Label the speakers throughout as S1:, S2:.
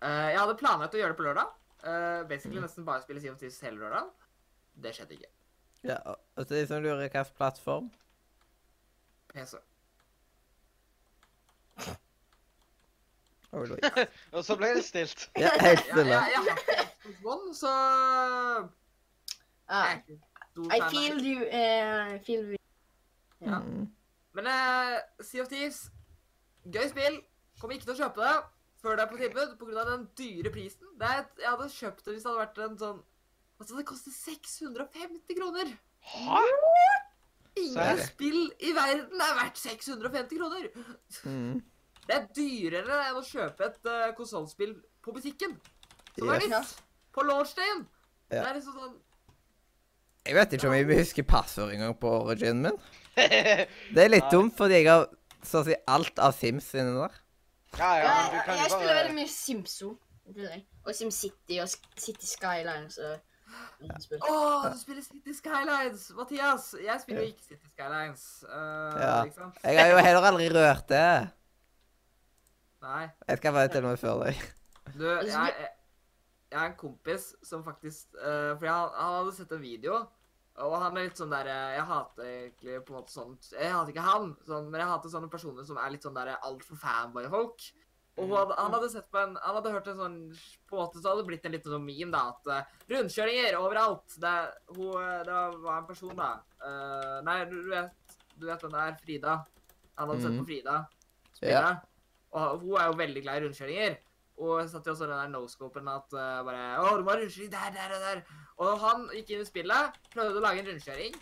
S1: Eh, jeg hadde planlagt å gjøre det på lørdag. Eh,
S2: Mm.
S1: basically nesten bare spille Sea of Thieves hele lørdag. Det skjedde ikke.
S3: Ja, og- og til de som lurer hvilken plattform
S1: PC.
S3: Oi, oi.
S4: Og så ble det stilt.
S3: Ja, helt
S1: Jeg, jeg,
S3: stille.
S1: jeg har ikke Xbox One, så jeg er
S2: Ah,
S1: ikke stor fan
S2: I
S1: av-
S2: feel you. eh, I feel you.
S1: ja.
S3: Mm.
S1: Men eh, Sea of Thieves, gøy spill. Kommer ikke til å kjøpe det før det er på tilbud pga. den dyre prisen. Det er et, jeg hadde kjøpt det hvis det hadde vært en sånn Altså, det koster 650 kroner!
S4: Hæ?
S1: Ingen
S4: Særlig.
S1: spill i verden er verdt 650 kroner!
S3: Mm.
S1: Det er dyrere enn å kjøpe et uh, konsollspill på butikken. Som er
S3: Yes.
S1: nytt. På launchdagen.
S3: Ja.
S1: Det er liksom sånn
S3: Jeg vet ikke om jeg husker passord engang på originen min. Det er litt dumt, fordi jeg har så å si alt av Sims inni der.
S4: Ja, ja, men du
S2: Jeg,
S4: kan
S2: jeg
S4: jo
S2: spiller veldig
S4: bare
S2: mye Simso. i tillegg. Og SimCity og Sk- City Skylines og sånne spill.
S1: Å, du spiller City Skylines! Mathias, jeg spiller jo ikke City Skylines. eh,
S3: Ja.
S1: Ikke sant?
S3: Jeg har jo heller aldri rørt det.
S1: Nei.
S3: Jeg skal være til og med før deg.
S1: Du, jeg, jeg, jeg har en kompis som faktisk eh, For jeg, han hadde sett en video, og han er litt sånn derre Jeg hater egentlig på en måte sånt Jeg hater ikke han, sånn, men jeg hater sånne personer som er litt sånn derre altfor fanboy-folk. Og hun hadde, han hadde sett på en Han hadde hørt en sånn På en måte så hadde det blitt en liten sånn meme, da, at eh, rundkjøringer overalt Det, hun, eh, det var en person, da eh, Nei, du, du vet Du vet den der Frida. Han hadde sett
S3: Mhm.
S1: på Frida spille.
S3: Ja.
S1: Og hun er jo veldig glad i rundkjøringer. Og jeg satt jo også den der no-scopen at eh, bare Å, du må ha rundkjøring der, der og der. Og han gikk inn i spillet, prøvde å lage en rundkjøring.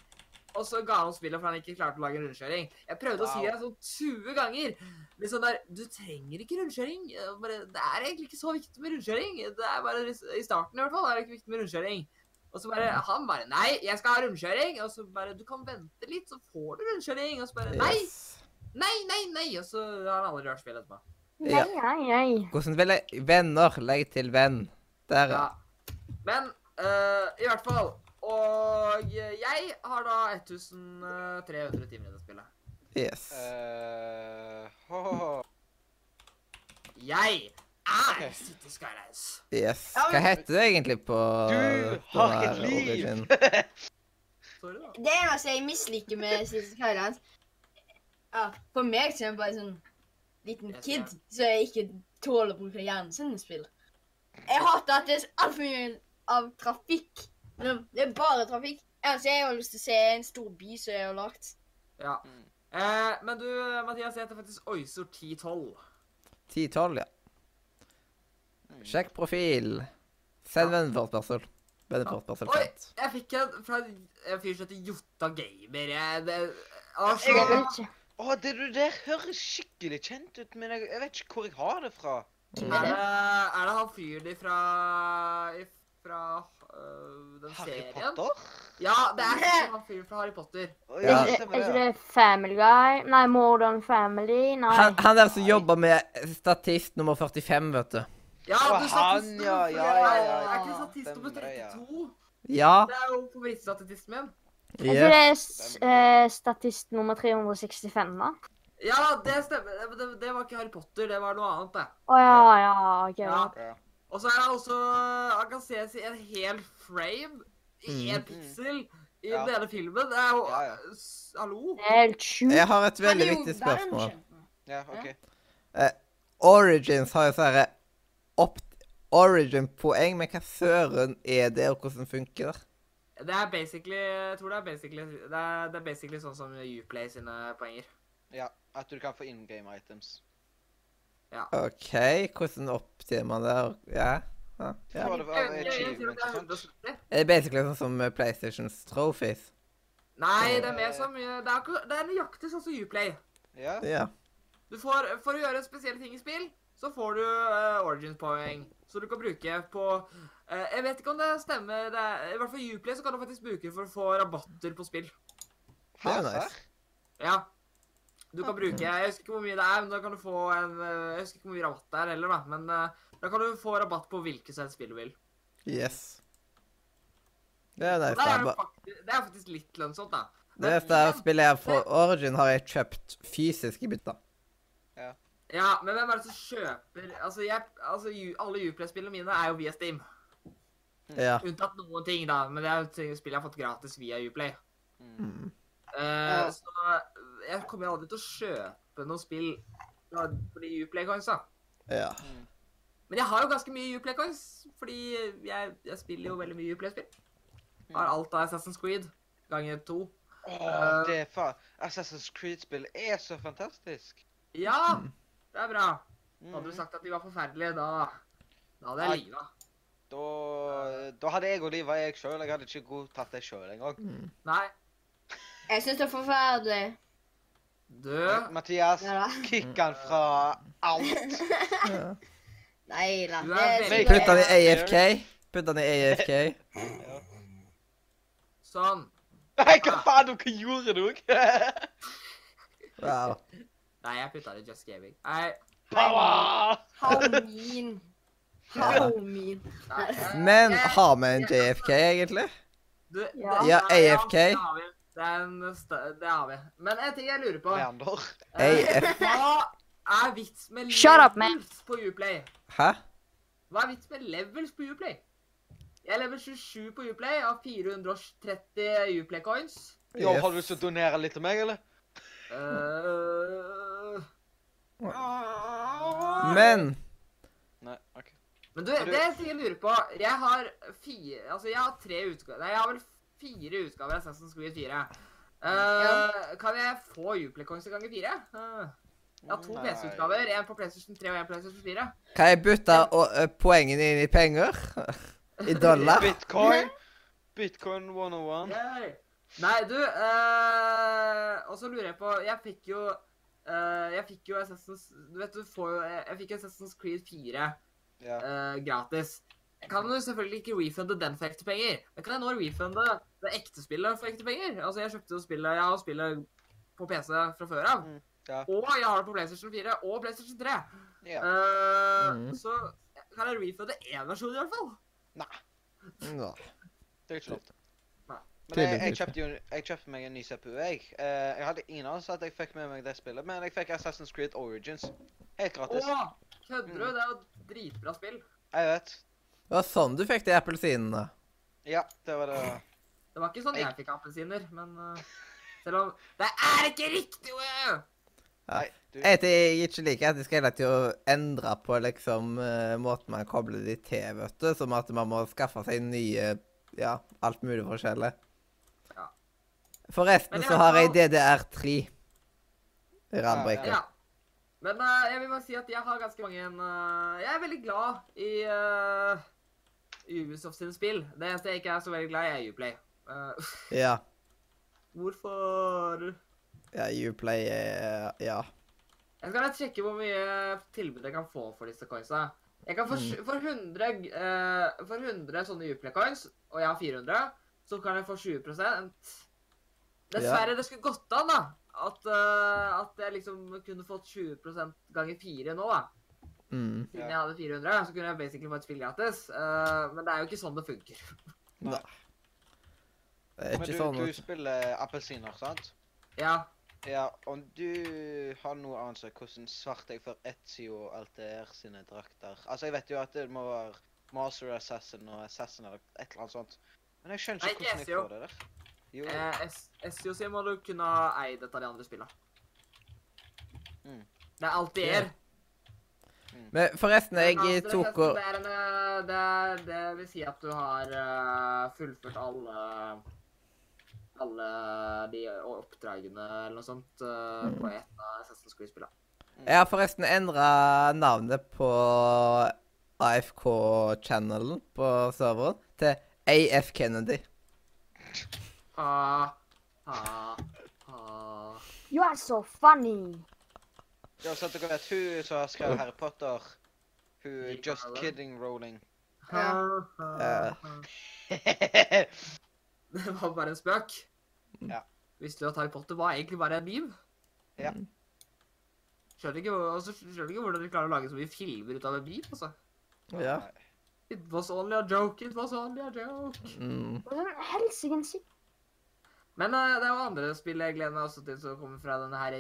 S1: Og så ga han spillet for han ikke klarte å lage en rundkjøring. Jeg prøvde å si
S4: Wow.
S1: det sånn 20 ganger. Litt sånn der Du trenger ikke rundkjøring. Eh, Bare, det er egentlig ikke så viktig med rundkjøring. Det er bare I starten i hvert fall er det ikke viktig med rundkjøring. Og så
S3: Mm.
S1: bare Han bare Nei, jeg skal ha rundkjøring. Og så bare Du kan vente litt, så får du rundkjøring. Og så bare Nei!
S3: Yes.
S1: Nei, nei, nei! Og så har han aldri rørt spillet etterpå.
S3: Ja.
S2: nei, nei.
S3: Hvordan vil jeg Venner. Legg til venn. Der, ja.
S1: Ja. Men eh, i hvert fall Og jeg har da 1300 timer i det spillet.
S3: Yes.
S4: Eh, ho-ho-ho.
S1: Jeg er
S4: Ok.
S1: City Skylines.
S3: Yes.
S2: Ja,
S3: Hva
S2: men-
S3: heter du egentlig på
S4: Du
S3: på
S4: har
S3: den
S4: et
S3: her
S4: liv!
S3: origin?
S1: Sorry,
S4: Mm.
S1: da.
S2: Det eneste jeg misliker med City Skylines ja, For meg så er det bare sånn liten
S1: Jeg
S2: kid så jeg ikke tåler å bruke hjernen sin i spill. Jeg hater at det er altfor mye av trafikk. Nå, Det er bare trafikk. Ellers har jeg jo lyst til å se en stor by som jeg har lagt.
S1: Ja.
S4: Mm.
S1: Eh, men du, Mathias, jeg heter faktisk Oysor 1012.
S3: 10-12, ja. Sjekk profil. Send vennforespørsel. Vennforespørsel
S1: Oi.
S3: sendt.
S1: Jeg fikk en fra en fyr som heter Jotta Gamer. Jeg, det, Å, så-
S2: Jeg vet
S4: Å, det du der høres skikkelig kjent ut, men jeg, jeg vet ikke hvor jeg har det fra.
S2: Hvem
S1: er,
S2: er
S1: det,
S2: det?
S1: er det han fyren ifra Fra øh, den
S4: Harry
S1: serien?
S4: Potter?
S1: Ja, det er ikke han fyren fra Harry Potter.
S4: Å,
S3: Ja.
S5: Er
S4: stemmer
S5: ikke
S4: det,
S5: det Family Guy? Nei, Modern Family? Nei.
S3: Han, han der som jobber med statist nummer 45, vet du.
S1: Ja,
S4: Å,
S1: du
S4: han,
S1: statist
S4: ja, ja,
S2: ja, ja,
S1: Er
S2: ja.
S1: ikke statist nummer
S4: Stemmer, ja.
S1: 32?
S3: Ja.
S1: Det er jo favorittstatisten min.
S5: Er ikke
S3: ja.
S5: Altså, det s- eh, statist nummer 365, da?
S1: Ja, det stemmer. Det, det, det var ikke Harry Potter, det var noe annet, det.
S5: Å ja, ja. ok.
S1: Ja.
S4: Ja.
S1: Og så er han også Han kan ses i en hel frame, i en
S3: Mm.
S1: piksel, i
S4: Ja.
S1: den ene filmen. Det er jo
S4: Ja, ja.
S1: s- Hallo?
S5: Det er Helt sjukt.
S3: Jeg har et veldig
S2: Han er jo
S3: viktig spørsmål.
S2: verdenskjent.
S4: Ja, ok.
S3: Origins har jo sånne opt Origin-poeng, men hva søren er det, og hvordan funker det?
S1: Det er basically Jeg tror det er basically, det er, det er basically sånn som Uplay sine poenger.
S4: Ja, at du kan få in game items.
S3: OK, hvordan opptjener man det? og- Ja. ja, ja.
S4: Får det av
S1: Jeg- jeg- jeg tror
S4: achievement,
S1: det er
S4: sant?
S1: 170.
S3: Er det basically sånn som eh, PlayStations trophies?
S1: Nei, det er mer som Det er, akkur- det er nøyaktig sånn som Uplay.
S4: Ja.
S3: Ja.
S1: Du får, for å gjøre spesielle ting i spill, så får du uh, origin-poeng. Så du kan bruke på eh, Jeg vet ikke om det stemmer. Det er, I hvert fall i Uplay så kan du faktisk bruke for å få rabatter på spill.
S3: Det er jo
S4: Her,
S3: nice.
S4: her.
S1: Ja. Du kan bruke Jeg husker ikke hvor mye det er, men da kan du få en eh, Jeg husker ikke hvor mye rabatt det er heller, da. Men eh, da kan du få rabatt på hvilket som helst spill du vil.
S3: Yes. Det er nice.
S1: Det er,
S3: da.
S1: jo faktisk, det er faktisk litt lønnsomt, da.
S3: Det
S1: Men
S3: neste spillet jeg har fra Origin, har jeg kjøpt fysisk i bytta.
S4: Ja.
S1: Ja, men hvem er det som kjøper Altså, jeg, altså Ju- alle Uplay-spillene mine er jo via Steam.
S3: Ja.
S1: Unntatt noen ting, da. Men det er jo ting- spill jeg har fått gratis via Uplay.
S4: Mm.
S1: Eh,
S4: Ja.
S1: Så jeg kommer aldri til å kjøpe noe spill fra- fordi Uplay Coins, da.
S3: ja.
S1: Men jeg har jo ganske mye Uplay Coins, fordi jeg, jeg spiller jo veldig mye Uplay-spill. Har alt av Assassin's Creed ganger to.
S4: Åh, det er faen. Assassin's Creed-spill er så fantastisk.
S1: Ja! Det er bra.
S4: Mm.
S1: Hadde du sagt at de var forferdelige, da, da hadde jeg liva.
S4: Da, da hadde jeg og Liv vært jeg sjøl. Jeg hadde ikke godtatt det sjøl engang.
S1: Nei.
S2: Jeg syns det er forferdelig.
S1: Du
S4: Mathias,
S2: Ja da.
S4: kick han fra alt.
S3: ja.
S2: Nei da.
S1: Du er
S2: det-
S1: veldig-
S2: det-
S3: Putt han i AFK. Putt han i AFK.
S1: Sånn.
S4: Nei, hva faen, dere gjorde det òg?
S3: Wow.
S1: Nei, jeg putta det i Just Gaming. Nei.
S4: Power!
S2: How mean. How mean.
S1: nei, nei.
S3: Men har vi en JFK, egentlig?
S1: Du, det-
S5: Ja.
S3: Ja,
S1: ja,
S3: AFK.
S1: Det har vi. Det, er en, st- det har vi. Men en ting jeg lurer på.
S4: Leander.
S1: Eh,
S3: AF.
S1: Hva er vits med
S5: Shut up, man.
S1: levels på Uplay?
S3: Hæ?
S1: Hva er vits med levels på Uplay? Jeg er level 27 på Uplay, har 430 Uplay coins.
S4: Yo, har du
S3: Yes.
S4: lyst til å donere litt til meg, eller?
S1: Eh,
S3: Men
S4: Nei, OK.
S1: Men du,
S4: Men du-
S1: det jeg sikkert lurer på Jeg har fire Altså, jeg har tre utgaver Nei, jeg har vel fire utgaver av Assassin's Creed 4. Eh, Kan jeg få Uplay-coins ganger fire? Eh, jeg har to
S4: Nei.
S1: PC-utgaver. En på PlayStation 3 og en på PlayStation 4.
S3: kan jeg bytte å- ø, poengene inn i penger? I dollar?
S4: Bitcoin. Bitcoin 101.
S1: Yay. Nei, du eh, Og så lurer jeg på Jeg fikk jo eh, Jeg fikk jo Assassin's Du vet, du får jo Jeg jeg fikk Assassin's Creed 4
S4: Ja.
S1: eh, gratis. Jeg kan jo selvfølgelig ikke refunde den for ekte penger, men kan jeg nå refunde det ekte spillet for ekte penger? Altså, jeg kjøpte jo spillet, jeg har spillet på PC fra før av.
S4: Mm, ja.
S1: Og jeg har det på PlayStation 4 og PlayStation 3.
S4: ja.
S1: Eh,
S3: Mm.
S1: Så kan jeg refunde én versjon i hvert fall.
S3: Nå.
S4: Det er ikke lov til.
S1: Nei.
S4: Men jeg, jeg,
S3: Tydeligvis
S4: kjøpte jo, jeg kjøpte meg en ny CPU, jeg. Eh, jeg hadde ingen anelse at jeg fikk med meg det spillet, men jeg fikk Assassin's Creed Origins. Helt gratis.
S1: Å, kødder du? Det er jo et dritbra spill.
S4: Jeg vet.
S3: Det var sånn du fikk de appelsinene.
S4: Ja, det var det.
S1: Det var ikke sånn jeg fikk appelsiner, men eh, selv om Det er ikke riktig, Oje!
S4: Nei, du.
S3: Jeg vet jeg ikke liker at de skal hele tiden endre på liksom eh, måten man kobler de til, vet du. Som at man må skaffe seg nye Ja, alt mulig forskjellig.
S1: Ja.
S3: Forresten
S1: Men i
S3: så
S1: hvert
S3: har jeg
S1: fall-
S3: DDR3 i
S4: Ja.
S3: randbrekka.
S1: Ja. Men eh, jeg vil bare si at jeg har ganske mange eh, Jeg er veldig glad i eh, Ubisoft sine spill. Det eneste jeg ikke er så veldig glad i, er Uplay. Eh,
S3: Ja.
S1: hvorfor Jeg
S3: Ja, Uplay er Ja.
S1: skal bare sjekke hvor mye tilbud jeg kan få for disse coinsa. Jeg kan
S4: Mm.
S1: for, sj- for, 100, eh, for 100 sånne Uplay-coins, og jeg har 400, så kan jeg få 20 Dessverre, det skulle gått an, da. At, eh, at jeg liksom kunne fått 20 ganger 4 nå, da.
S3: Mm.
S1: Siden
S4: Ja.
S1: jeg hadde 400, så kunne jeg basically fått spill gratis. Eh, men det er jo ikke sånn det funker.
S3: Det er
S4: Men
S3: ikke
S4: du,
S3: sånn
S4: du spiller appelsiner, sant?
S1: Ja.
S4: Ja, og du har noe anelse hvordan svart jeg får Ezio og Alter sine drakter. Altså, jeg vet jo at det må være Master Assassin og Assassin eller et eller annet sånt. Men jeg skjønner
S1: Nei,
S4: ikke
S1: ikke
S4: hvordan jeg
S1: Ezio.
S4: får det der. Jo,
S1: Eh, S- SEOC må du kunne ha eid et av de andre spillene.
S4: Mm.
S1: Det er alt det er.
S3: Men forresten,
S1: Men altså,
S3: jeg
S1: det
S3: tok
S1: fleste
S3: og
S1: er en, eh, det, er- det vil si at du har eh, fullført alle alle de oppdragene eller noe sånt eh,
S3: Mm.
S1: på ett av Assassin's Creed-spillene.
S3: Jeg har forresten endra navnet på AFK-channelen på serveren til AF Kennedy.
S1: Ha, ha, ha.
S5: You are so funny.
S4: Ja, så at dere vet hun som har skrevet Harry Potter. Hun
S1: J.K.
S4: Just
S1: Rowling.
S4: Kidding Rolling.
S1: Ha, ha,
S3: Ja.
S1: ha. Det var bare en spøk.
S3: Mm.
S4: Ja.
S1: Visste du at Harry Potter var egentlig bare en meme?
S4: Ja.
S3: Mm.
S1: Skjønner ikke, hvor- altså, skjønner ikke hvordan de klarer å lage så mye filmer ut av en meme, altså.
S3: Ja.
S1: It was only a joke, it was only a joke.
S3: Mm.
S5: Hvordan helsikens
S1: Men eh, det er jo andre spill jeg gleder meg også til som kommer fra denne her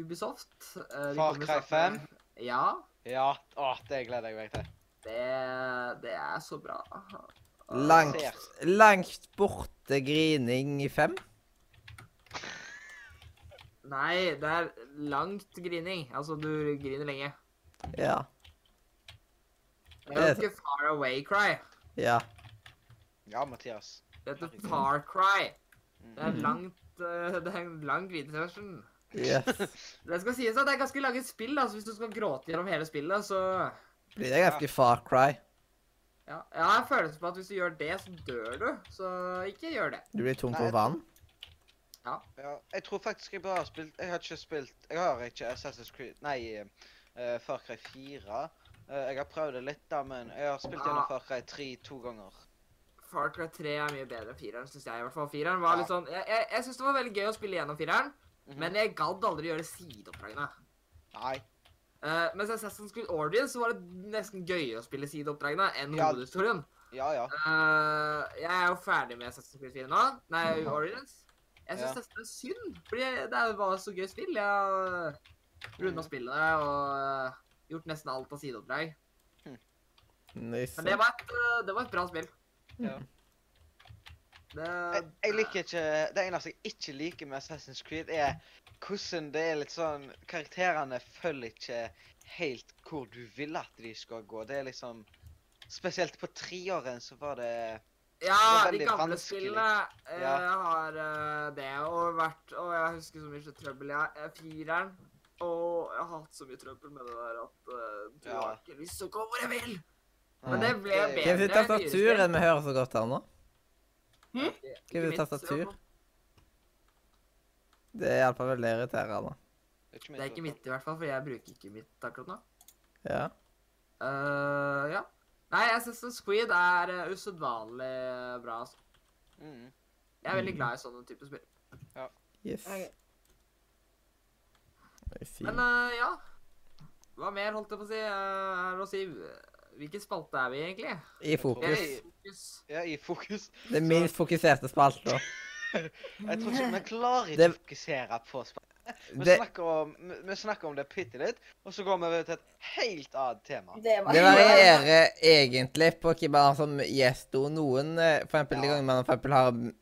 S1: Ubisoft. Eh, de
S4: Far
S1: kommer
S4: Cry
S1: snart med- Ja,
S4: Ja, å, det gleder jeg meg til.
S1: det, det er så bra.
S3: Langt,
S1: Ah,
S4: Ser.
S3: langt borte grining i fem.
S1: Nei, det er langt grining. Altså, du griner lenge.
S3: Ja.
S1: Det er ikke far away cry.
S3: Ja.
S4: Ja, Mathias.
S1: Det heter far cry. Det er
S4: Mm.
S1: langt, eh, det er en lang grinesession.
S3: Yes.
S1: Det skal sies at det er ganske lange spill, da, så hvis du skal gråte gjennom hele spillet, så
S3: Blir det ganske far cry.
S1: ja. Jeg har følelsen på at hvis du gjør det, så dør du. Så ikke gjør det.
S3: Du blir tom
S4: Nei,
S3: for
S4: jeg-
S3: vann.
S4: Ja, jeg tror faktisk jeg bare har spilt Jeg har ikke spilt Jeg har ikke Assassin's Creed Nei, eh, Far Cry 4. Eh, jeg har prøvd det litt, da, men jeg har spilt gjennom
S1: Ah.
S4: Far Cry 3 to ganger.
S1: Far Cry 3 er mye bedre enn fireren, syns jeg. i hvert fall. Fireren var
S4: Ja.
S1: litt sånn, Jeg, jeg, jeg syns det var veldig gøy å spille gjennom fireren,
S4: Mhm.
S1: men jeg gadd aldri gjøre sideoppdragene.
S4: Nei.
S1: Uh, mens Assassin's Creed Origins så var det nesten gøyere å spille sideoppdragene enn
S4: Ja.
S1: hovedhistorien.
S4: Ja, ja.
S1: Eh, jeg er jo ferdig med Assassin's Creed 4 nå. Nei, Origins. Jeg syns
S4: Mm. Ja.
S1: dette er synd, fordi det var så gøy spill. Jeg har
S4: Mm.
S1: runda spillet og eh, gjort nesten alt av sideoppdrag.
S3: Nice.
S1: Men det var et, eh, det var et bra spill.
S4: Ja.
S1: Det,
S4: Jeg, jeg liker ikke Det eneste jeg ikke liker med Assassin's Creed, er hvordan det er litt sånn Karakterene følger ikke helt hvor du vil at de skal gå. Det er liksom Spesielt på treåren så var det
S1: Ja,
S4: Det var
S1: de
S4: veldig
S1: gamle
S4: vanskelig. liksom.
S1: spillene eh,
S4: Ja.
S1: har eh, det. Og vært Og jeg husker så mye trøbbel. Jeg er fireren. Og jeg har hatt så mye trøbbel med det der at eh, du
S4: Ja.
S1: har ikke lyst til å gå hvor jeg vil.
S3: Ja.
S1: Men det ble
S4: Det-
S1: bedre.
S3: Hvem sitt tastatur er det vi hører så godt her nå?
S1: Hm?
S3: Hvem sitt tastatur? Det er iallfall veldig irriterende.
S1: Det er ikke mitt i hvert fall, for jeg bruker ikke mitt akkurat nå.
S3: Ja.
S1: Eh, ja. Nei, jeg syns Squid er eh, usedvanlig bra. Altså.
S4: Mm.
S1: Jeg er veldig
S3: Mm.
S1: glad i sånne typer spill.
S3: Yes.
S2: Ok.
S3: Det er fint.
S1: Men eh, ja. Hva mer holdt jeg på å si? Eh, er det å si Hvilken spalte er vi i, egentlig?
S3: I fokus.
S1: Jeg, fokus.
S4: Ja, i fokus.
S3: Det minst fokuserte spalta.
S4: Jeg tror ikke Vi klarer ikke
S3: Det-
S4: å fokusere på sp- Vi
S3: Det,
S4: snakker om, vi- vi snakker om det bitte litt, og så går vi over til et helt annet tema.
S2: Det var
S3: det varierer egentlig på hvem man har som gjest og noen. eh, For eksempel de
S4: Ja.
S3: gangene man for eksempel har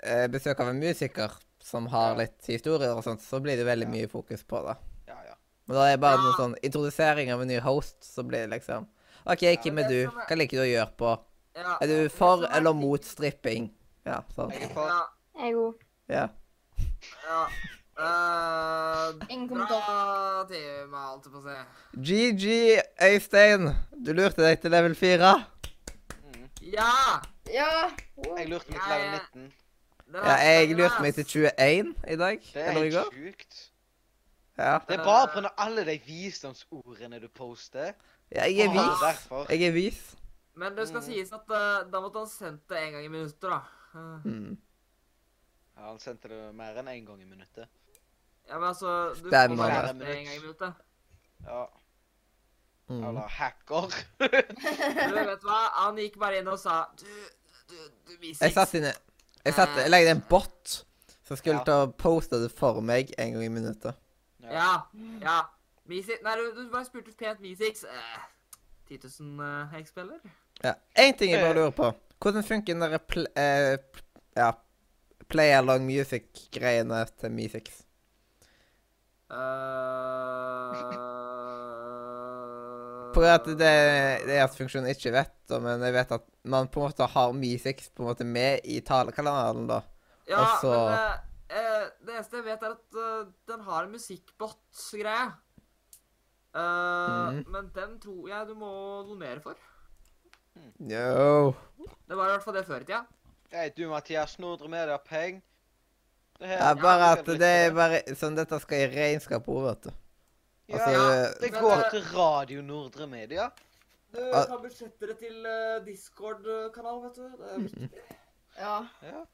S3: eh, besøk av en musiker som har
S4: Ja.
S3: litt historier og sånt, så blir det veldig
S4: Ja.
S3: mye fokus på det.
S4: Ja, ja.
S3: Men da er det bare noe
S1: Ja.
S3: sånn introdusering av en ny host, så blir det liksom OK, hvem
S1: men
S3: er
S1: det
S3: du?
S1: som er-
S3: Hva liker du å gjøre på?
S1: Ja,
S3: Er du
S1: det
S3: for
S1: som er-
S3: eller mot stripping? Ja, sånn.
S4: Jeg er for
S1: Ja.
S5: Jeg òg.
S3: Ja.
S1: ja. Eh,
S2: Ingen kommentar.
S1: bra tema, holdt jeg på å si.
S3: GG, Øystein. Du lurte deg til level 4.
S4: Mm.
S1: Ja!
S2: Ja.
S4: Jeg lurte meg til
S1: Jeg-
S4: level 19.
S1: den
S3: Ja,
S1: er
S3: jeg
S1: spennende,
S3: lurte meg til
S1: ass.
S3: 21 i dag.
S4: Det er
S3: Eller i
S4: helt
S3: går.
S4: sjukt.
S3: Ja.
S4: Det er bare pga. alle de visdomsordene du poster.
S3: ja jeg er
S4: Bare
S1: vis.
S3: vis.
S4: Derfor.
S3: Jeg er vis.
S1: Men det skal
S4: Mm.
S1: sies at eh, da måtte han sendt det en gang i minuttet, da. Eh,
S3: Hmm.
S4: Ja, han sendte det mer enn én gang i minuttet.
S1: Ja, men altså Du
S3: Spam,
S1: får bare
S4: eller?
S1: sendt det en gang i minuttet.
S4: Ja,
S3: Mm.
S4: Eller hacker.
S1: Men du vet hva? Han gikk bare inn og sa Du, du, du viser
S3: Jeg satt inne Jeg satt Jeg lagde en bot som skulle
S4: Ja.
S3: ta og poste det for meg en gang i minuttet.
S1: Ja. ja. Misix. Nei, du, du bare spurte pent Misix. Eh, 10 000 eh, XP, eller?
S3: Ja. Én ting jeg bare lurer på. Hvordan funker den derre pl eh, p- ja, play along music-greiene til Mesix?
S1: Eh,
S3: For at det, det er at funksjonen ikke vet det, men jeg vet at man på en måte har Mesix på en måte med i talekalenderen, da.
S1: Ja,
S3: altså-
S1: men eh, eh, det eneste jeg vet, er at eh, den har en musikkbot-greie. Eh,
S3: Mhm.
S1: Men den tror jeg du må donere for.
S3: Yo.
S1: Det var i hvert fall det før i tida.
S4: Hei, du Mathias, Nordre Media Peng. Det her-
S3: Ja, bare at det er
S4: Ja,
S3: bare sånn dette skal i regnskap òg, vet du. Altså,
S1: ja.
S4: Det
S1: Men,
S4: går
S1: eh,
S4: til Radio Nordre Media.
S1: Du
S3: Ah.
S1: kan budsjettere til eh, Discord-kanal, vet du. Det er viktig.
S2: ja.
S4: Ja,
S2: Det er jo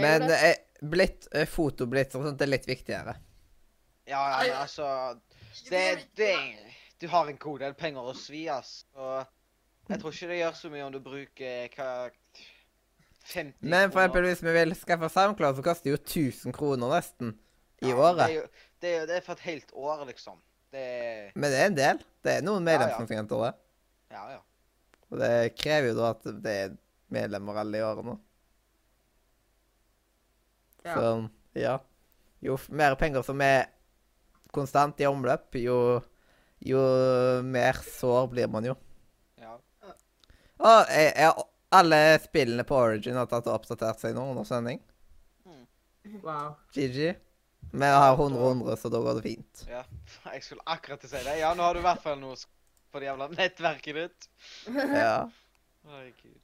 S3: Men
S2: det.
S3: eh, blitt, eh, fotoblitz og sånt er litt viktigere.
S4: ja, men altså Det, det Du har en god del penger å svi, ass. Og jeg tror ikke det gjør så mye om du bruker hva 50
S3: Men for
S4: kroner.
S3: eksempel hvis vi vil skaffe SoundCloud, så koster det jo 1000 kroner nesten i
S4: Ja, men Det er,
S3: året.
S4: jo, det, er jo, det er for et helt år, liksom. Det er
S3: Men det er en del. Det er noen
S4: Ja, ja.
S3: medlemskontingenter òg.
S4: Ja, ja.
S3: Og det krever jo da at det er medlemmer alle i året nå.
S1: Ja.
S3: Så ja. Jo f- mer penger som er konstant i omløp, jo, jo mer sår blir man jo.
S4: ja.
S3: Og jeg, jeg, alle spillene på Origin har tatt og oppdatert seg nå under sending.
S1: Wow.
S3: GG. Vi har 100-100, så da går det fint.
S4: ja. Jeg skulle akkurat til å si det. Ja, nå har du i hvert fall noe sk- på det jævla nettverket ditt.
S3: Ja.
S4: Herregud.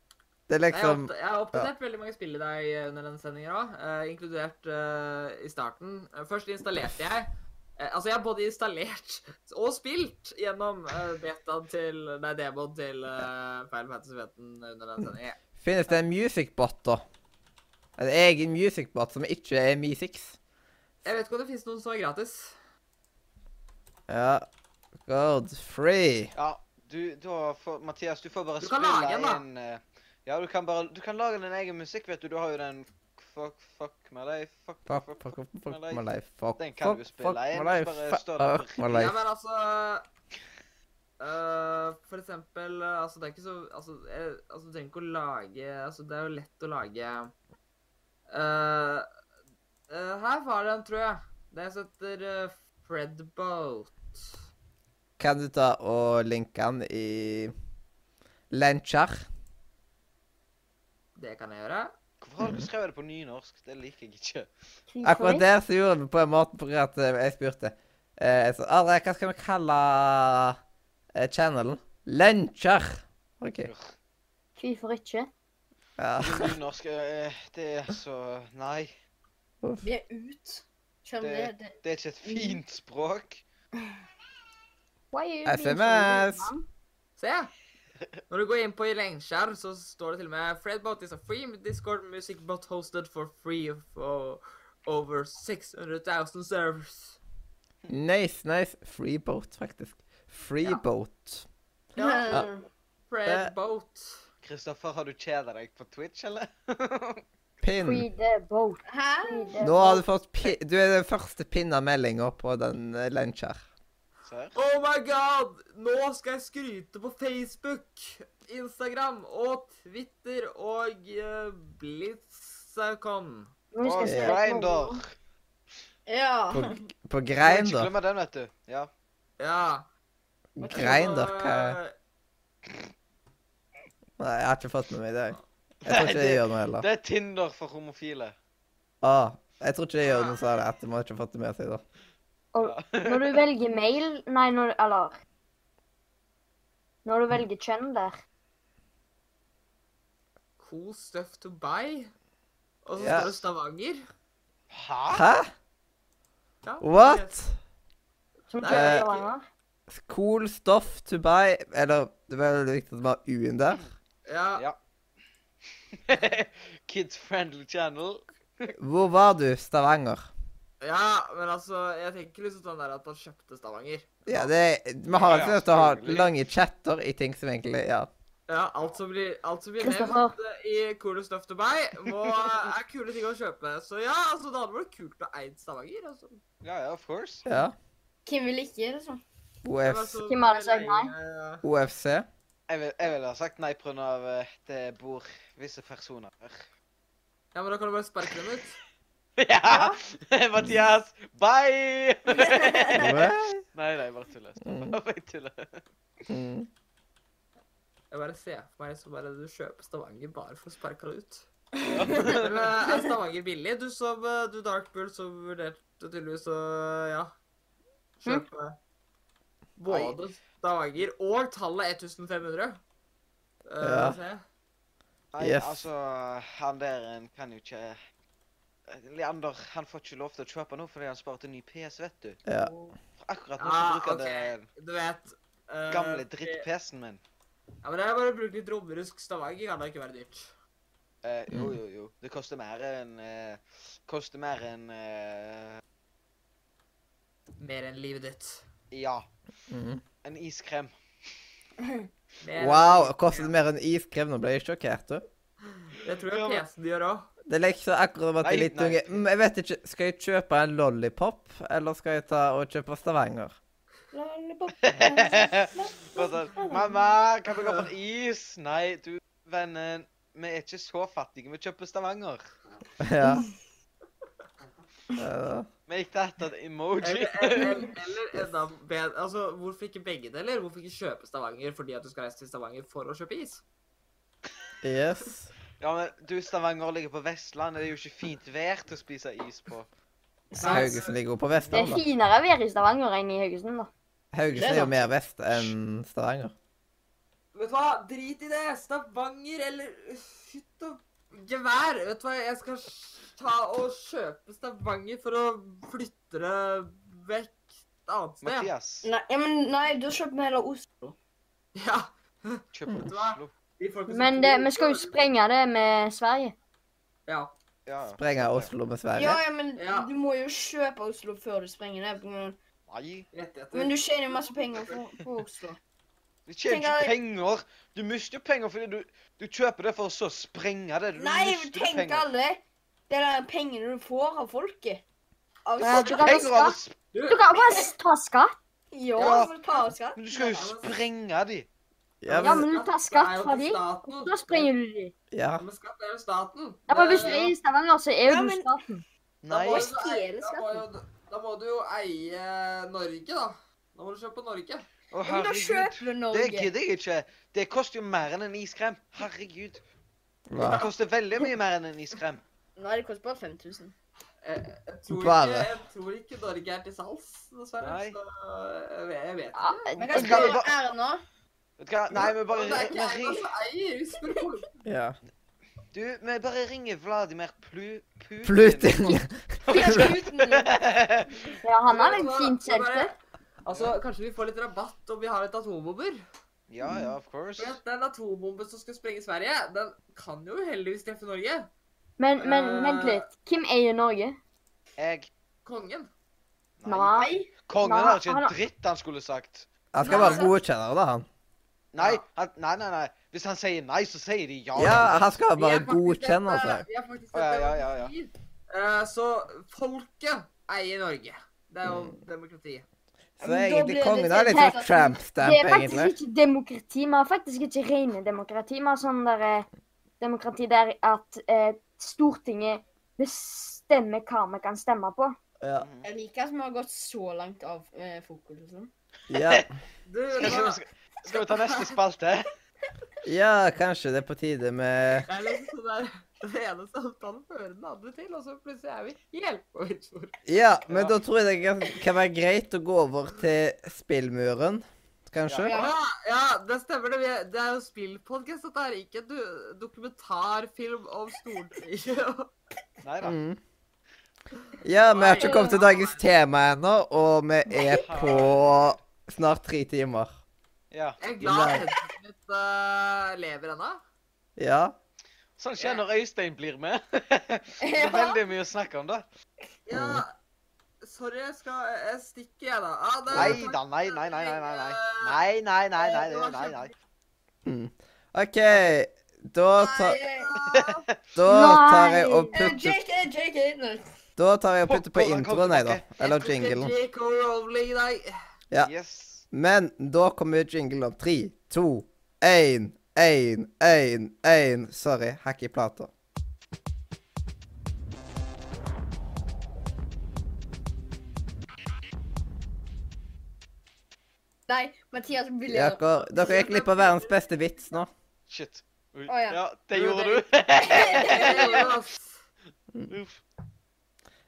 S3: Det er
S1: Jeg har
S3: liksom
S1: oppda- jeg har oppdatert veldig mange spill i dag eh, under denne sendingen òg, inkludert eh, i starten. Eh, Først installerte jeg eh, Altså, jeg har både installert og spilt gjennom uh, betaen til Nei, demoen til uh, Final Fantasy 15 under den sendingen.
S3: Finnes det en musicbot, da? En egen musicbot som ikke er Mi6?
S1: Jeg vet ikke om det finnes noen som er gratis.
S3: Ja. God free.
S4: Ja, du, da får Mathias, du får bare
S1: Du kan
S4: spille
S1: lage en, da.
S4: inn eh, Ja, du kan bare Du kan lage din egen musikk, vet du. Du har jo den Fuck, fuck my life, fuck,
S3: Fuck, fuck, fuck, fuck my life. Fuck,
S4: Den kan du
S3: fuck,
S4: spille
S3: fuck my
S4: inn,
S3: life.
S4: bare
S3: Fuck
S4: stå der
S3: my
S4: på
S1: Ja,
S3: life.
S1: men altså eh, For eksempel eh, Altså, det er ikke så Altså, jeg, altså du trenger ikke å lage Altså, det er jo lett å lage Eh, eh, Her var det en, tror jeg. Det heter uh, Fredboat.
S3: Kan du ta og linke den i Lenchar?
S1: Det kan jeg gjøre.
S4: Hvorfor har du skrevet det på nynorsk? Det liker jeg ikke.
S3: Akkurat der så gjorde vi på en måte fordi at eh, jeg spurte eh, jeg sa, Are, hva skal vi kalle eh, channelen? Lenchar. OK.
S5: Hvorfor ikke?
S3: Ja.
S4: Nynorsk eh, Det er så Nei.
S2: Vi er ut. Skjønner du det?
S4: Det er ikke
S5: Mhm.
S4: et fint språk.
S5: Why are you being so
S3: SMS.
S5: rude, man?
S1: Se! Når du går inn på Lenkskjær, så står det til og med Fredboat is a free Discord music bot hosted for free for over 600,000 servers.
S3: Nice, nice. Freeboat, faktisk. Freeboat.
S1: Ja.
S3: Ja.
S1: Fredboat.
S4: Kristoffer, har du kjeda deg på Twitch, eller?
S3: Pin.
S5: Free the boat.
S2: Hæ?
S5: Free the
S3: Nå har du
S5: boat.
S3: fått pi Du er den første pinna meldinga på den eh, Lenchar.
S4: Serr?
S1: Oh my god! Nå skal jeg skryte på Facebook, Instagram og Twitter og uh, Blitzcom.
S5: Nå skal
S4: Og
S5: jeg se
S4: Grindr.
S5: på-
S2: Ja.
S3: På, på
S4: Må Ikke
S3: Grindr.
S4: glemme den, vet du. Ja.
S1: Ja.
S3: Grindr? Hva
S1: Eh,
S3: Nei, jeg har ikke fått med meg det. Jeg tror ikke jeg gjør noe heller.
S4: Det er Tinder for homofile.
S3: Ah, jeg tror ikke jeg gjør noe særlig etter man har ikke fått det med seg, da.
S5: Når du velger mail Nei, når, eller Når du velger kjønn der
S1: Cool stuff to buy. Og så
S3: Ja.
S1: står det Stavanger.
S4: Hæ?
S3: Hæ?
S1: Ja,
S3: What?
S5: Som
S1: Nei,
S5: kjønn
S3: jeg-
S5: Stavanger.
S3: Cool stuff to buy Eller det var veldig viktig at det var U-en der.
S1: Ja.
S4: Ja. Kids friendly channel.
S3: Hvor var du? Stavanger.
S1: ja, men altså, jeg tenker liksom sånn der at man kjøpte Stavanger.
S3: Ja, det Vi har alltid nødt til å ha lange chatter i ting som egentlig Ja.
S1: Ja, alt som blir, alt som blir
S5: Kristoffer.
S1: nevnt eh, i Cool stuff to buy, må, eh, er kule ting å kjøpe. Så ja, altså, det hadde vært kult å eie Stavanger. altså.
S4: Ja, ja, of course.
S3: ja.
S2: Hvem vil ikke det sånn?
S1: Det var
S3: OFC.
S1: så
S5: Hvem er det som sier nei?
S1: lenge- eh,
S3: OFC.
S4: Jeg vil- jeg ville ha sagt nei pga. eh, at det bor visse personer her.
S1: Ja, men da kan du bare sparke dem ut.
S4: Ja! Mathias, bye!
S3: What?
S4: nei, nei, bare tuller.
S3: Mm.
S4: Bare tuller.
S3: Mm.
S1: Jeg bare ser for meg som bare du kjøper Stavanger bare for å sparke det ut. Men eh, er Stavanger billig? Du som eh, du Darkbull som vurderte tydeligvis å ja, kjøpe både Stavanger og tallet 1500. Eh,
S3: Ja.
S1: se.
S4: Nei,
S3: Yes.
S4: altså, han der en kan jo ikke Leander han får ikke lov til å kjøpe noe fordi han sparte ny PS, vet du.
S3: Ja.
S4: For akkurat nå så
S1: Ja,
S4: bruker
S1: Ah, ok.
S4: han den
S1: Du vet eh,
S4: gamle
S1: det-
S4: dritt-PS-en min.
S1: Ja, men det er bare å bruke litt romerusk Stavanger, kan da ikke være dyrt.
S4: Eh, jo, jo, jo. Det koster mer enn eh, Koster mer enn eh,
S1: Mer enn livet ditt.
S4: Ja,
S3: Mm.
S4: en iskrem.
S1: Mer enn-
S3: Wow. Kostet det mer enn iskrem? Nå ble jeg sjokkert. du.
S1: Det tror jeg PC-en gjør òg.
S3: Det er liksom akkurat som at det er
S4: Nei,
S3: litt
S4: nei.
S3: unge mm, Jeg vet ikke. Skal jeg kjøpe en lollipop, eller skal jeg ta og kjøpe Stavanger?
S5: Lollipop.
S4: Bare sånn, Mamma, kan vi gå på en is? Nei, du, vennen. Vi er ikke så fattige. Vi kjøper Stavanger.
S3: Ja. Ja.
S4: Vi gikk til etter en emoji.
S1: Eller, eller, eller enda bedre Altså, hvorfor ikke begge deler? Hvorfor ikke kjøpe Stavanger fordi at du skal reise til Stavanger for å kjøpe is?
S3: Yes.
S4: Ja, men du, Stavanger ligger på Vestlandet. Det er jo ikke fint vær til å spise is på.
S3: Haugesund ligger jo på
S5: Det er
S3: Vestlandet.
S5: finere vær i Stavanger enn i Haugesund, da.
S3: Haugesund er jo mer vest enn Stavanger.
S1: Vet du hva, drit i det! Stavanger eller hytt og gevær! Vet du hva, jeg skal ta og kjøpe Stavanger for å flytte det vekk et annet sted.
S4: Mathias,
S2: Nei, ja, men nei, da kjøper vi heller Oslo.
S1: Ja.
S4: kjøp
S1: Vet du hva?
S4: Oslo.
S1: de folkene som
S5: Men det,
S1: bor-
S5: vi skal jo sprenge det med Sverige.
S1: Ja.
S4: Ja, ja.
S3: Sprenger Oslo med Sverige.
S2: Ja, ja, men
S1: Ja.
S2: du må jo kjøpe Oslo før du sprenger det. på grunn av-
S4: Nei.
S1: Rettigheter.
S2: Men du tjener jo masse penger på, på Oslo.
S4: Du tjener
S2: Tenker jeg-
S4: ikke penger. Du mister jo penger fordi du, du kjøper det for å så sprenge det. Du
S2: Nei,
S4: mister
S2: tenk
S4: penger.
S2: alle det der pengene du får av folket. Av
S5: Ja,
S2: skatt.
S5: Du kan
S4: Penger av å
S5: bare
S4: sp-
S5: Du kan bare ta skatt.
S2: Ja,
S4: Ja.
S2: for å ta av skatt.
S4: Men du skal jo sprenge de.
S3: Ja,
S5: Ja,
S3: men,
S5: men du tar skatt fra de. Da sprenger du de.
S3: ja.
S1: Ja, men skatt er jo staten.
S5: Ja, men
S1: Det-
S5: hvis du er i Stavanger, så er
S2: Ja,
S5: jo du
S2: men-
S5: staten.
S1: Da
S4: Nei.
S1: må
S2: Nei.
S1: du eie-
S2: Stjele
S1: da må jo- Da må du jo eie Norge, da. Da må du kjøpe Norge.
S4: Å,
S2: Ja, men da
S4: herregud.
S2: kjøper du
S4: Det
S2: Norge.
S4: gidder jeg ikke. Det koster jo mer enn en iskrem. Herregud.
S3: Hva?
S4: Det koster veldig mye mer enn en iskrem.
S2: Nei, det koster bare 5000.
S1: Jeg, jeg, tror
S3: Bare.
S1: ikke, jeg tror ikke Norge er til salgs, dessverre.
S4: Nei.
S1: Så eh, jeg, vet- jeg vet
S5: Ja,
S1: ikke.
S4: kan
S2: Men hva
S4: jeg
S2: skal
S4: spørre
S2: vi Erna?
S4: Vet du hva? Nei, vi bare,
S1: Det er ikke altså,
S4: vi,
S1: jeg
S4: ring-
S1: som eier, vi spør folk.
S3: ja.
S4: du, vi bare ringer Vladimir Plu... Putin.
S3: Pluting.
S5: ja han har en
S1: Så-
S5: fin
S1: så bare-
S5: selfie.
S1: Altså, Kanskje vi får litt rabatt om vi har et atombomber?
S4: ja, ja, of course.
S1: For at Den atombomben som skal sprenge Sverige, den kan jo heldigvis treffe Norge.
S5: Men, men vent
S1: Eh.
S5: litt. Hvem eier Norge?
S4: Jeg
S1: Kongen.
S5: Nei.
S4: Kongen
S5: Nei,
S4: har ikke
S5: han
S4: en
S5: har-
S4: dritt han skulle sagt.
S3: Han skal bare godkjenne det, da, han.
S4: Nei,
S1: Ja.
S4: han, nei, nei, nei. Hvis han sier nei, så sier de ja.
S3: Ja, han skal
S1: Vi
S3: bare altså.
S1: er faktisk
S3: godkjenne
S1: et, eh,
S3: seg.
S1: Vi er faktisk
S4: Å, ja,
S1: et
S4: ja, ja, ja.
S1: demokrati. Eh, Så folket eier Norge. Det er jo
S4: Mm.
S1: demokrati.
S3: Så
S2: Men da
S3: egentlig
S2: blir
S3: kongen
S2: det
S3: har litt sånn
S2: sånn-
S5: Det
S3: tramp-stamp,
S5: er faktisk
S3: egentlig.
S5: ikke demokrati. Vi har faktisk ikke rene demokrati. Vi har sånn der, eh, demokrati der at eh, Stortinget bestemmer hva vi kan stemme på.
S3: Ja.
S2: Jeg liker at vi har gått så langt av eh, fokus. Liksom.
S3: Ja.
S1: Du,
S4: Skal,
S1: nå-
S4: ikke- skal, skal vi ta neste spalte?
S3: ja, kanskje det er på tide med
S1: Det er liksom sånn der Den ene samtalen fører den andre til, og så plutselig er vi helt på villspor.
S3: Ja, men da tror jeg det kan- kan være greit å gå over til spillmuren, kanskje?
S1: Ja, ja, det stemmer det. Vi- Det er jo spillpodkast. Dette er ikke en du- dokumentarfilm om Stortinget.
S4: Nei da.
S3: Mm. Ja, vi har ikke kommet til dagens tema ennå, og vi er på snart tre timer.
S4: Ja.
S1: Jeg er glad
S3: Nei.
S1: headsetet mitt eh, lever ennå.
S3: Ja.
S4: Sånn skjer når Øystein blir med. Det
S2: Ja.
S4: er veldig mye å snakke om, da.
S1: Ja,
S3: Mm.
S1: sorry, jeg skal jeg stikker, jeg, da. Ah, det,
S4: Nei da, nei, nei, nei, nei, nei. nei. Nei, nei, nei, nei, det- nei, nei.
S3: Mm. OK, da, ta,
S1: nei.
S3: da tar jeg og
S5: Nei.
S2: Eh,
S3: putter
S2: JK, JK. nei.
S3: Da tar jeg og putter på
S4: Popcorn,
S3: introen, jeg, da.
S4: ok.
S3: Eller jinglen.
S1: J.K. Rowling, nei.
S3: Ja.
S4: Yes.
S3: Men da kommer jinglen om tre, to, én, én, én, én. Sorry, hakk i plata.
S2: Nei, Mathias blir leder.
S3: Dere, dere gikk glipp av verdens beste vits nå.
S4: Shit. Oi.
S2: Å, ja.
S4: Ja, det
S1: Jo,
S4: gjorde
S1: det-
S4: du.
S1: Det gjorde det, ass.
S4: Uff.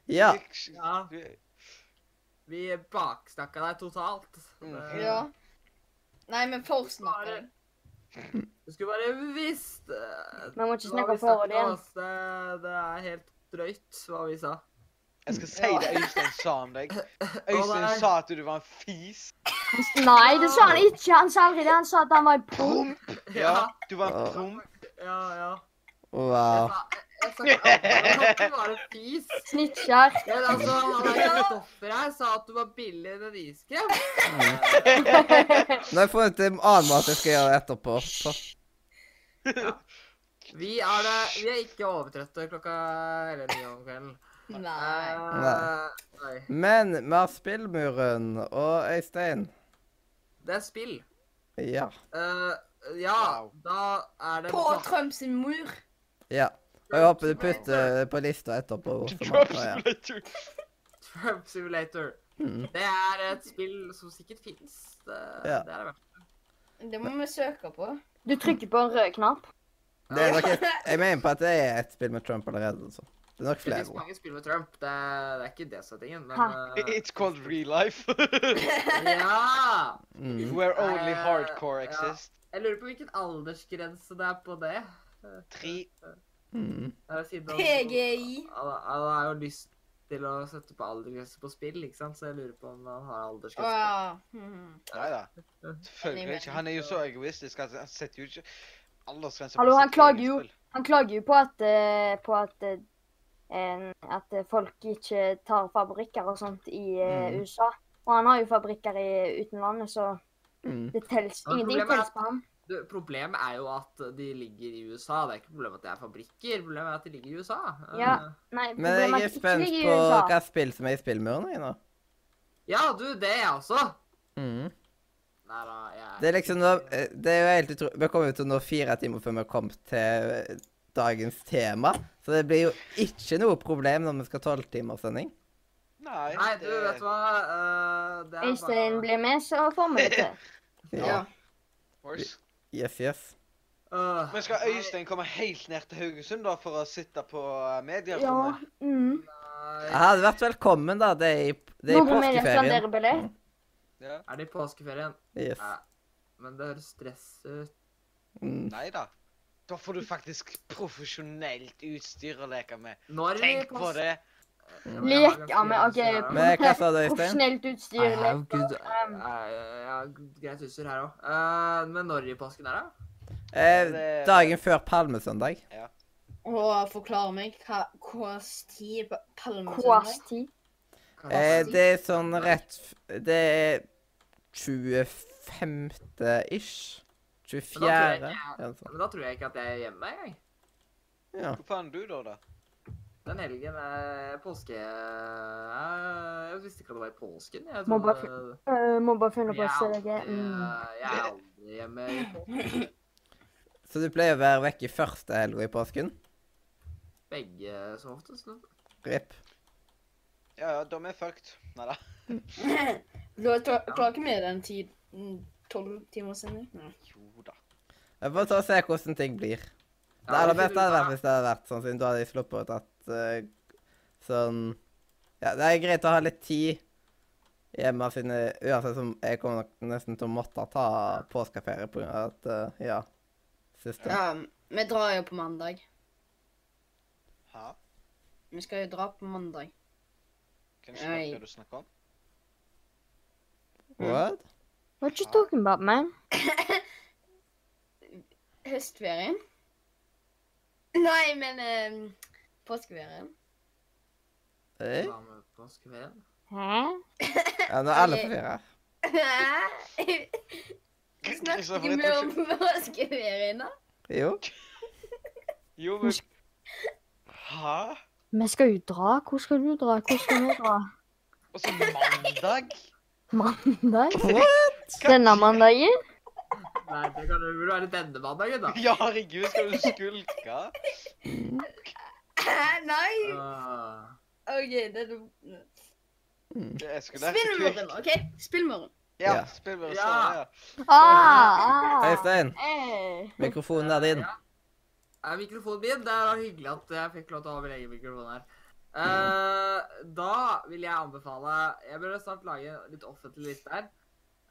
S3: Ja.
S4: Jeg-
S1: Ja.
S4: du-
S1: Vi baksnakka deg totalt.
S4: Mm.
S1: Det-
S2: Ja. Nei, men forsnakker.
S1: Du skulle bare visst eh,
S5: Vi må ikke
S1: hva
S5: snakke
S1: vi
S5: om forholdet
S1: snakket om,
S5: igjen.
S1: ass. Det, det er helt drøyt hva vi sa.
S4: Jeg skal si det Øystein sa om deg.
S1: nei.
S4: Øystein sa at du var en fis.
S5: Nei, det sa han ikke. Han sa aldri det. Han sa at han var en prom.
S4: Ja, du var
S3: Åh.
S4: en prom.
S1: ja. ja. Jeg
S3: Wow.
S1: sa- Jeg sa ikke at det var en fis.
S5: Snitcher.
S1: Men altså, han der Kristoffer her sa at du var billig enn en iskrem.
S3: Nå har jeg funnet en annen måte jeg skal gjøre det etterpå. på.
S1: Vi er, det, vi er ikke overtrøtte klokka hele ni om kvelden.
S2: Nei.
S1: Eh, Oi.
S3: Men vi har spillmuren og Øystein.
S1: Det er spill.
S3: Ja.
S1: Eh, ja,
S4: Wow.
S1: da er det
S2: På Trumps mur.
S3: ja. Og jeg håper du putter det på lista etterpå. hvorfor man-
S4: Drop
S3: ja.
S4: simulator.
S1: Trump Simulator.
S3: Mm.
S1: Det er et spill som sikkert fins. Det,
S3: Ja.
S1: det er det verste.
S2: Det må vi søke på.
S5: Du trykker på en rød knapp.
S3: Det er nok et, jeg mener på at det er et spill med Trump allerede. altså. Det er nok
S1: Det
S3: flere.
S1: finnes
S3: ord.
S1: mange spill med Trump. Det, det er ikke det som er tingen, men
S5: Ha.
S1: eh,
S4: It's called real life.
S1: Ja!
S3: Mm.
S4: Where only
S1: Eh,
S4: hardcore
S1: ja.
S4: exists.
S1: Jeg lurer på hvilken aldersgrense det er på det.
S4: Tre
S3: Mm.
S1: Eh, Siden han-
S2: PGI.
S1: Han han har jo lyst til å sette på aldersgrense på spill, ikke sant? så jeg lurer på om han har
S2: Å
S1: aldersgrense.
S2: ja. Mhm.
S4: Nei da.
S1: Ja.
S4: Selvfølgelig ikke. Han er jo så egoistisk. at Han setter jo ikke aldersgrense
S5: Hallo,
S4: sitt
S5: han klager
S4: eget
S5: jo.
S4: spill.
S5: Han klager jo på at, eh, på at, eh, en- at eh, folk ikke tar fabrikker og sånt i eh,
S3: Mm.
S5: USA. Og han har jo fabrikker i utenlandet, så
S3: Mm.
S5: det tels,
S1: Men
S5: ingenting
S1: problemet er
S5: tels
S1: at-
S5: på ham.
S1: Du, problemet er jo at de ligger i USA. Det er ikke problemet at det er fabrikker, problemet er at de ligger i USA. Eh,
S5: Ja. Nei,
S3: Men
S5: problemet
S3: jeg er
S5: at det ikke
S3: spent
S5: ligger i
S3: på
S5: USA.
S3: hva spill som er i spillmuren jeg, nå.
S1: ja, du, det er jeg også.
S3: Mm.
S1: Nei da, jeg
S3: Det er liksom nå, eh, det er jo helt utrolig. Vi kommer jo til nå fire timer før vi har kommet til eh, dagens tema. Så det blir jo ikke noe problem når vi skal ha tolvtimerssending.
S4: Nei,
S1: Nei, du, vet du hva? Eh, det er
S5: Øystein blir med, så får vi det til.
S2: Ja.
S4: Horse.
S3: Yes, yes.
S1: Øh,
S4: Men skal
S1: nei,
S4: Øystein komme helt ned til Haugesund da, for å sitte på eh,
S5: Ja.
S4: medierommet?
S5: Mm.
S3: Jeg
S1: nei.
S3: hadde vært velkommen, da. Det er i, det er i
S5: Noen med
S3: påskeferien.
S5: restanderer billett.
S4: Ja.
S1: Er det i påskeferien?
S3: Yes.
S1: Ja. Men det høres stress ut.
S3: Mm.
S4: Nei da. Da får du faktisk profesjonelt utstyr å leke med.
S1: Når i
S4: Tenk på
S1: pås-
S4: det.
S1: Ja,
S5: Leke
S1: jeg har ganske
S5: med, ok,
S1: mye utstyr her også.
S5: på-
S3: Men hva sa du, Øystein?
S5: Profesjonelt utstyr.
S1: Jeg har jo
S5: eller-
S1: gud,
S5: um,
S1: jeg har greit utstyr her òg. men når i påsken er det?
S3: Eh, dagen før palmesøndag.
S2: Og forklar meg hva KS10 på Palmesøndag
S5: KS 10.
S1: Kan jeg
S3: Eh,
S1: si?
S3: det er sånn rett f- Det er 25.-ish. 24.
S1: jeg
S3: Ja,
S1: ikke-
S3: noe sånt.
S1: Men da tror jeg ikke at jeg er hjemme engang.
S3: ja.
S4: Hvor faen er du da, da?
S1: Den helgen er påske... eh, Jeg visste ikke at det var i påsken. Jeg
S5: Må bare
S1: trodde-
S5: Eh, må bare finne
S1: Jeg
S5: på
S1: er
S5: å se deg.
S1: aldri,
S5: Mm.
S1: eh, jeg er aldri hjemme i påsken.
S3: Så du pleier å være vekke første helga i påsken?
S1: begge som oftest. nå.
S3: Rip.
S4: Ja, ja, de er fucked. Nei da.
S2: Da kla- klarer ikke vi den tiden. mm, Tolv timer siden. Nei.
S4: Jo da.
S3: Jeg får ta og se hvordan ting blir. Det aller beste hadde vært hvis det hadde vært sånn, siden da hadde jeg sluppet å tatt eh, sånn Ja, det er greit å ha litt tid hjemme siden jeg- Uansett som jeg kommer nok nesten til å måtte ta påskeferie på grunn av at eh, Ja. Siste.
S2: Ja, vi drar jo på mandag.
S4: Hæ?
S2: Vi skal jo dra på mandag.
S4: Hvem
S2: Nei.
S4: snakker du snakker om?
S3: What?
S5: What you talking about, man?
S2: Høstferien? Nei, men eh, påskeferien.
S3: Eh?
S1: Hva med påskeferien?
S5: Hæ?
S3: Ja, nå er alle forvirra.
S2: Hæ? Snakker
S4: Kristoffer, jeg
S2: ikke vi
S4: tror
S2: om påskeferien, da?
S3: Jo.
S4: Jo, men Hæ?
S5: Vi skal jo dra. Hvor skal du dra? Hvor skal vi dra?
S4: Og så mandag?
S5: Mandag?
S3: What?
S5: Denne mandagen?
S1: Nei, det kan det burde være denne mandagen, da.
S4: Ja, herregud, skal du skulke?
S2: Hæ? Nei!
S1: Øh,
S2: OK, det er du...
S4: Jeg skulle lært det
S2: Spillmorgen,
S4: kult.
S2: OK? Spillmorgen.
S4: Ja,
S3: Ja.
S4: spillmorgen.
S1: Ja.
S4: Ja.
S5: Ah, ah.
S3: Øystein,
S5: Hey.
S3: mikrofonen er din.
S1: er mikrofonen min. Det var hyggelig at jeg fikk lov til å ha min egen mikrofon her. Eh, da vil jeg anbefale Jeg burde snart lage en litt offentlig liste her.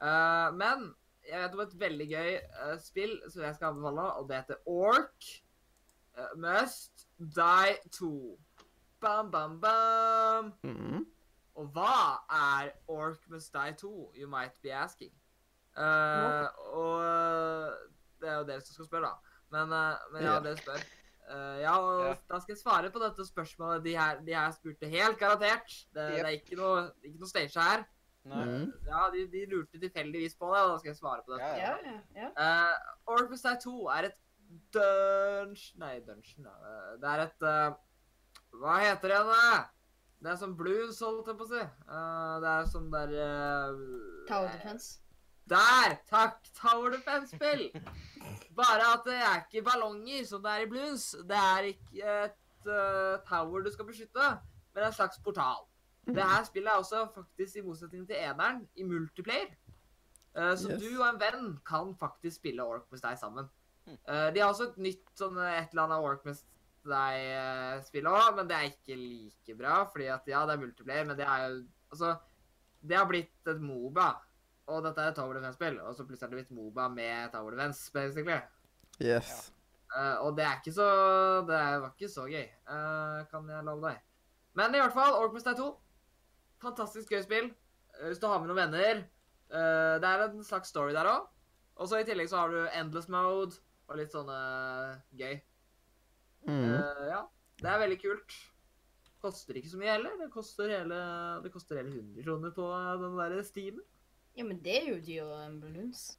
S1: Eh, men jeg vet om et veldig gøy eh, spill som jeg skal anbefale, og det heter Ork eh, Must Die 2. Bam, bam, bam.
S3: Mm.
S1: Og hva er Orc Must Die 2? You might be asking. Eh, Og det er jo dere som skal spørre, da. Men, eh, men ja,
S3: Ja.
S1: dere spør. Eh, ja, og
S4: Ja.
S1: da skal jeg svare på dette spørsmålet. De her, de her spurte helt garantert. Det, det er ikke noe, ikke noe stage her.
S4: Nei.
S3: Mm.
S1: Ja, de, de lurte tilfeldigvis på det, og da skal jeg svare på det.
S4: Ja, ja.
S2: ja.
S1: Uh, Orc Must Die 2 er et dungeon Nei, dungeon ja. Det er et eh, Hva eh, heter det? da? Det er sånn blues, holdt jeg på å si. Eh, det er sånn der eh,
S2: Tower defense.
S1: Der! Takk! Tower Defense-spill! Bare at det er ikke ballonger som det er i blues. Det er ikke et eh, tower du skal beskytte, men en slags portal. Det her spillet er også faktisk i motsetning til eneren i multiplayer. Eh, så
S3: Yes.
S1: du og en venn kan faktisk spille Orc med deg sammen.
S4: Mm.
S1: Eh, de har også et nytt sånn eh, et eller annet Orc med deg-spill òg, men det er ikke like bra. Fordi at ja, det er multiplayer, men det er jo Altså, det har blitt et Moba. Og dette er et Tower Defense-spill, og så plutselig er det blitt Moba med Tower Defense, basically.
S3: Yes.
S1: Eh, og det er ikke så Det er- var ikke så gøy, eh, kan jeg love deg. Men i hvert fall, Orkmest er 2. Fantastisk gøy spill. eh, Hvis du har med noen venner. Eh, det er en slags story der òg. Og så i tillegg så har du Endless Mode og litt sånne eh, gøy.
S3: Mm.
S1: Eh, ja. Det er veldig kult. Koster ikke så mye heller. Det koster hele, det koster hele 100 kroner på eh, den der Steamen.
S2: Ja, men det er jo dyrere enn balloons.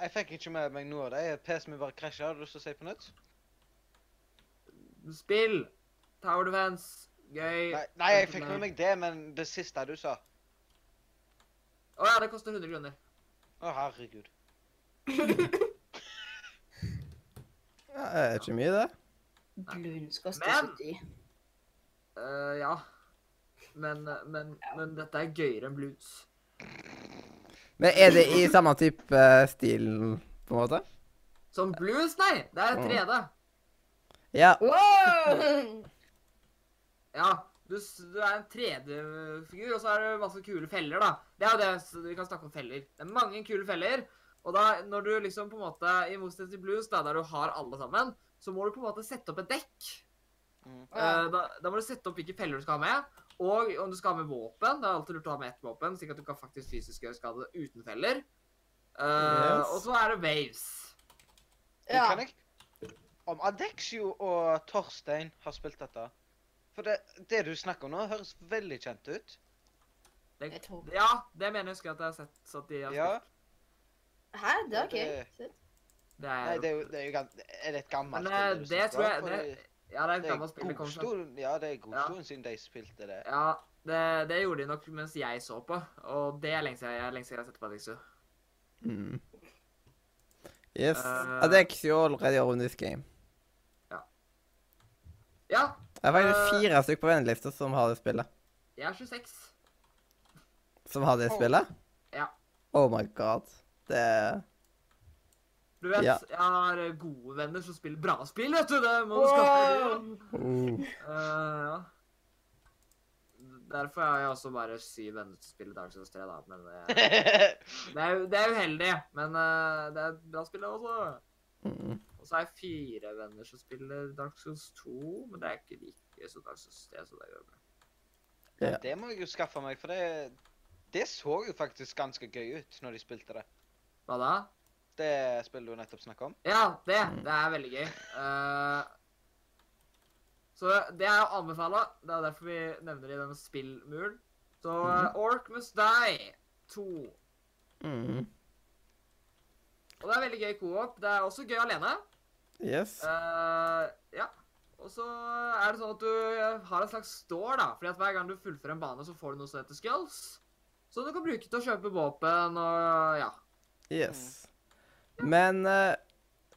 S4: Jeg fikk ikke med meg noe av det. PC-en min bare krasja. Har du lyst til å si på nytt?
S1: Spill! Tower Defense. Gøy.
S4: Nei, nei, jeg fikk med meg det, men det siste du sa.
S1: Å ja, det koster 100 kroner.
S4: Å, herregud.
S3: Ja, det er ikke mye, det.
S2: Balloons koster
S1: Men-
S2: 70.
S1: Eh, ja. Men, men, men dette er gøyere enn blues.
S3: Men er det i samme type eh, stilen, på en måte?
S1: Som blues, nei! Det er 3D.
S3: Ja.
S2: Wow!
S1: Ja. Du, s- du er en 3D-figur, og så er det masse kule feller, da. Det er jo det s- vi kan snakke om feller. Det er mange kule feller. Og da, når du liksom på en måte, i motsetning til blues, da, der du har alle sammen, så må du på en måte sette opp et dekk.
S4: Mm.
S1: Eh, da, da må du sette opp hvilke feller du skal ha med, og om du skal ha med våpen. Det er alltid lurt å ha med ett våpen, slik at du kan faktisk fysisk gjøre skade uten feller. Eh,
S3: Yes.
S1: Og så er det waves.
S4: Ja.
S2: Ja.
S4: Kan jeg? Om Adexio og Torstein har spilt dette For det, det du snakker om nå, høres veldig kjent ut.
S1: Det,
S2: Jeg tror-
S1: ja, det mener jeg husker at jeg har sett. Så at de har
S4: Ja.
S1: spilt.
S2: Hæ? Det er
S4: Ja,
S2: ok. Shit.
S1: Det er,
S4: Nei, det er jo, det er jo gam- er det et gammelt
S1: Men eh,
S4: spill du
S1: det
S4: snakker
S1: tror jeg
S4: om?
S1: det,
S4: For
S1: Ja, det er et
S4: det er
S1: gammelt spill. Det
S4: god
S1: kommer fra.
S4: stund- Ja, det er god
S1: Ja.
S4: stund siden de spilte det.
S1: Ja, det, det gjorde de nok mens jeg så på, og det er lenge siden jeg, er lenge siden jeg har sett på Adixu.
S3: Mm. Yes.
S1: Eh.
S3: Adexio already own this game.
S1: Ja,
S3: Det er faktisk
S1: Eh.
S3: fire stykker på vennelista som har det spillet.
S1: jeg er 26.
S3: Som har det
S4: Oh.
S3: spillet?
S1: Ja.
S3: Oh my god. Det er
S1: Du vet,
S3: Ja.
S1: jeg har gode venner som spiller bra spill, vet du! Det må du skaffe.
S2: Wow!
S3: oh.
S1: Eh, ja. Derfor har jeg også bare syv venner som spiller Dark Souls 3, da. Men det, det, er, det er uheldig. Men eh, det er et bra spill, det også.
S3: mm.
S1: Og så har jeg fire venner som spiller Dark Souls 2, men det er ikke like gøy som Dark Souls 3, så det går bra.
S3: Ja.
S4: Det må jeg jo skaffe meg, for det, det så jo faktisk ganske gøy ut når de spilte det.
S1: Hva da?
S4: Det spillet du nettopp snakket om.
S1: Ja, det. Det er veldig gøy. Eh, så det er å anbefale. Det er derfor vi nevner det i denne spillmuren. Så eh, Orc Must Die 2.
S3: Mm.
S1: Og det er veldig gøy co-op. Det er også gøy alene.
S3: Yes.
S1: Eh, ja. Og så er det sånn at du eh, har en slags store, da. Fordi at hver gang du fullfører en bane, så får du noe som heter skills. Som du kan bruke til å kjøpe våpen og eh, ja.
S3: Yes. Men eh,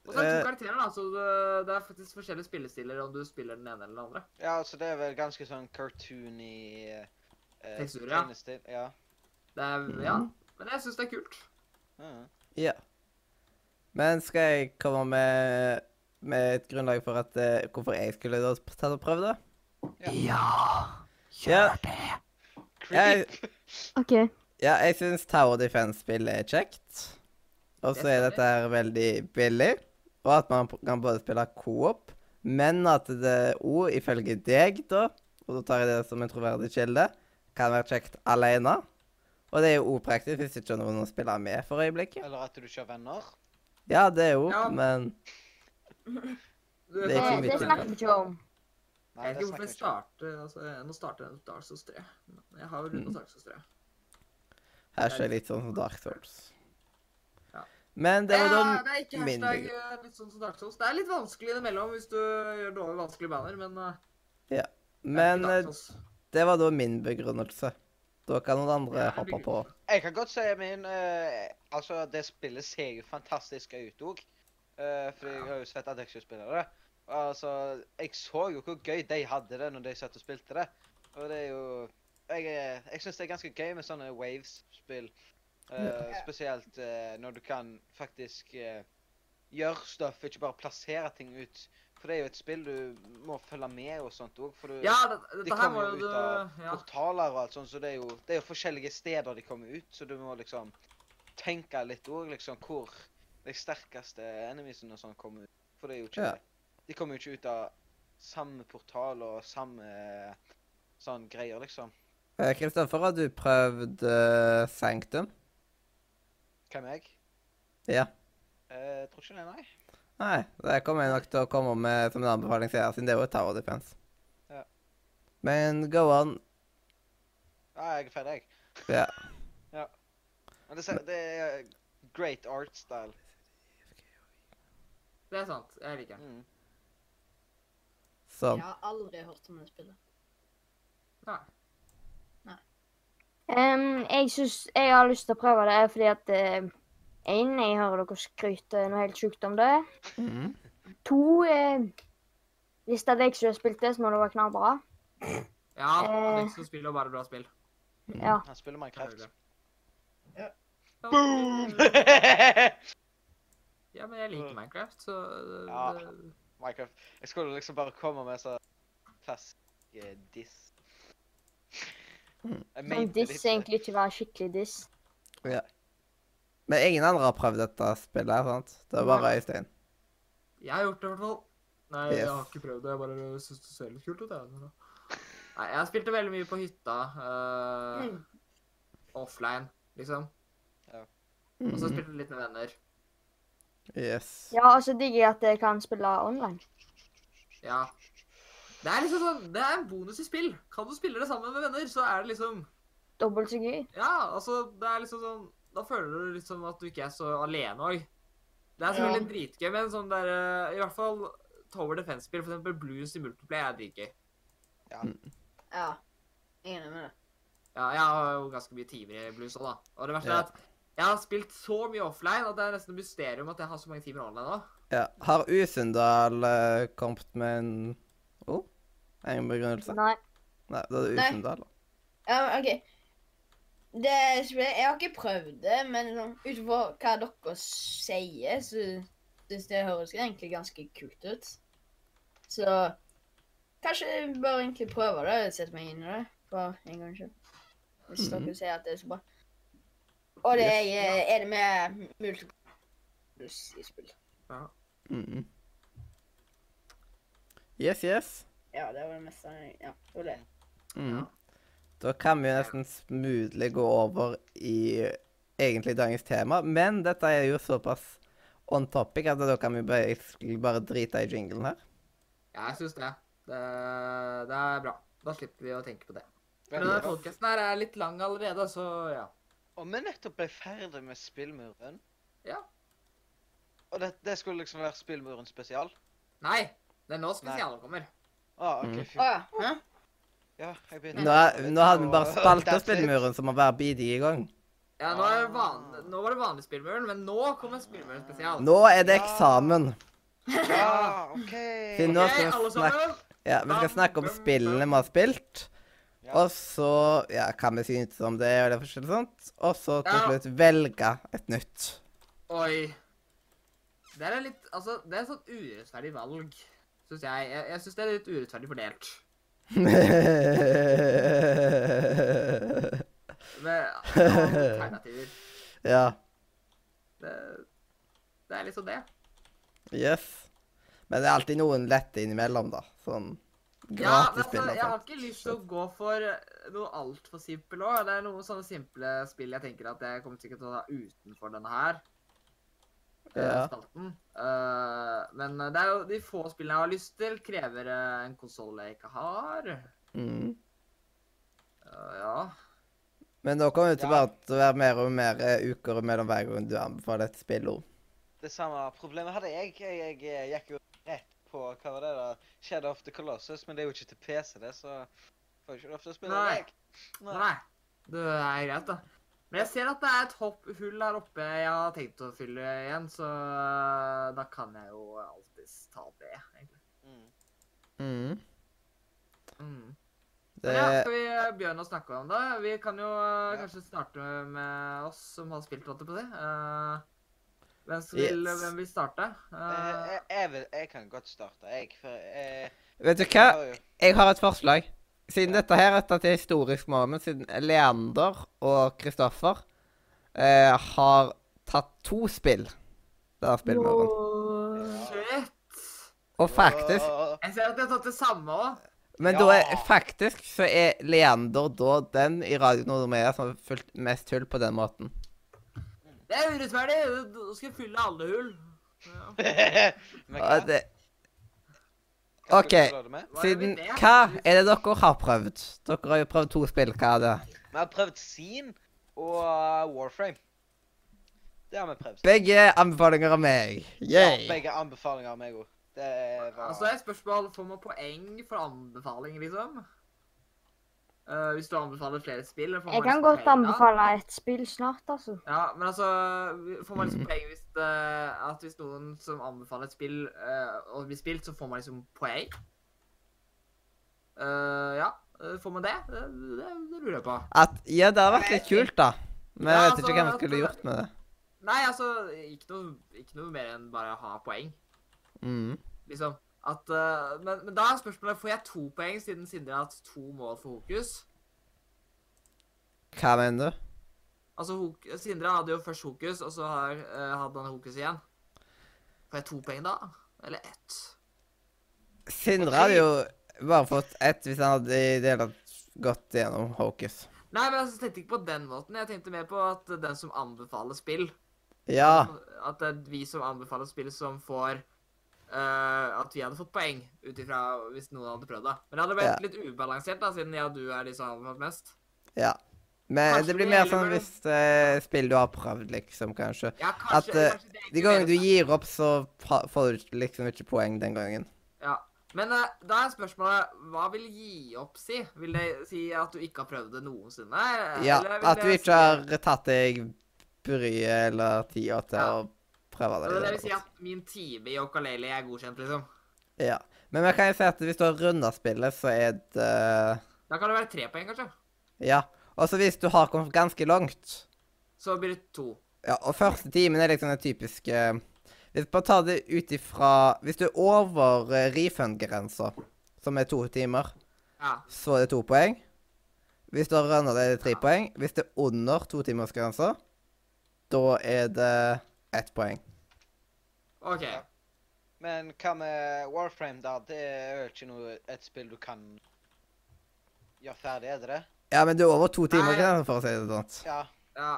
S1: Og så er det
S3: Eh.
S1: to karakterer, da, så det, det er faktisk forskjellige spillestiler om du spiller den ene eller den andre.
S4: Ja, altså det er vel ganske sånn cartoony eh,
S1: Tekstur, ja.
S4: tegnestil, Ja.
S1: Det er,
S3: Mhm.
S1: ja. Men jeg syns det er kult.
S4: Mhm.
S3: Ja. Men skal jeg komme med, med et grunnlag for at eh, hvorfor jeg skulle da tatt og prøvd det?
S1: Ja!
S3: Ja, jeg,
S4: Creep.
S5: OK.
S3: ja, jeg syns Tower Defense-spill er kjekt. Og så
S1: Det
S3: er
S1: skal
S3: dette her veldig billig, og at man kan både spille co-op, men at det òg, ifølge deg, da, og da tar jeg det som en troverdig kilde, kan være kjekt alene. Og det er jo òg praktisk hvis ikke noen spiller med for øyeblikket.
S4: Eller at du ikke har venner.
S3: Ja, det er jo,
S1: Ja.
S3: men
S1: Du,
S3: Det er
S5: Det,
S3: ikke
S1: kan-
S3: så mye
S5: Eh, det
S3: til.
S5: snakker vi ikke om.
S1: Jeg vet ikke hvorfor
S4: snakker
S1: jeg starter altså, jeg- Nå starter jeg med Dark Souls 3. Men Jeg har jo
S3: Mhm.
S1: rundt Dark Souls 3.
S3: her skjer litt sånn som Dark Souls.
S1: Ja.
S3: Men det var
S1: ja,
S3: da
S1: det er ikke
S3: min
S1: hashtag
S3: bygge.
S1: eh, litt sånn som Dark Souls. Det er litt vanskelig innimellom hvis du gjør dårlig vanskelige baner, men eh, det er ikke
S3: Men
S1: Dark
S3: eh,
S1: Souls.
S3: Det var da min begrunnelse. Da kan noen andre
S1: Ja,
S3: hoppe på.
S4: Jeg kan godt si min eh, Altså, det spillet ser jo fantastisk ut òg. for jeg har jo sett at Dexter spiller det. Og Altså, jeg så jo hvor gøy de hadde det når de satt og spilte det. Og det er jo Jeg, er- jeg syns det er ganske gøy med sånne Waves-spill. Eh, Spesielt eh, når du kan faktisk eh, gjøre stuff, ikke bare plassere ting ut. For det er jo et spill du må følge med og sånt òg, for du
S1: Ja, det,
S4: de
S1: dette her må
S4: kommer
S1: jo
S4: jo
S1: du
S4: ut av
S1: ja.
S4: portaler og alt sånt, så det er jo, det er jo forskjellige steder de kommer ut, så du må liksom tenke litt òg, liksom, hvor de sterkeste enemiesene og sånn kommer ut. For det er jo ikke
S3: Ja.
S4: De kommer jo ikke ut av samme portal og samme sånn greier, liksom.
S3: Eh, Kristoffer, har du prøvd eh, Sanctum?
S4: Hvem er jeg?
S3: Ja.
S4: Eh, tror ikke det, nei.
S3: Nei, det kommer jeg nok til å komme med som en anbefaling senere, siden det er jo et tower defense.
S4: Ja.
S3: Men go on.
S4: Nei, jeg er ferdig, jeg.
S3: Ja.
S4: Men det, ser- det er great art style.
S1: Det er sant. Jeg liker den.
S4: Mm.
S3: Sånn.
S2: Jeg har aldri hørt om det spillet.
S1: Nei.
S5: Em, jeg syns jeg har lyst til å prøve det fordi at én, jeg hører dere skryte noe helt sjukt om det.
S1: Mm.
S3: Mhm.
S5: To, eh, hvis det er jeg som har spilt det, så må det være knallbra.
S1: Ja,
S5: Eh.
S1: Dexter spiller bare bra spill.
S5: Ja.
S4: Han spiller Minecraft.
S2: Ja.
S1: Boom!
S4: Minecraft.
S1: Ja, men jeg liker Minecraft, så det,
S4: Ja.
S1: det-
S4: Jeg skulle liksom bare komme med så fast eh, diss.
S3: Mm.
S4: Jeg
S5: Men
S4: mente eh, det
S5: Sånn diss
S4: ikke.
S5: egentlig ikke være skikkelig diss.
S3: Men ingen andre har prøvd dette spillet, her, sant? Det var bare
S1: Nei.
S3: Øystein.
S1: Jeg har gjort det, i hvert fall. Nei, jeg
S3: Yes.
S1: har ikke prøvd det. Jeg bare syns det ser litt kult ut. Jeg. men- Nei, jeg spilte veldig mye på hytta. eh,
S2: Mm.
S1: Offline, liksom. Og så
S3: Mhm.
S1: spilte jeg litt med venner.
S3: Yes.
S5: Ja, og så digger jeg at jeg kan spille online.
S1: Ja. Det er liksom sånn, det er en bonus i spill. Kan du spille det sammen med venner, så er det liksom
S5: Dobbelt så gøy.
S1: Ja, altså, det er liksom sånn Da føler du liksom at du ikke er så alene òg. Det er selvfølgelig dritgøy, men sånn der eh, I hvert fall Tower Defense-spill, for eksempel Blues i Multiplay, er dritgøy.
S2: Ja. Jeg er enig med det.
S1: Ja, jeg har jo ganske mye timer i blues òg, da. Og det verste
S3: Ja.
S1: er at jeg har spilt så mye offline at det er nesten et mysterium at jeg har så mange timer online nå.
S3: Ja. Har Usundal eh, kommet med en oh, en begrunnelse?
S5: Nei.
S3: Nei, da er det
S2: Nei.
S3: Usundal.
S2: Ja, men OK. Det spillet Jeg har ikke prøvd det, men sånn, ut ifra hva dere sier, så syns det høres egentlig ganske kult ut. Så kanskje jeg bør egentlig prøve det og sette meg inn i det for en gangs skyld. Hvis
S1: Mhm.
S2: dere sier at det er så bra. Og det er jeg er enig med multiplus i spill.
S1: Mm.
S3: Mhm. Yes, yes.
S2: Ja, det var det meste. Ja, det var det.
S3: Mhm. Da kan vi jo nesten smoothly gå over i egentlig dagens tema, men dette er jo såpass on topic at da kan vi bare, egentlig bare drite i jinglen her.
S1: Jeg syns det. det. Det er bra. Da slipper vi å tenke på det. Men
S4: Veldig
S1: denne
S4: bra.
S1: podkasten her er sånn- litt lang allerede, så ja.
S4: Og vi nettopp ble ferdig med Spillmuren.
S1: Ja.
S4: Og det, det skulle liksom være Spillmuren spesial.
S1: Nei! Det er nå
S4: Nei.
S1: spesialen kommer.
S4: Ah,
S3: Mm.
S4: ok, fy.
S2: Å ja. Hæ?
S4: Ja, jeg begynte
S3: Nå,
S4: å-
S3: er- nå hadde vi bare
S4: og-
S3: spalta
S4: That's it.
S3: spillmuren, så må hver bite i gang.
S1: Ja, nå, er det
S4: Ah.
S1: van... nå var det vanlig spillmuren, men nå kommer spillmuren spesial.
S3: Nå er det eksamen.
S4: Ja, OK.
S3: Siden nå skal vi
S1: alle
S3: snakke,
S1: sammen.
S3: ja, vi skal snakke om spillene vi har spilt.
S4: Ja.
S3: Og så ja, hva vi synes om det, og det forskjellige sånt. Og så til
S1: Ja.
S3: slutt velge et nytt.
S1: Oi. Det er litt Altså, det er et sånt urettferdig valg, syns jeg. Jeg, jeg syns det er litt urettferdig fordelt. Med alternativer.
S3: ja.
S1: Det, det er liksom det.
S3: Yes. Men det er alltid noen lette innimellom, da. Sånn
S1: Ja, men altså,
S3: gratisspill
S1: jeg har
S3: og sånt.
S1: ikke lyst til å gå for eh, noe altfor simpelt òg. Det er noen sånne simple spill jeg tenker at jeg kommer sikkert til å ta utenfor denne her. eh,
S3: Ja.
S1: spalten. Eh, men det er jo de få spillene jeg har lyst til, krever eh, en konsoll jeg ikke har.
S3: Mm.
S1: Eh, ja.
S3: Men nå kommer det til
S4: Ja.
S3: bare til å være mer og mer eh, uker mellom hver gang du anbefaler et spillord.
S4: Det samme problemet hadde jeg. Jeg, jeg eh, gikk jo rett på hva var det da? Shadow of the Colossus, men det er jo ikke til PC, det, så Får ikke lov til å spille
S1: Nei.
S4: deg. Nei.
S1: Nei. Det er greit, da. Men jeg ser at det er et hopp hull her oppe jeg har tenkt å fylle igjen, så eh, da kan jeg jo alltids ta det, egentlig.
S4: Mm.
S3: Mm.
S1: Mm.
S3: Det,
S1: Men ja, skal vi eh, begynne å snakke om det? Vi kan jo eh,
S4: Ja.
S1: kanskje starte med oss som har spilt, holdt jeg på å si. Eh, hvem, som vil,
S3: Yes.
S1: hvem vil starte?
S3: Ah.
S4: Eh,
S1: Eh,
S4: jeg, jeg, vil, jeg kan godt starte, jeg. For jeg,
S3: vet du
S4: jeg
S3: hva?
S4: har jo
S3: Jeg har et forslag. Siden dette her er et historisk moment, siden Leander og Kristoffer eh, har tatt to spill denne spillmåten.
S1: shit!
S3: Og faktisk
S4: Åh,
S1: Jeg ser at de har tatt det samme òg.
S3: Men da er, faktisk så er Leander da den i Radio Nord-Media som har fulgt mest hull på den måten.
S1: Det er urettferdig! Nå skal jeg fylle alle hull. Ja.
S4: men hva?
S3: Og det,
S4: Hva skal
S3: ok.
S4: du slå det
S1: Hva
S4: med?
S1: er det
S3: siden
S1: vi vet?
S3: Hva er det dere har prøvd? Dere har jo prøvd to spill. Hva er det?
S4: Vi har prøvd Scene og eh, Warframe. Det har vi prøvd.
S3: Begge anbefalinger av meg.
S4: Ja,
S3: Yay.
S4: Begge anbefalinger av meg òg. Det var
S1: Altså, det er et spørsmål Får man poeng for anbefaling, liksom? Eh, hvis du anbefaler flere spill? Får man
S5: Jeg kan
S1: liksom
S5: godt
S1: poeng da?
S5: anbefale et spill snart, altså.
S1: Ja, men altså Får man liksom poeng hvis det, at hvis noen som anbefaler et spill, eh, å bli spilt, så får man liksom poeng? Eh, ja. eh, Får man det? Det, det, det lurer jeg på.
S3: At, ja, det har vært litt kult, da. Men jeg
S1: Ja,
S3: vet ikke
S1: altså,
S3: hva vi skulle
S1: altså-
S3: gjort med det.
S1: Nei, altså Ikke noe, ikke noe mer enn bare å ha poeng,
S3: Mm.
S1: liksom. At, eh, men, men da er spørsmålet Får jeg to poeng siden Sindre har hatt to mål for Hokus?
S3: Hva mener du?
S1: Altså, Hok Sindre hadde jo først Hokus, og så har, eh, hadde han Hokus igjen. Får jeg to poeng da? Eller ett?
S3: Sindre hadde jo bare fått ett hvis han hadde i det hele tatt gått gjennom Hocus.
S1: Nei, men altså, jeg tenkte ikke på den måten. Jeg tenkte mer på at den som anbefaler spill
S3: Ja.
S1: At det er vi som anbefaler spill, som får eh, At vi hadde fått poeng ut ifra hvis noen hadde prøvd det. Men det hadde vært litt ubalansert, da, siden jeg og du er de som har anbefalt mest.
S3: Ja. Men
S1: Kanskje
S3: det blir
S1: vi
S3: mer
S1: heller
S3: sånn
S1: burde-
S3: hvis eh, spill du har prøvd, liksom, kanskje.
S1: Ja, kanskje,
S3: At, eh,
S1: kanskje det er
S3: De
S1: ikke
S3: gangene du
S1: bedre.
S3: gir opp, så fa- får du liksom ikke poeng den gangen.
S1: Ja. Men eh, da er spørsmålet hva vil gi opp si? Vil det si at du ikke har prøvd det noensinne?
S3: Ja,
S1: Eller vil
S3: At du
S1: det si-
S3: ikke har tatt deg bryet eller tida til
S1: Ja.
S3: å prøve det.
S1: Eller det
S3: eller
S1: vil si
S3: noe.
S1: at min time i Okalele er godkjent, liksom.
S3: Ja. Men vi kan jo si at hvis du har runda spillet, så er det eh,
S1: Da kan det være tre poeng, kanskje.
S3: Ja. Og så hvis du har kommet ganske langt
S1: Så blir det to.
S3: Ja, og første timen er liksom den typiske Hvis man tar det ut ifra Hvis du er over eh, refund-grensa, som er to timer,
S1: Ja.
S3: så er det to poeng. Hvis du har runda det, er det tre poeng. Hvis det er under totimersgrensa, da er det ett poeng.
S1: OK.
S4: Ja. Men hva med Warframe, da? Det er jo ikke noe et spill du kan gjøre ferdig, er det det?
S3: Ja, men du er over to timer
S1: Nei.
S3: grensa, for å si det sånn.
S4: Ja.
S1: Ja.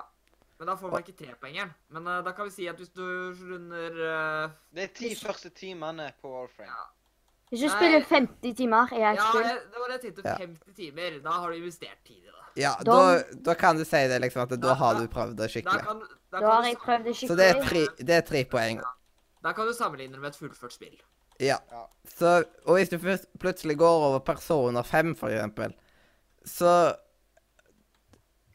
S1: Men da får man ikke trepoengeren. Men eh, da kan vi si at hvis du runder eh,
S4: Det er ti første timene på Warframe.
S5: Hvis du
S1: Nei.
S5: spiller 50 timer i et
S1: Ja,
S5: spill
S1: jeg, det var det jeg tenkte.
S3: Ja.
S1: 50 timer. Da har du investert tid i det.
S3: Ja, da,
S5: Da-
S3: da kan du si det, liksom, at da
S1: Da-
S3: har
S1: da-
S3: du prøvd det
S1: Da
S3: skikkelig.
S1: kan, da
S5: Da har
S1: kan,
S5: jeg
S1: du, sam-
S5: prøvd det
S3: Så det er
S5: skikkelig.
S3: tre, det er tre poeng.
S1: da kan du sammenligne det med et fullført spill.
S3: Ja.
S4: Ja.
S3: Så, og hvis du først- plutselig går over personer fem, for eksempel, så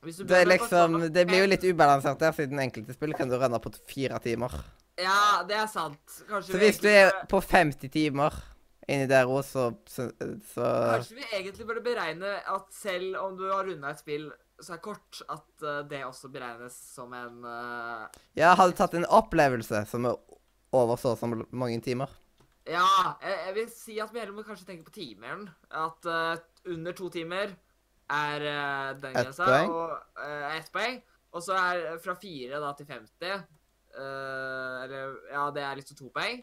S1: Hvis du
S3: det, er
S1: begynner på
S3: liksom,
S1: Persona
S3: det blir jo
S1: 5
S3: litt ubalansert der, siden enkelte spill kan du renne på t- fire timer.
S1: Ja, det er sant. Kanskje
S3: Så
S1: vi
S3: hvis du
S1: egentlig
S3: er
S1: burde-
S3: på 50 timer inni der òg, så, så, så
S1: Kanskje vi egentlig burde beregne at selv om du har runda et spill så er kort, at eh, det også beregnes som en eh,
S3: Ja, har du tatt en opplevelse som er over så og så mange timer?
S1: Ja, jeg, jeg vil si at vi heller må kanskje tenke på timeren. At eh, under to timer er eh, den
S3: Ett
S1: grensa.
S3: poeng.
S1: Og uh, ett poeng. Og så er eh, fra fire da, til 50 eh, Eller ja, det er liksom to poeng.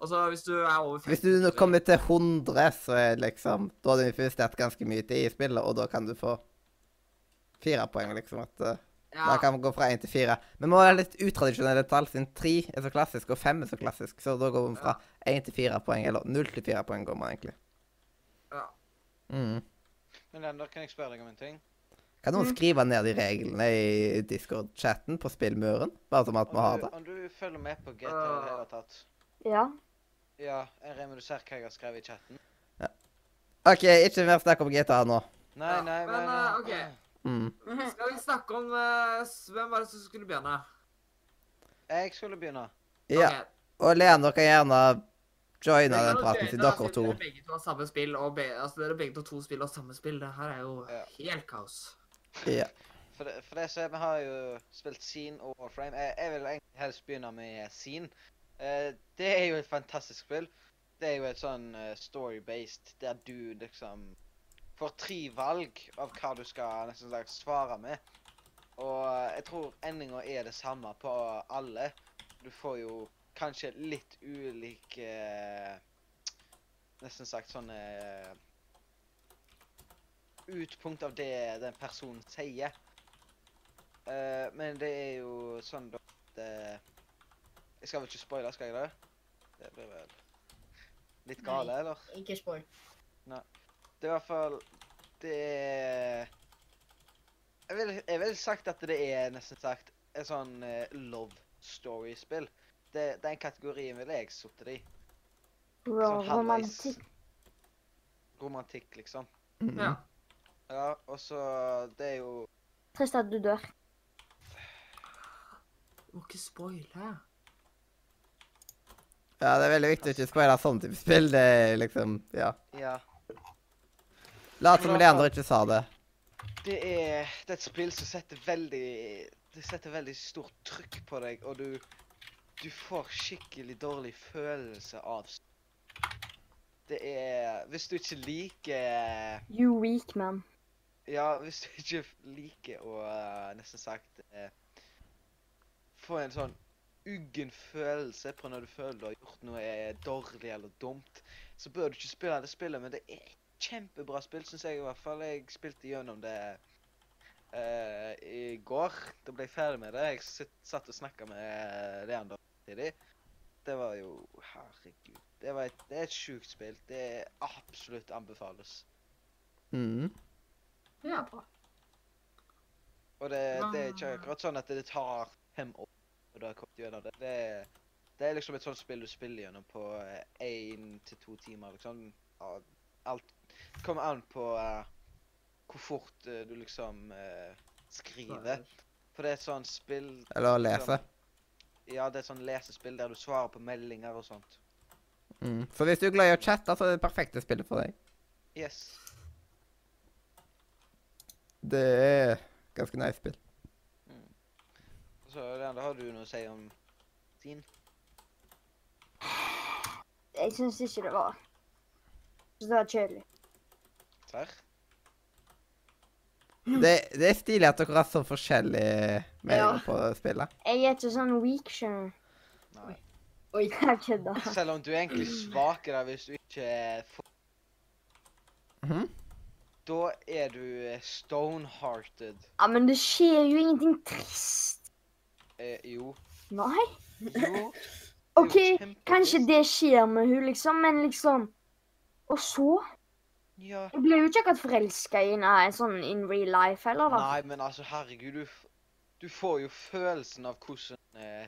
S1: Og så hvis du er over 50
S3: Hvis du nå kommer til 100, så er liksom Da har du investert ganske mye tid i spillet, og da kan du få fire poeng, liksom. at... eh,
S1: ja,
S3: Da kan vi gå fra én til fire. Men må være litt utradisjonelle tall, siden tre er så klassisk, og fem er så klassisk. Så da går vi fra én til fire poeng, eller null til fire poeng går man egentlig.
S1: Ja.
S3: Mm.
S4: Men Leander, kan jeg spørre deg om en ting?
S3: Kan noen
S1: Mm.
S3: skrive ned de reglene i Discord-chatten på spillmuren? Bare som at vi har
S4: Om du,
S3: det.
S4: om du følger med på GTA i det hele tatt
S5: Ja.
S4: Ja, jeg regner med du ser hva jeg har skrevet i chatten?
S3: OK, ikke mer snakk om GTA nå.
S4: Nei,
S1: Ja,
S4: nei,
S1: men,
S4: nei,
S1: eh,
S4: nei.
S1: ok.
S4: nei.
S3: Mm.
S1: Skal vi snakke om eh, s- Hvem var det som skulle begynne?
S4: Jeg skulle begynne.
S3: Ja,
S1: Ok,
S3: og Leander kan gjerne joine
S1: dere
S3: den
S1: kan
S3: praten
S1: joine,
S3: til
S1: da,
S3: dere
S1: siden
S3: to.
S1: Dere begge to har samme spill, og be, altså, dere begge to, to spill og samme spill. Det her er jo
S4: Ja.
S1: helt kaos.
S3: Ja.
S4: For det, for det så er- vi har jo spilt Scene og Warframe. Jeg, jeg vil egentlig helst begynne med Scene. Eh, det er jo et fantastisk spill. Det er jo et sånn eh, story-based der du liksom får tre valg av hva du skal nesten sagt svare med. Og eh, jeg tror endinga er det samme på alle. Du får jo kanskje litt ulike eh, Nesten sagt sånne eh, Utpunkt av det den personen sier. Eh, men det er jo sånn da at eh, Jeg skal vel ikke spoile, skal jeg det? Det blir vel litt
S2: Nei.
S4: gale, eller?
S2: Ikke spoil.
S4: Det er i hvert fall Det er Jeg vil, jeg vil sagt at det er nesten sagt et sånn eh, love story-spill. Det- Den kategorien ville jeg sittet i.
S5: Bro,
S4: Sånn halvveis
S5: romantikk.
S4: romantikk, liksom.
S3: Mm.
S1: Ja.
S4: Ja, og så Det er jo
S5: Trist at du dør.
S1: Du må ikke spoile.
S3: ja, det er veldig viktig å ikke spoile sånn type spill. Det er liksom Ja.
S4: Ja.
S3: Lat som Leander ikke sa det.
S4: Det er, det er et spill som setter veldig Det setter veldig stort trykk på deg, og du Du får skikkelig dårlig følelse av s- Det er Hvis du ikke liker
S5: You weak, man.
S4: Ja, hvis du ikke liker å eh, nesten sagt eh, få en sånn uggen følelse på når du føler du har gjort noe eh, dårlig eller dumt, så bør du ikke spille det spillet, men det er et kjempebra spill, syns jeg i hvert fall. Jeg spilte gjennom det eh, i går. Da ble jeg ferdig med det. Jeg sitt, satt og snakka med eh, Leander tidlig. Det var jo Herregud. Det, var et, det er et sjukt spill. Det er absolutt anbefales.
S3: Mm.
S1: Ja, bra.
S4: Og det, det er ikke
S1: Ah.
S4: akkurat sånn at det tar fem år og da kommer du gjennom det. Det er, det er liksom et sånt spill du spiller gjennom på én til to timer, liksom. Ja, Alt det kommer an på eh, hvor fort eh, du liksom eh, skriver. For det er et sånt spill
S3: Eller å lese.
S4: Ja, det er et sånt lesespill der du svarer på meldinger og sånt.
S3: Mm. Så hvis du er glad i å chatte, så er det det perfekte spillet for deg.
S4: Yes.
S3: Det er ganske nice spill.
S4: Så Leander, har du noe å si om din?
S5: Jeg syns ikke det var Så det var kjedelig.
S4: Serr?
S3: Det, det er stilig at dere har så forskjellige meninger
S2: Ja.
S3: på spillet.
S5: Jeg er ikke sånn weak, skjønner du.
S4: Nei.
S2: Oi.
S5: Jeg kødder.
S4: Selv om du er egentlig svak da, hvis du ikke får
S3: Mhm.
S4: Da er du eh, stonehearted.
S5: Ja, men det skjer jo ingenting trist.
S4: Eh, jo.
S5: Nei.
S4: Jo.
S5: OK,
S4: kjempetrist.
S5: kanskje det skjer med hun, liksom, men liksom Og så?
S4: Ja.
S5: Jeg ble jo ikke akkurat forelska i nei, sånn in real life heller, da.
S4: Nei, men altså, herregud, du, f- du får jo følelsen av hvordan eh,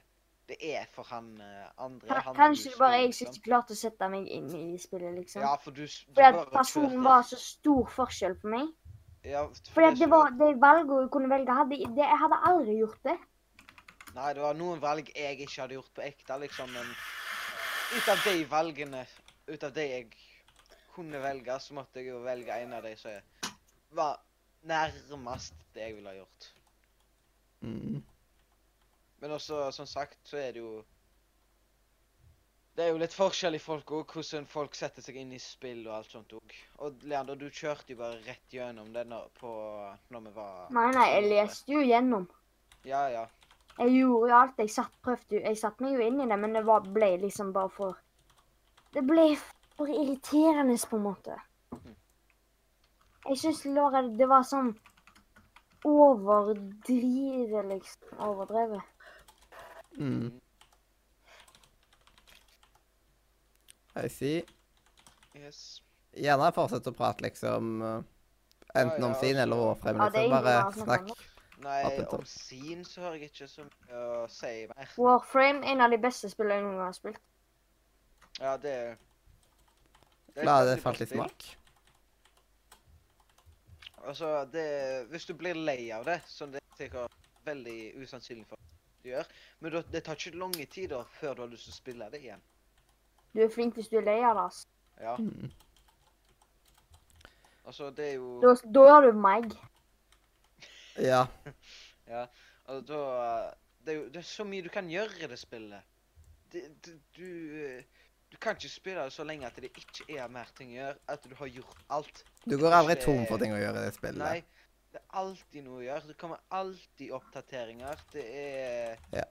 S4: det er for han eh, andre.
S5: Ka-
S4: han du
S5: Kanskje det bare
S4: spiller
S5: jeg som
S4: sammen.
S5: ikke klarte å sette meg inn i spillet, liksom.
S4: Ja, for du, s- du
S5: Fordi at
S4: bare
S5: personen
S4: kjørte-
S5: var så stor forskjell på meg.
S4: ja, for
S5: Fordi at
S4: det
S5: det
S4: så-
S5: var det valget hun kunne velge, hadde det, jeg hadde aldri gjort det.
S4: Nei, det var noen valg jeg ikke hadde gjort på ekte, liksom, men ut av de valgene, ut av de jeg kunne velge, så måtte jeg jo velge en av de som var nærmest det jeg ville ha gjort.
S3: Mm.
S4: Men også, som sagt, så er det jo Det er jo litt forskjell i folk òg, hvordan folk setter seg inn i spill og alt sånt òg. Og Leander, du kjørte jo bare rett gjennom det når, på, når vi var
S5: Nei, nei, jeg leste jo gjennom.
S4: Ja, ja.
S5: Jeg gjorde jo alt. Jeg satt, prøvde jo, jeg satt meg jo inn i det, men det var, ble liksom bare for Det ble for irriterende, på en måte. Jeg syns Laura Det var sånn overdrivet, liksom. Overdrevet.
S3: Mm. I see.
S4: Yes.
S3: Gjerne fortsett å prate, liksom. eh, Enten
S4: Ja,
S3: om
S4: ja,
S3: sin
S4: altså.
S3: eller overfrem.
S5: Ja, det er
S3: Liksom.
S5: egentlig
S3: Bare
S5: bare å snakke om
S3: snakk.
S4: Nei,
S3: Apropos.
S4: om sin så har jeg ikke så mye å si mer.
S5: Warframe, en av de beste spillene jeg noen gang har spilt.
S4: Ja, det er det er et
S3: La det
S4: veldig bra
S3: falt litt
S4: spill.
S3: smak.
S4: Altså, det, hvis du blir lei av det, som det er sikkert veldig usannsynlig for at du gjør, men da- det tar ikke lange tider før du har lyst til å spille det igjen.
S5: Du er flink hvis du er lei av det. ass.
S4: Ja.
S3: Mm.
S4: Altså, det er jo
S5: Da, da har du meg.
S3: Ja.
S4: Altså, da, det, er jo, det er så mye du kan gjøre i det spillet. Det, det, du, eh, du kan ikke spille det så lenge at det ikke er mer ting å gjøre, at du har gjort alt.
S3: Du går aldri tom for ting å gjøre i det
S4: Nei,
S3: spillet.
S4: det er alltid noe å gjøre. Det kommer alltid oppdateringer. Det er
S3: Det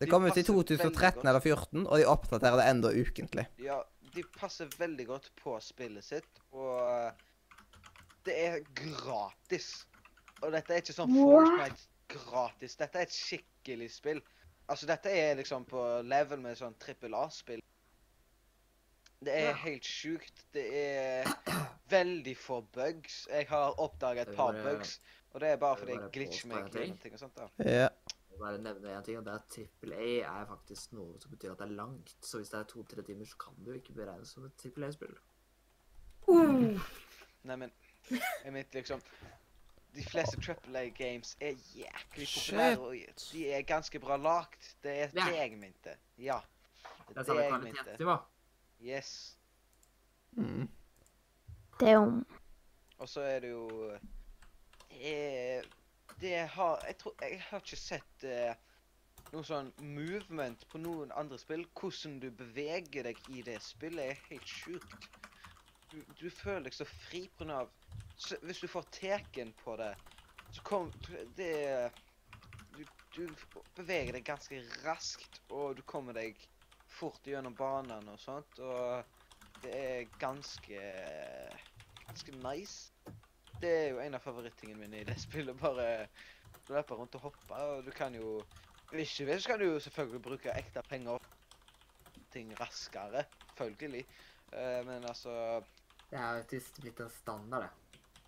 S4: de
S3: kom ut i
S4: passer veldig
S3: 2013
S4: godt.
S3: eller 2014, og de oppdaterer det enda ukentlig.
S4: Ja, de passer veldig godt på spillet sitt, og eh, det er gratis. Og dette er ikke sånn
S5: What?
S4: Fortnite gratis. Dette er et skikkelig spill. Altså, dette er liksom på level med sånn trippel A-spill. Det er
S1: Ja.
S4: helt sjukt. Det er veldig få bugs. Jeg har oppdaga et
S1: Det
S4: par
S1: bare-
S4: bugs, og det er bare
S1: det
S4: fordi
S1: bare
S4: jeg glitcher
S1: påstår
S4: meg
S1: en ting.
S4: gjennom ting og sånt. da.
S3: Ja.
S1: Jeg bare nevne en ting, og det er at trippel A er faktisk noe som betyr at det er langt. Så hvis det er to-tre timer, så kan det jo ikke beregnes som et trippel A-spill.
S4: Neimen, jeg mente liksom De fleste Triple A-games er jæklig
S3: Shit.
S4: populære, og de er ganske bra lagt. Det er
S1: Ja.
S4: det jeg mente. Ja.
S1: Det er samme kvalitet, jo.
S4: Yes.
S3: Mm.
S5: Det er jo
S4: Og så er det jo eh, Det har Jeg tror Jeg har ikke sett eh, noe sånn movement på noen andre spill. Hvordan du beveger deg i det spillet, er helt sjukt. Du, du føler deg så fri på grunn av så Hvis du får teken på det, så kom Det du, du beveger deg ganske raskt, og du kommer deg fort gjennom banene og sånt, og det er ganske ganske nice. Det er jo en av favorittingene mine i det spillet. Bare løpe rundt og hoppe, og du kan jo Hvis du vil, så kan du jo selvfølgelig bruke ekte penger og ting raskere. Selvfølgelig. Eh, men altså
S1: Det er jo tyst blitt en standard, det.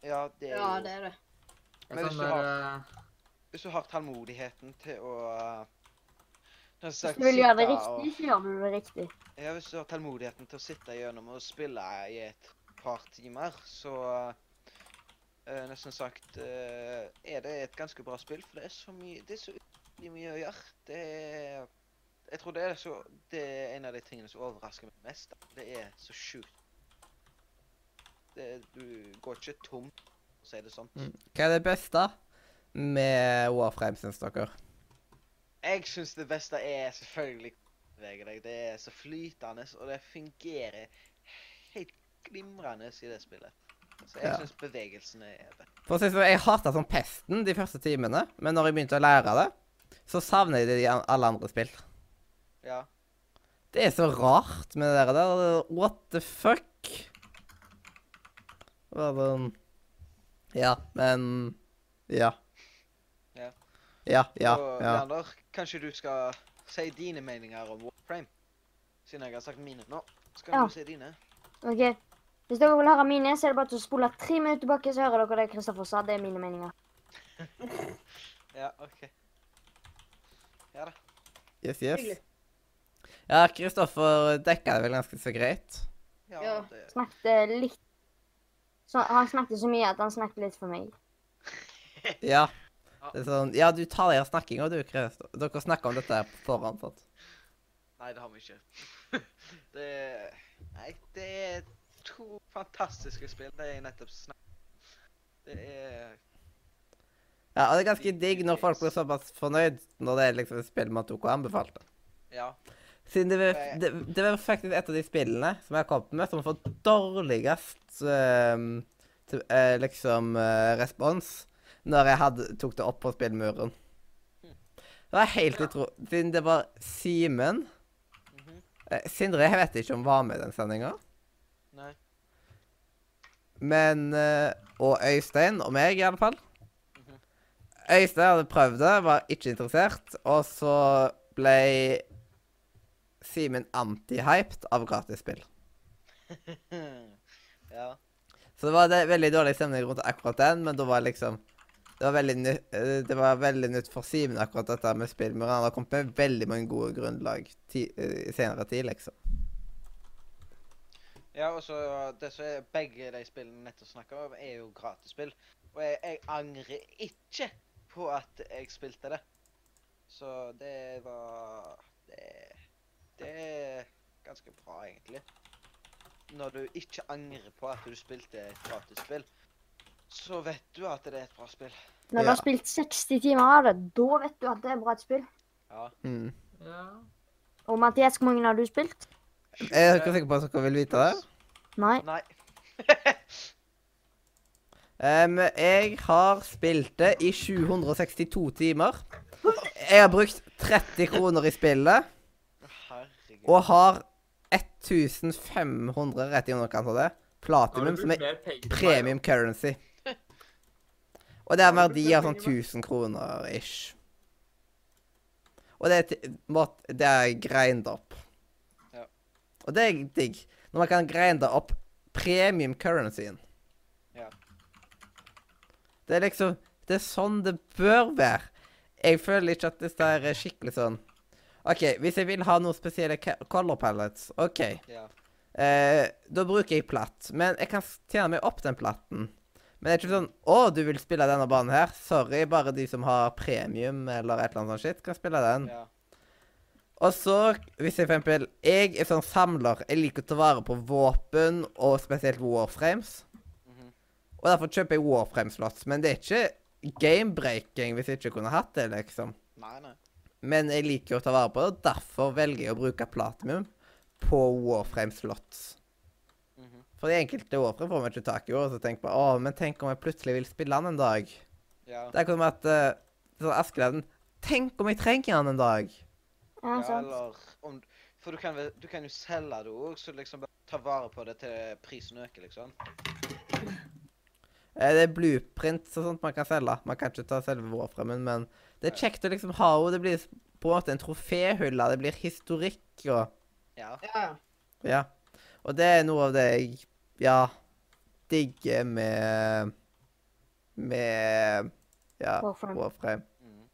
S4: Ja, det er jo
S2: Ja, det er det.
S1: Jeg
S4: Men
S1: kan
S4: hvis du
S1: bare
S4: Hvis du har tålmodigheten til å eh, Når
S5: Hvis du vil gjøre det riktig, så gjør du det riktig.
S4: Ja, hvis du har tålmodigheten til å sitte gjennom og spille i et par timer, så eh, Nesten sagt eh, er det et ganske bra spill, for det er så mye Det er så utrolig mye å gjøre. Det er Jeg tror det er, så, det er en av de tingene som overrasker meg mest. da. Det er så sjukt. Det, du går ikke tom, for å si det sånn.
S3: Hva er det beste med Warframe, syns dere?
S4: Jeg syns det beste er selvfølgelig beveger deg. Det er så flytende, og det fungerer helt glimrende i det spillet. Så jeg
S3: Ja.
S4: synes syns bevegelsene er det.
S3: For å si det sånn, Jeg hata som pesten de første timene, men når jeg begynte å lære det, så savner jeg det i an- alle andre spill.
S4: Ja.
S3: Det er så rart med det der. det- What the fuck? Bare sånn Ja, men Ja.
S4: Ja.
S3: Ja, ja,
S4: og
S3: ja.
S4: Leander, kanskje du skal si dine meninger om Warframe? Siden jeg har sagt mine nå, så kan
S5: Ja.
S4: du si dine.
S5: Ok? Hvis dere vil høre mine, så er det bare til å spole tre minutter tilbake, så hører dere det Kristoffer sa. Det er mine meninger.
S4: Ja, OK. Ja da.
S3: Yes, yes.
S2: Hyggelig.
S3: Ja, Kristoffer dekka det vel ganske så greit.
S4: Ja,
S2: Ja.
S4: Det,
S5: Snakket eh, litt så, Han snakket så mye at han snakket litt for meg.
S3: Ja. Det er sånn Ja, du tar deg av snakkinga, du, Kristoffer. Dere snakker om dette her på forhånd. sant?
S4: Nei, det har vi ikke. det Nei, det er to fantastiske spill. Det er nettopp snakk. Det er
S3: Ja, og det er ganske digg når folk blir såpass fornøyd når det er liksom et spill man tok og anbefalte.
S4: Ja.
S3: Siden det, var-
S4: Nei.
S3: det, det var faktisk et av de spillene som jeg har kommet med, som har fått dårligst ehm, til- eh, liksom eh, respons når jeg hadde, tok det opp på spillmuren. Det var helt utro... Siden det var Simen
S4: Mhm.
S3: eh, Sindre, jeg vet ikke om var med i den sendinga.
S4: Nei.
S3: Men eh, Og Øystein, og meg i alle fall.
S4: Mhm.
S3: Øystein hadde prøvd det, var ikke interessert. Og så ble Simen anti-hyped av gratisspill.
S4: ja.
S3: Så det var det veldig dårlig stemning rundt akkurat den, men da var liksom Det var veldig nytt, eh, det var veldig nytt for Simen akkurat dette med spill, men han har kommet med veldig mange gode grunnlag ti, eh, i senere tid, liksom.
S4: ja, og så det som er begge de spillene nettopp snakka om, er jo gratisspill. Og jeg, jeg angrer ikke på at jeg spilte det. Så det var Det, det er ganske bra, egentlig. Når du ikke angrer på at du spilte et gratis spill, så vet du at det er et bra spill.
S5: Når du
S3: Ja.
S5: har spilt 60 timer av det, da vet du at det er bra et spill.
S4: Ja.
S3: Mm.
S1: Ja.
S5: Og Mathias, hvor mange har du spilt?
S3: Er dere sikre på at dere vil vite det?
S5: Nei.
S4: Nei.
S3: Em, jeg har spilt det i 762 timer. Jeg har brukt 30 kroner i spillet
S4: Herregud.
S3: og har 1500 rett i underkant av det. Platinum, som er premium currency. Og det er en verdi av sånn 1000 kroner ish. Og det er, ti- mått- det er grindet opp.
S4: Ja.
S3: Og det er digg, når man kan grinde opp premium currencyen.
S4: Ja.
S3: Det er liksom Det er sånn det bør være. Jeg føler ikke at dette er skikkelig sånn OK, hvis jeg vil ha noen spesielle ca- color palettes, OK.
S4: Ja.
S3: Eh, da bruker jeg platt, men jeg kan s- tjene meg opp den platten. Men det er ikke sånn Å, du vil spille denne banen her? Sorry, bare de som har premium eller et eller annet sånt shit, kan spille den.
S4: ja.
S3: Og så, hvis jeg for eksempel Jeg er sånn samler. Jeg liker å ta vare på våpen, og spesielt warframes.
S4: Mhm.
S3: Og derfor kjøper jeg warframe-slott. Men det er ikke game-breaking hvis jeg ikke kunne hatt det, liksom.
S4: Nei, nei.
S3: Men jeg liker å ta vare på det, og derfor velger jeg å bruke platinum på warframe-slott.
S4: Mhm.
S3: For de enkelte årene får man ikke tak i år, og så tenker man åh, men tenk om jeg plutselig vil spille han en dag.
S4: Ja.
S3: Der kommer at uh, sånn Askeladden Tenk om jeg trenger han en dag.
S5: Ja,
S4: ja,
S5: sant.
S4: eller om For du kan, vel- du kan jo selge det òg, så liksom bare ta vare på det til prisen øker, liksom.
S3: Eh, det er blueprints og sånt man kan selge. Man kan ikke ta selve vårfremmen, men det er kjekt å liksom ha henne. Det blir på en måte en troféhylle. Det blir historikk og
S4: Ja.
S2: Ja, ja.
S3: Ja. Og det er noe av det jeg ja, digger med Med ja,
S5: Warframe.
S3: vårfrem.
S4: Mhm.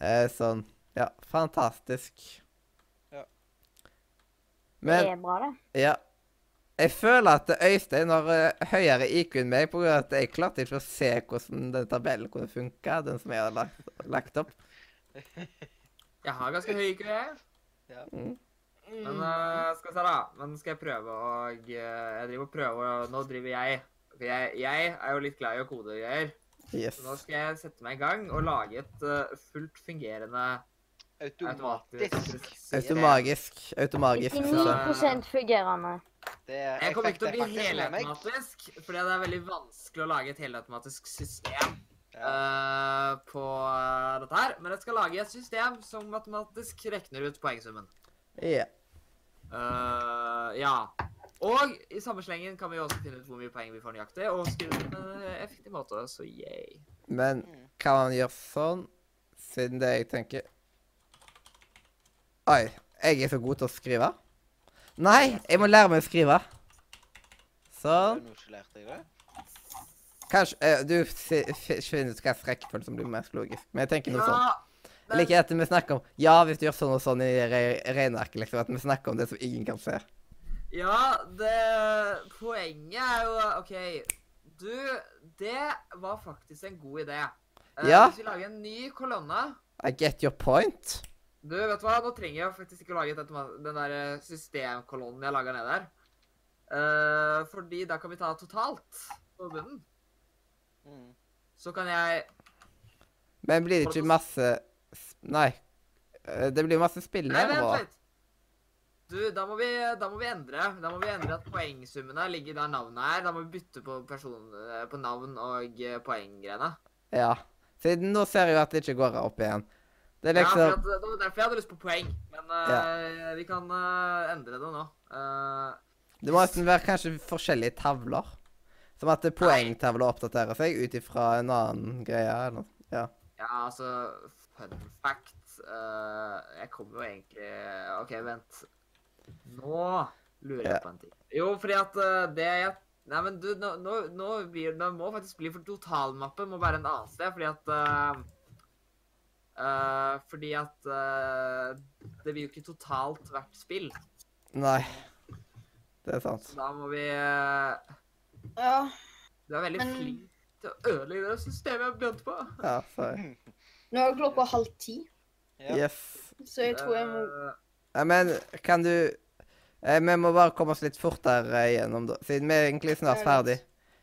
S3: Eh, sånn Ja, fantastisk.
S4: Ja.
S5: Det
S3: Men
S5: er bra, det.
S3: ja. Jeg føler at Øystein har eh, høyere IQ enn meg pga. at jeg klarte ikke å se hvordan den tabellen kunne funke, den som jeg hadde lagt, lagt opp.
S1: Jeg har ganske høy IQ, jeg. Men
S2: Mm.
S1: eh, skal vi se, da. Men skal jeg prøve å eh, Jeg driver og prøver, og nå driver jeg. For jeg, jeg er jo litt glad i å kode greier.
S3: Yes.
S1: Så nå skal jeg sette meg i gang og lage et eh, fullt fungerende
S4: Automatisk.
S1: automatisk
S3: Automagisk. Automagisk. så-
S5: 99 fungerende.
S4: Det er,
S1: Jeg kommer
S4: fikk
S1: ikke til å
S4: det
S1: bli
S4: faktisk med meg.
S1: helautomatisk, fordi det er veldig vanskelig å lage et helautomatisk system
S4: Ja.
S1: eh, på eh, dette her. Men jeg skal lage et system som matematisk regner ut poengsummen.
S3: Ja.
S1: Eh, ja. Og i samme slengen kan vi jo også finne ut hvor mye poeng vi får nøyaktig, og skrive det på en eh, effektiv måte, så yay.
S3: Men
S4: Mm.
S3: kan man gjøre sånn, siden det jeg tenker Oi, jeg er så god til å skrive. Nei, jeg må lære meg å skrive. Sånn.
S4: Nå skjellerte jeg det.
S3: Kanskje eh, Du fi- fi- finner ut hvilken rekkefølge som blir mest logisk. Men jeg tenker noe sånn. Jeg liker at vi snakker om Ja, hvis du gjør sånn og sånn i re- regnearket, liksom. At vi snakker om det som ingen kan se.
S1: Ja, det Poenget er jo OK. Du, det var faktisk en god idé. Eh,
S3: Ja.
S1: Hvis vi lager en ny kolonne
S3: I get your point.
S1: Du, vet du hva? Nå trenger jeg faktisk ikke å lage et automa- den der eh, systemkolonnen jeg laga ned der. Eh, fordi da kan vi ta totalt på bunnen.
S4: Mm.
S1: Så kan jeg
S3: Men blir det ikke masse s- Nei. Eh, Det blir masse spill
S1: Nei, vent
S3: nedover.
S1: litt. Du, da må, vi, da må vi endre. Da må vi endre at poengsummene ligger der navnet er. Da må vi bytte på, person, eh, på navn og eh, poenggreiene.
S3: Ja. Siden nå ser jeg jo at det ikke går opp igjen. Det er
S1: Ja, for
S3: liksom
S1: at, det var derfor jeg hadde lyst på poeng. Men eh, vi kan eh, endre det nå. Eh,
S3: Det må nesten være kanskje forskjellige tavler. Som at poengtavla oppdaterer seg ut ifra en annen greie. eller noe.
S1: ja, altså Fun fact eh, Jeg kommer jo egentlig OK, vent. Nå lurer jeg
S3: Ja.
S1: på en ting. Jo, fordi at eh, det jeg Nei, men du, nå, nå, nå blir det må faktisk bli For totalmappen må være en annen sted, fordi at eh, eh, Fordi at eh, det blir jo ikke totalt hvert spill.
S3: Nei. Det er sant.
S1: Så da må vi eh,
S2: ja.
S1: Du er veldig
S2: Men-
S1: flink til å ødelegge det systemet jeg begynte på.
S3: Ja, sorry.
S2: Nå er klokka halv ti,
S4: Ja.
S3: Yes.
S2: så jeg tror jeg må
S1: Eh,
S3: Nei, men kan du eh, Vi må bare komme oss litt fortere gjennom, da. Siden vi er egentlig snart
S2: Jeg vet.
S3: ferdig.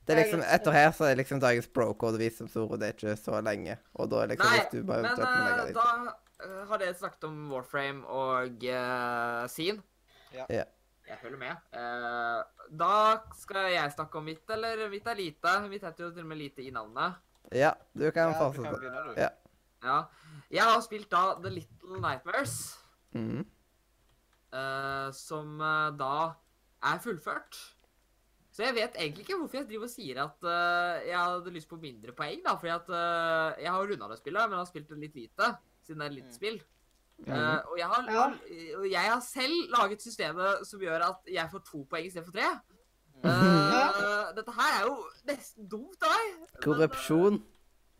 S3: Det er
S2: Jeg
S3: liksom,
S2: vet.
S3: Etter her så er liksom dagens bro-code vi som store, det er ikke så lenge. Og da er liksom
S1: Nei,
S3: hvis du bare
S1: Men
S3: eventuelt må
S1: eh,
S3: legge litt.
S1: da eh, har dere snakket om Warframe og uh, Scene.
S4: Ja.
S3: Ja.
S1: Jeg følger med. Eh, da skal jeg snakke om mitt, eller mitt er lite. Mitt heter jo til og med lite i navnet.
S3: Ja, du kan
S4: Ja, du kan
S3: fortsette.
S4: begynne, du.
S3: Ja.
S1: Ja. Jeg har spilt da The Little Nightmares,
S3: Mhm.
S1: eh, som eh, da er fullført. Så jeg vet egentlig ikke hvorfor jeg driver og sier at eh, jeg hadde lyst på mindre poeng, da, fordi at eh, jeg har runda det spillet, men har spilt det litt lite, siden det er et
S4: Mm.
S1: lite spill.
S3: Mhm.
S1: Eh, og, jeg har,
S2: Ja.
S1: og jeg har selv laget systemet som gjør at jeg får to poeng istedenfor tre.
S4: Mm.
S1: Eh, dette her er jo nesten dumt av meg. men, eh,
S3: Korrupsjon.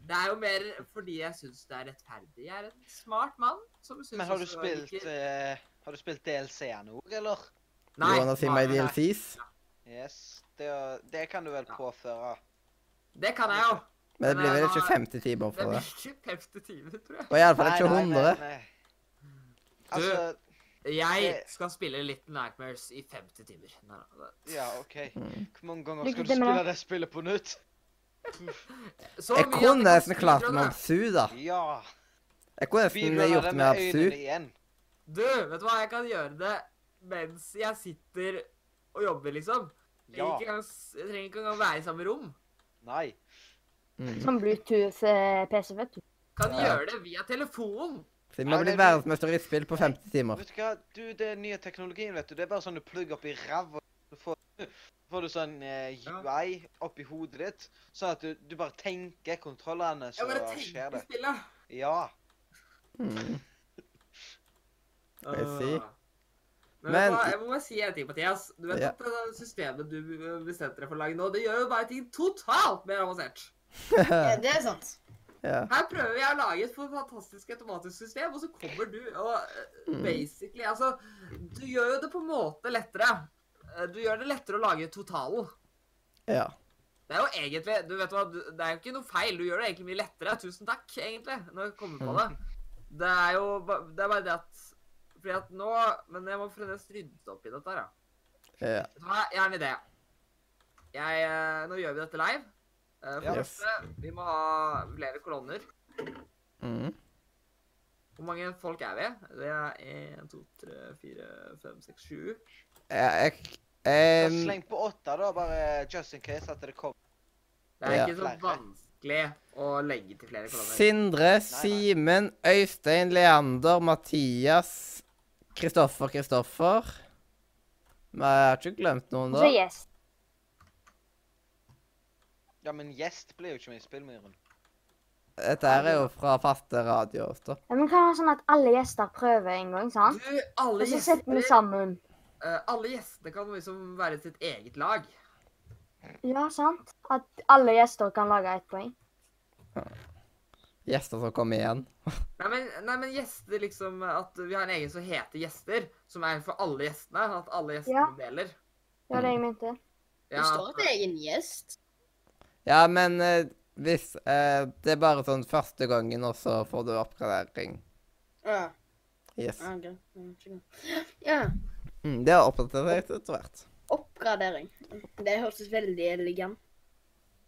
S1: Det er jo mer fordi jeg syns det er rettferdig. Jeg er en smart mann. som synes
S4: Men har du
S1: også jeg
S4: spilt
S1: liker-
S4: eh, Har du spilt DLC-en òg, eller?
S3: Du
S1: Nei,
S3: må si
S1: bare-
S3: meg DLCs.
S4: Yes. Det, er- det kan du vel
S1: Ja.
S4: påføre.
S1: Det kan jeg jo.
S3: Men det blir vel ikke
S1: Nei,
S3: 50 timer
S1: Det
S3: for det.
S1: blir ikke 50 timer, tror jeg.
S3: Og iallfall ikke
S4: Nei, nei, nei,
S3: 100.
S4: nei. Altså
S1: Jeg
S4: Det-
S1: skal spille Little Nightmares i 50 timer. Nei, nei, nei.
S4: Ja, OK.
S3: Mm.
S4: Hvor mange ganger
S5: Lykke
S4: skal du
S5: til med
S4: spille det spillet på nytt?
S3: Jeg
S1: Så mye at
S3: kunne
S1: kan
S3: nesten klart
S1: speedrunne.
S3: meg om Su, da.
S4: Ja.
S3: Jeg kunne nesten
S4: Speedrunner
S3: gjort
S4: det
S3: meg
S4: med
S3: om Su.
S4: øynene igjen.
S1: Du, vet du hva? Jeg kan gjøre det mens jeg sitter og jobber, liksom. Jeg,
S4: Ja.
S1: ikke engang, s- jeg trenger ikke engang være i samme rom.
S4: Nei.
S3: Mm.
S5: Som Bluetooth-PC, vet du.
S1: Kan
S3: Ja.
S1: gjøre det via telefon.
S3: Siden vi
S4: Ja,
S3: har blitt
S4: det blir-
S3: verdensmester i spill på 50 timer.
S4: Vet du hva? Du, det er nye teknologien, vet du. Det er bare sånn du plugger opp i ræva. Så får, så får du sånn eh,
S1: Ja.
S4: UI oppi hodet ditt, sånn at du, du bare tenker kontrollene, så
S1: Jeg bare
S4: skjer
S1: tenker
S4: det.
S1: spillet.
S4: Ja.
S3: Mm. I
S1: Åh.
S3: see.
S1: Men, vet du
S3: Men-
S1: hva, jeg må bare si en ting, Mathias. Du vet
S3: Ja.
S1: at det systemet du bestemte deg for å lage nå, det gjør jo bare ting totalt mer avansert.
S3: Eh,
S2: ja, Det er sant.
S3: ja.
S1: Her prøver jeg å lage et fantastisk automatisk system, og så kommer du og eh,
S3: Mm.
S1: basically Altså, du gjør jo det på en måte lettere. Eh, Du gjør det lettere å lage totalen.
S3: ja.
S1: Det er jo egentlig Du vet hva, du- det er jo ikke noe feil. Du gjør det egentlig mye lettere. Tusen takk, egentlig, når jeg kommer på det. Det er jo ba- Det er bare det at Fordi at nå Men jeg må fremdeles rydde opp i dette her, ja.
S3: ja.
S1: Vet du hva, jeg har en idé. Jeg eh, Nå gjør vi dette live. Eh, For
S4: Ja.
S1: det første, vi må ha flere kolonner.
S3: Mm.
S1: Hvor mange folk er vi? Det er én, to, tre, fire, fem, seks, sju.
S3: ja jeg,
S4: Så
S3: em,
S4: sleng på åtte, da, bare just in case at det kommer.
S1: Det er
S3: Ja.
S1: ikke så
S4: Flere.
S1: vanskelig å legge til flere kolonner.
S3: Sindre, Simen, Øystein, Leander, Mathias, Kristoffer, Kristoffer Men jeg har ikke glemt noen,
S5: Og så
S3: da.
S5: yes.
S4: Ja, men gjest blir jo ikke med i spillmyren.
S3: Dette her er jo fra faste radioer. da.
S5: Ja, men kan det være sånn at alle gjester prøver en gang, sant?
S1: Du, alle
S5: Og så setter vi
S1: gjester,
S5: sammen.
S1: eh, alle gjestene kan liksom være sitt eget lag.
S5: Ja, sant? At alle gjester kan lage ett poeng.
S3: Gjester som kommer igjen.
S1: Nei men, nei, men gjester liksom At vi har en egen som heter Gjester, som er for alle gjestene. At alle gjestene
S5: Ja.
S1: deler.
S5: Det var det jeg mente.
S2: Det står at jeg er en gjest.
S3: Ja, men eh, hvis eh, Det er bare sånn første gangen, og så får du oppgradering.
S2: Ja,
S3: Yes.
S2: ja, greit. Ja, skjønner. Ja.
S3: Mm, det har oppdatert seg etter hvert.
S2: Oppgradering. Det hørtes veldig elegant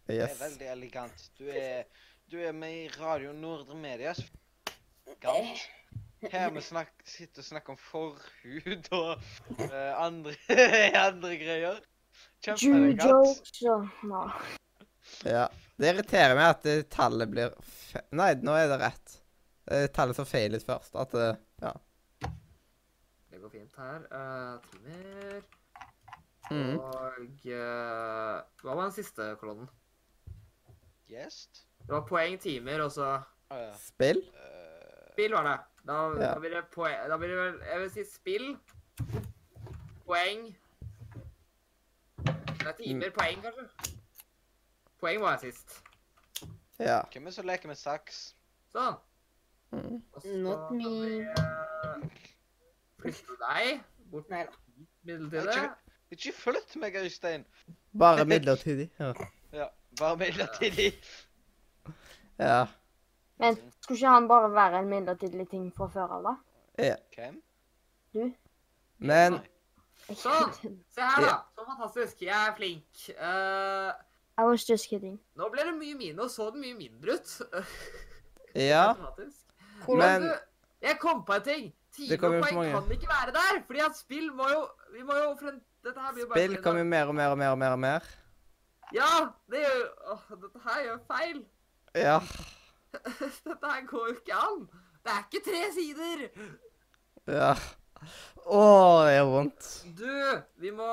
S4: Det
S3: Yes.
S4: er veldig elegant. Du er, du er med i Radio Nordre Medias. Galt. Her vi snak, sitter og snakker om forhud og eh, andre, andre greier.
S5: Jujo.
S4: Kjempeelegant.
S5: Så, no.
S3: Ja. Det irriterer meg at det tallet blir fe Nei, nå er det rett. Det er tallet som feilet først. At det Ja.
S1: Det går fint her. eh, timer
S3: Mm.
S1: Og eh, Hva var den siste kolonnen?
S4: Gjest?
S1: Det var poeng, timer, og så
S4: Å ja.
S3: Spill?
S4: Eh,
S1: Spill var det. Da,
S3: Ja.
S1: da blir det poeng Da blir det vel Jeg vil si spill. Poeng Det er timer.
S3: Mm.
S1: Poeng, kanskje. Poeng var jeg sist.
S3: Ja.
S4: Hvem er det som leker med saks?
S1: Sånn.
S3: Mm.
S1: Og så
S2: Not me.
S1: kan vi, eh, Flytte deg bort
S2: Neida.
S1: midlertidig.
S4: Ikke flytt meg, Øystein!
S3: Bare midlertidig. Ja.
S4: Ja, Bare midlertidig.
S3: Ja.
S5: Men skulle ikke han bare være en midlertidig ting fra før av, da?
S4: Hvem?
S3: Men
S5: Jeg-
S1: Sånn. Se her, da. Så fantastisk. Jeg er flink. Eh,
S5: I was just kidding.
S1: nå ble det mye minus. Så det mye mindre ut.
S3: ja.
S1: Automatisk.
S3: Men-
S1: du, jeg kom på en ting.
S3: Det kom jo for
S1: Tidepoeng
S3: mange.
S1: kan ikke være der, fordi at spill må jo Vi må jo for en, Dette her blir jo bare
S3: Spill kommer jo mer og mer og mer og mer. og mer.
S1: Ja! Det gjør jo Åh, dette her gjør feil.
S3: Ja.
S1: Dette her går jo ikke an. Det er ikke tre sider.
S3: ja. Å, det gjør vondt.
S1: Du, vi må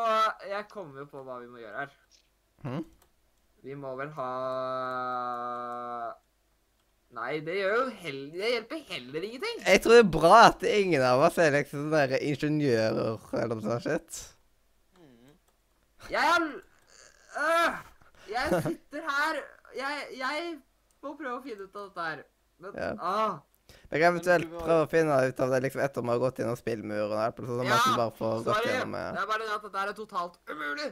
S1: Jeg kommer jo på hva vi må gjøre her.
S3: Mhm.
S1: Vi må vel ha Nei, det gjør jo heller Det hjelper heller ingenting.
S3: Jeg tror det er bra at ingen av oss er liksom sånne der ingeniører eller noe sånt. shit.
S4: Mm.
S1: Jeg har øh, Jeg sitter her jeg, jeg må prøve å finne ut av dette her. Men
S3: Ja.
S1: ah,
S3: Jeg kan eventuelt
S4: Men du har-
S3: prøve å finne ut av det liksom etter man har gått gjennom spillmuren. og alt, sånn at man bare får gått
S1: sorry.
S3: gjennom
S1: Det
S3: eh,
S1: er bare det at dette her er totalt umulig.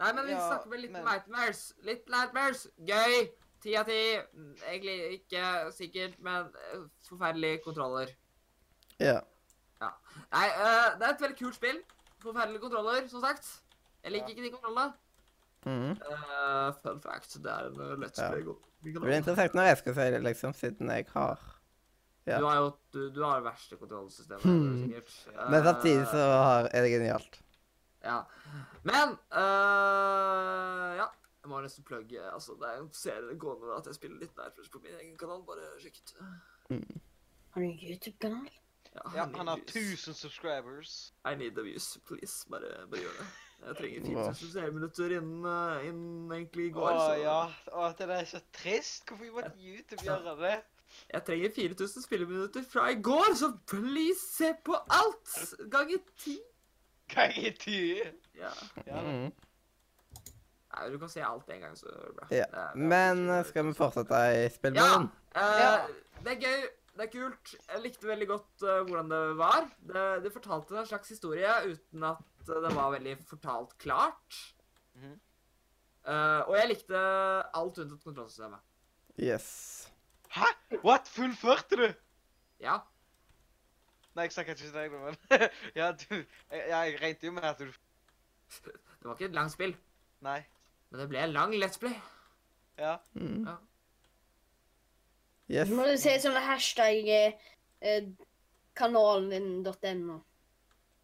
S1: Nei, men vi
S4: Ja,
S1: snakker med litt
S4: men-
S1: nightmares. Litt nightmares. Gøy. Ti av ti. Mm, Egentlig ikke sikkert, men eh, forferdelige kontroller.
S3: Ja.
S1: Nei, eh, det er et veldig kult spill. Forferdelige kontroller, som sagt. Jeg liker
S4: Ja.
S1: ikke de kontrollene.
S3: Mhm.
S1: Eh, fun fact, det er en eh, Let's
S3: Ja.
S1: Play.
S3: Det blir interessant når jeg skal si det, liksom, siden jeg har ja.
S1: Du har jo du, du har det verste kontrollsystemet.
S3: Hmm.
S1: sikkert.
S3: Men samtidig
S1: Eh,
S3: så har, er det genialt.
S1: Ja. Men øh, Ja. Jeg må nesten plugge altså, Det er en serie gående da, at jeg spiller litt nærmere på min egen kanal. Bare sjekk ut.
S2: Har du en YouTube-kanal?
S4: Ja, han har
S1: I need views.
S4: 1000 subscribers.
S1: I need the views, please. Bare, bare gjør det. Jeg trenger
S3: Wow.
S1: 4000 seerminutter innen, øh, innen egentlig i
S4: Å
S1: går. så
S4: ja. Å, det der er så trist. Hvorfor måtte YouTube gjøre det?
S1: Jeg trenger 4000 spilleminutter fra i går, så please se på alt! Ganger ti.
S4: Ganger ti.
S1: Ja.
S4: Ja, da.
S3: Mhm.
S1: Nei, du kan se alt en gang, så bra.
S3: Ja,
S1: Det er- det er
S3: Men
S1: ikke-
S3: eh, skal vi fortsette i spillmuren?
S1: Eh,
S4: Ja.
S1: Det er gøy, det er kult. Jeg likte veldig godt eh, hvordan det var. Det, det fortalte en slags historie uten at eh, det var veldig fortalt klart.
S4: Mhm.
S1: Eh, og jeg likte alt unntatt kontrollsystemet.
S3: Yes.
S4: Hæ? What? Fullførte du?
S1: Ja.
S4: Nei, jeg snakker ikke til deg nå, men Ja, du Jeg, jeg regnet jo med at du
S1: Det var ikke et langt spill,
S4: Nei.
S1: men det ble en lang Let's Play.
S4: Ja.
S3: Mhm.
S1: Ja.
S3: Yes.
S2: Må du si sånn hashtag eh, eh, kanalen din .no.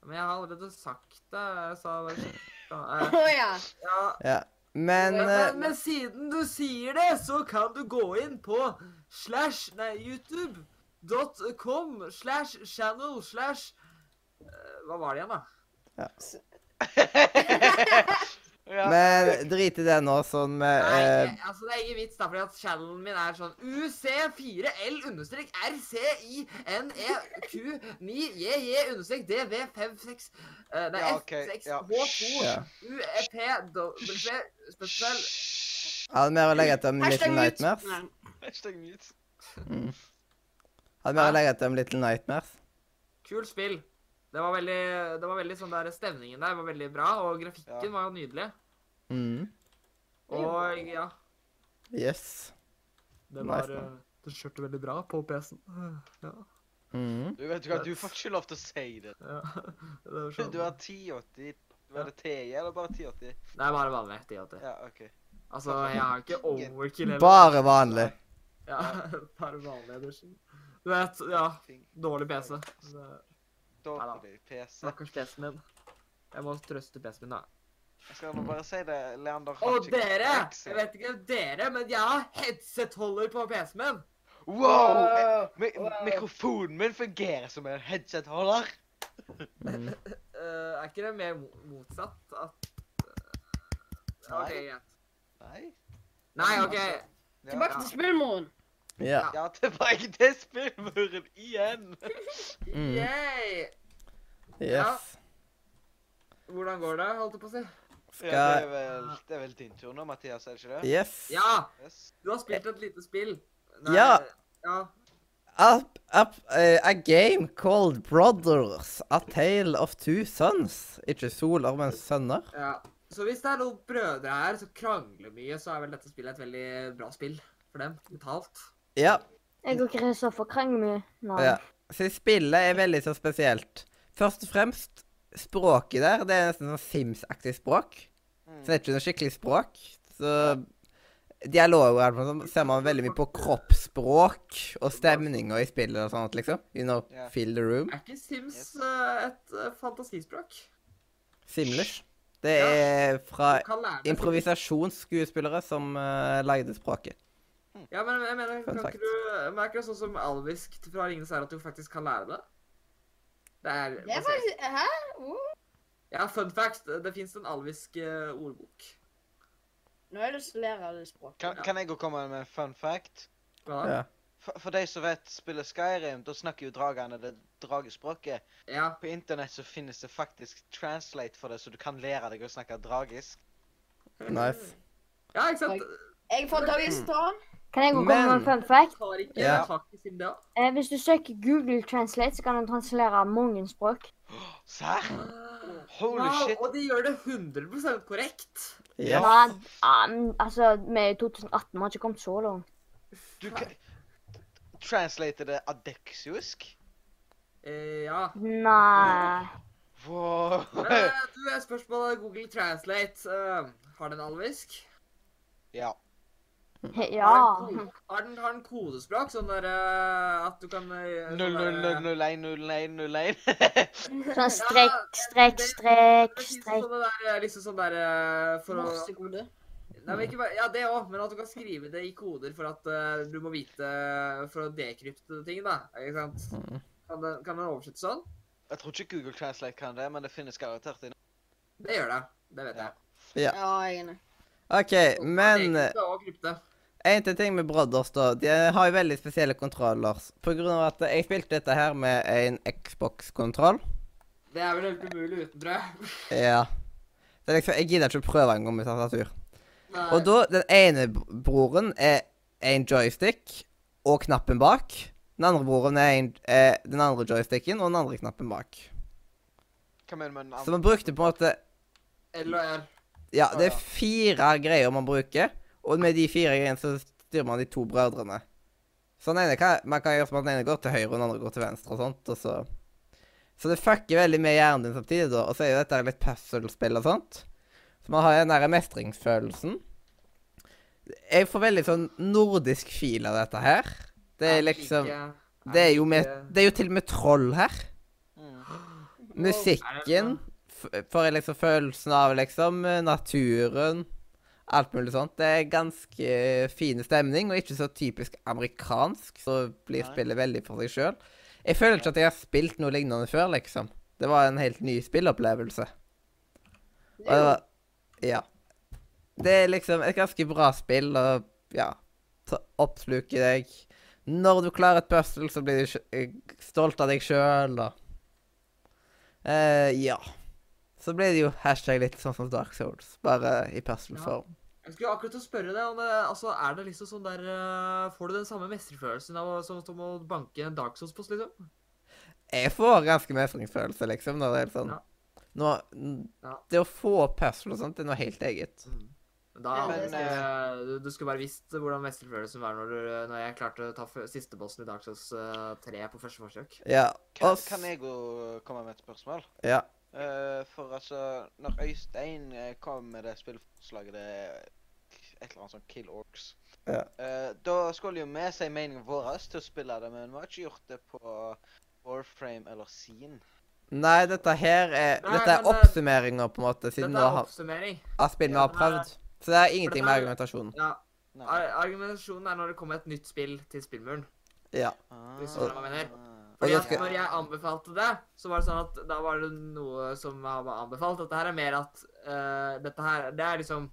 S1: Men jeg har allerede sagt det. Jeg sa bare
S2: Å
S1: sjekka, eh,
S2: ja.
S1: ja.
S3: Ja. Men
S1: Men,
S3: eh,
S1: men, men siden du sier det, så kan du gå inn på slash, nei, youtube.com slash channel slash eh, Hva var det igjen, da?
S4: ja.
S3: Men drit i det nå, sånn med
S1: Nei,
S3: eh,
S1: jeg- altså Det er ingen vits, da, fordi at channelen min er sånn UC4L understrek RCINEQ9JJ understrek DV56 eh, Nei,
S4: Ja, ok, ja.
S3: Ja.
S1: F6H2UEP spørsmål
S3: Hadde mer å legge etter om Little Nightmares?
S2: Nei.
S4: Hashtag mute.
S3: Hadde mer å legge etter om Little Nightmares?
S1: Kult spill. Det var veldig, det var veldig sånn der, Stemningen der var veldig bra, og grafikken
S4: Ja.
S1: var jo nydelig.
S3: Mhm.
S1: Og ja,
S3: Yes.
S1: det
S3: Nice,
S1: var
S3: da.
S1: eh, Det kjørte veldig bra på PC-en. Ja.
S3: Mhm.
S4: Du vet du hva, du får ikke lov til å si det.
S1: ja. Det var sånn.
S4: Du har 1080. Var det TI eller bare 1080?
S1: Det er bare vanlig. 10 av 10.
S4: Ja, OK.
S1: Altså, jeg har ikke overkill heller.
S3: Bare vanlig.
S1: Ja, bare vanlig edition. Du vet, ja.
S4: Ting.
S1: Dårlig PC. Så,
S4: Dårlig PC.
S1: Stakkars PC-en min. Jeg må trøste PC-en min, da.
S4: Jeg skal nå bare si det, Leander har
S1: Og
S4: ikke
S1: dere!
S4: Excel.
S1: Jeg vet ikke om dere, men jeg har headset-holder på PC-en min.
S4: Wow! Eh,
S2: Wow.
S4: Mi Mikrofonen min fungerer som en headset-holder.
S3: Mhm.
S1: Eh, er ikke det mer mo- motsatt? At eh,
S4: Nei.
S1: OK, greit.
S4: Nei.
S1: Nei, OK.
S4: Ja,
S2: Tilbake til spillmoren.
S3: Ja.
S4: ja tilbake til spillmuren igjen.
S3: Mm.
S1: Yay!
S3: Yes.
S1: Hvordan går det, holdt jeg på å si?
S4: Ja, det, er
S3: Skal
S4: vel, det er vel din tur nå, Mathias, er det ikke det?
S3: Yes.
S1: Ja,
S4: Yes.
S1: du har spilt et lite spill.
S3: Ja.
S1: ja.
S3: Up, up, eh, a game called Brothers, A Tale of Two Sons. Ikke soler, men sønner.
S1: Ja. Så hvis det er noen brødre her som krangler mye, så er vel dette spillet et veldig bra spill for dem, mentalt.
S3: Ja.
S5: Jeg og Kristoffer krangler mye. Nei.
S3: ja. Så spillet er veldig så spesielt. Først og fremst språket der. Det er nesten sånn Sims-aktig språk.
S4: Mm.
S3: Så det er ikke noe skikkelig språk. Så dialoger er det sånn, ser man veldig mye på kroppsspråk og stemninger i spillet og sånt, liksom. You know,
S4: Ja.
S3: feel the room.
S1: Er ikke Sims eh, et eh, fantasispråk?
S3: Simlish. Det er fra
S1: Kan lære deg-
S3: improvisasjonsskuespillere som eh, lagde språket.
S1: Ja, men jeg mener,
S3: Fun
S1: kan
S3: fact.
S1: ikke du men er ikke det sånn som alvisk fra Ringenes herre at du faktisk kan lære det? Det er,
S2: Det er faktisk Hæ? Oh.
S1: Ja, fun fact. Det fins en alvisk eh, ordbok.
S2: Nå har jeg lyst til å lære det språket.
S4: Kan, kan jeg gå komme med en fun fact?
S1: Hva da?
S3: Ja.
S4: For, for de som vet spillet Skyrim, da snakker jo dragene det dragespråket.
S1: Ja.
S4: På internett så finnes det faktisk translate for det, så du kan lære deg å snakke dragisk.
S3: Nice.
S1: Ja, ikke sant?
S2: Jeg får tak i stan.
S5: Kan jeg gå og komme med
S3: Men-
S5: en fun fact?
S1: Har ikke
S3: Ja.
S1: tak i sin da.
S5: Eh, hvis du søker Google Translate, så kan du translere mange språk.
S4: Serr? Holy
S1: Wow,
S4: shit.
S1: og de gjør det 100 korrekt.
S3: Ja.
S5: Ja, ja, men, altså, vi er i 2018, vi har ikke kommet så langt.
S4: Du kan Translate det adeksiosk?
S1: Eh, ja.
S5: Nei.
S4: Wow.
S1: Men eh, du, et spørsmål av Google Translate. eh, har den alvisk?
S4: Ja.
S5: Ja.
S1: Har den, ko- har den, har den kodespråk? Sånn der eh, at du kan eh, sånn der, eh,
S4: 00010101.
S5: Sånn strekk, strekk, strekk,
S1: det finnes
S5: strekk.
S1: sånne der, eh, liksom sånn der eh, for å,
S2: Morsekode.
S1: nei, men ikke bare, Ja, det òg, men at du kan skrive det i koder for at eh, du må vite eh, For å dekrypte ting, da. Ikke sant?
S3: Mhm.
S1: Kan den, kan den oversette sånn?
S4: Jeg tror ikke Google Translate kan det, men det finnes garantert inne.
S1: Det gjør det. Det vet
S4: Ja.
S1: jeg.
S2: Ja, jeg er enig.
S3: OK, men
S1: Dekrypte og krypte.
S3: En til ting med Brothers, da. De har jo veldig spesielle kontroller. På grunn av at jeg spilte dette her med en Xbox-kontroll.
S1: Det er vel helt umulig uten, tror jeg.
S3: Ja. Det er liksom, Jeg gidder ikke å prøve engang med tastatur.
S1: Nei.
S3: Og da, den ene br- broren er en joystick og knappen bak. Den andre broren er, en, er den andre joysticken og den andre knappen bak.
S4: Hva mener du med den
S3: Så
S4: andre?
S3: man brukte på en måte
S1: L og R.
S3: Ja, det er fire greier man bruker, og med de fire greiene så styrer man de to brødrene. Så den ene kan, man kan gjøre som at den ene går til høyre, og den andre går til venstre og sånt, og så Så det fucker veldig med hjernen din samtidig, da. Og så er jo dette litt puzzle-spill og sånt. Så man har den derre mestringsfølelsen. Jeg får veldig sånn nordisk fil av dette her. Det er liksom Det er jo, med, det er jo til og med troll her.
S4: Mm.
S3: Musikken f- får jeg liksom følelsen av, liksom. eh, Naturen. Alt mulig sånt. Det er ganske fin stemning, og ikke så typisk amerikansk. Så blir
S4: Nei.
S3: spillet veldig for seg sjøl. Jeg føler ikke at jeg har spilt noe lignende før, liksom. Det var en helt ny spillopplevelse. Og det var Ja. Det er liksom et ganske bra spill, og ja ta- Oppsluker deg. Når du klarer et puzzle, så blir du sj- eh, stolt av deg sjøl, og Eh, ja. Så ble det jo hashtag litt sånn som Dark Souls, bare i puzzle-form.
S1: Jeg skulle akkurat til å spørre deg om det, altså, er det liksom sånn der eh, Får du den samme mestringsfølelsen av å- som, som å banke en Dark Souls-post, liksom?
S3: Jeg får ganske mestringsfølelse, liksom, når det er sånn
S1: Ja.
S3: nå, n-
S1: Ja.
S3: Det å få puzzle og sånt, det er noe helt eget.
S1: Men Mm. Da,
S2: Ja,
S1: men,
S4: det skal-
S1: eh, du, du skulle bare visst hvordan mestringsfølelsen var når, du, når jeg klarte å ta f siste bossen i Dark Souls eh, 3 på første forsøk.
S3: Ja.
S4: Kan,
S3: og s-
S4: kan jeg jo komme med et spørsmål?
S3: Ja.
S4: Eh, for altså, når Øystein eh, kom med det spillforslaget det er Et eller annet sånn Kill Orcs.
S3: Ja.
S4: Eh, da skulle jo vi si meningen vår til å spille det, men vi har ikke gjort det på Warframe eller Scene.
S3: Nei, dette her er
S1: Nei,
S3: Dette er
S1: men, eh,
S3: oppsummeringa, på en måte, siden
S1: Dette
S3: nå
S1: er
S3: har,
S1: oppsummering.
S3: av spill vi har
S1: Ja, men, eh,
S3: prøvd. Så det er ingenting med
S1: dette er-
S3: argumentasjonen.
S1: Ja,
S4: Nei.
S1: ar argumentasjonen er når det kommer et nytt spill til spillmuren.
S3: Ja.
S1: Hvis du skjønner hva jeg
S4: Ah.
S1: Fordi
S3: da
S1: at
S3: skal-
S1: når jeg anbefalte det, så var det sånn at da var det noe som var anbefalt. Dette her er mer at eh, dette her Det er liksom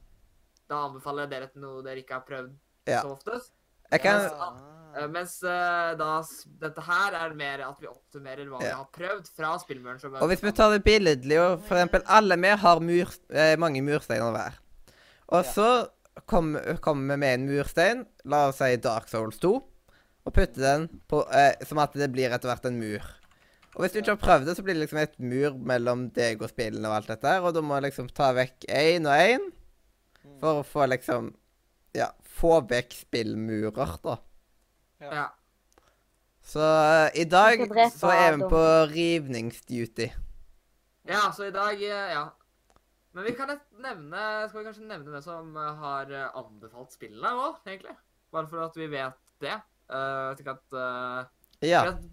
S1: Da anbefaler jeg dere til noe dere ikke har prøvd
S3: Ja.
S1: så oftest.
S3: Jeg kan
S4: Ah.
S1: Eh, mens eh, da s- Dette her er mer at vi oppsummerer hva vi
S3: Ja.
S1: har prøvd fra spillmuren. som-
S3: Og hvis vi tar det billedlig, og for eksempel alle vi har mur, eh, mange mursteiner hver. Og
S4: Ja.
S3: så kom- kommer vi med en murstein, la oss si Dark Souls 2, og putter den på, eh, som at det blir etter hvert en mur. Og hvis du ikke har prøvd det, så blir det liksom et mur mellom deg og spillene og alt dette her, og du må liksom ta vekk én og én
S1: Mm.
S3: for å få liksom Ja, få vekk spillmurer, da.
S1: Ja.
S3: Så eh, i dag
S5: skal drepe
S3: så er vi
S5: Adam.
S3: på rivningsduty.
S1: Ja, så i dag eh, Ja. Men vi kan et- nevne Skal vi kanskje nevne det som eh, har eh, anbefalt spillene òg, egentlig? Bare for at vi vet det. Uh, slik at eh,
S3: Ja.
S1: for at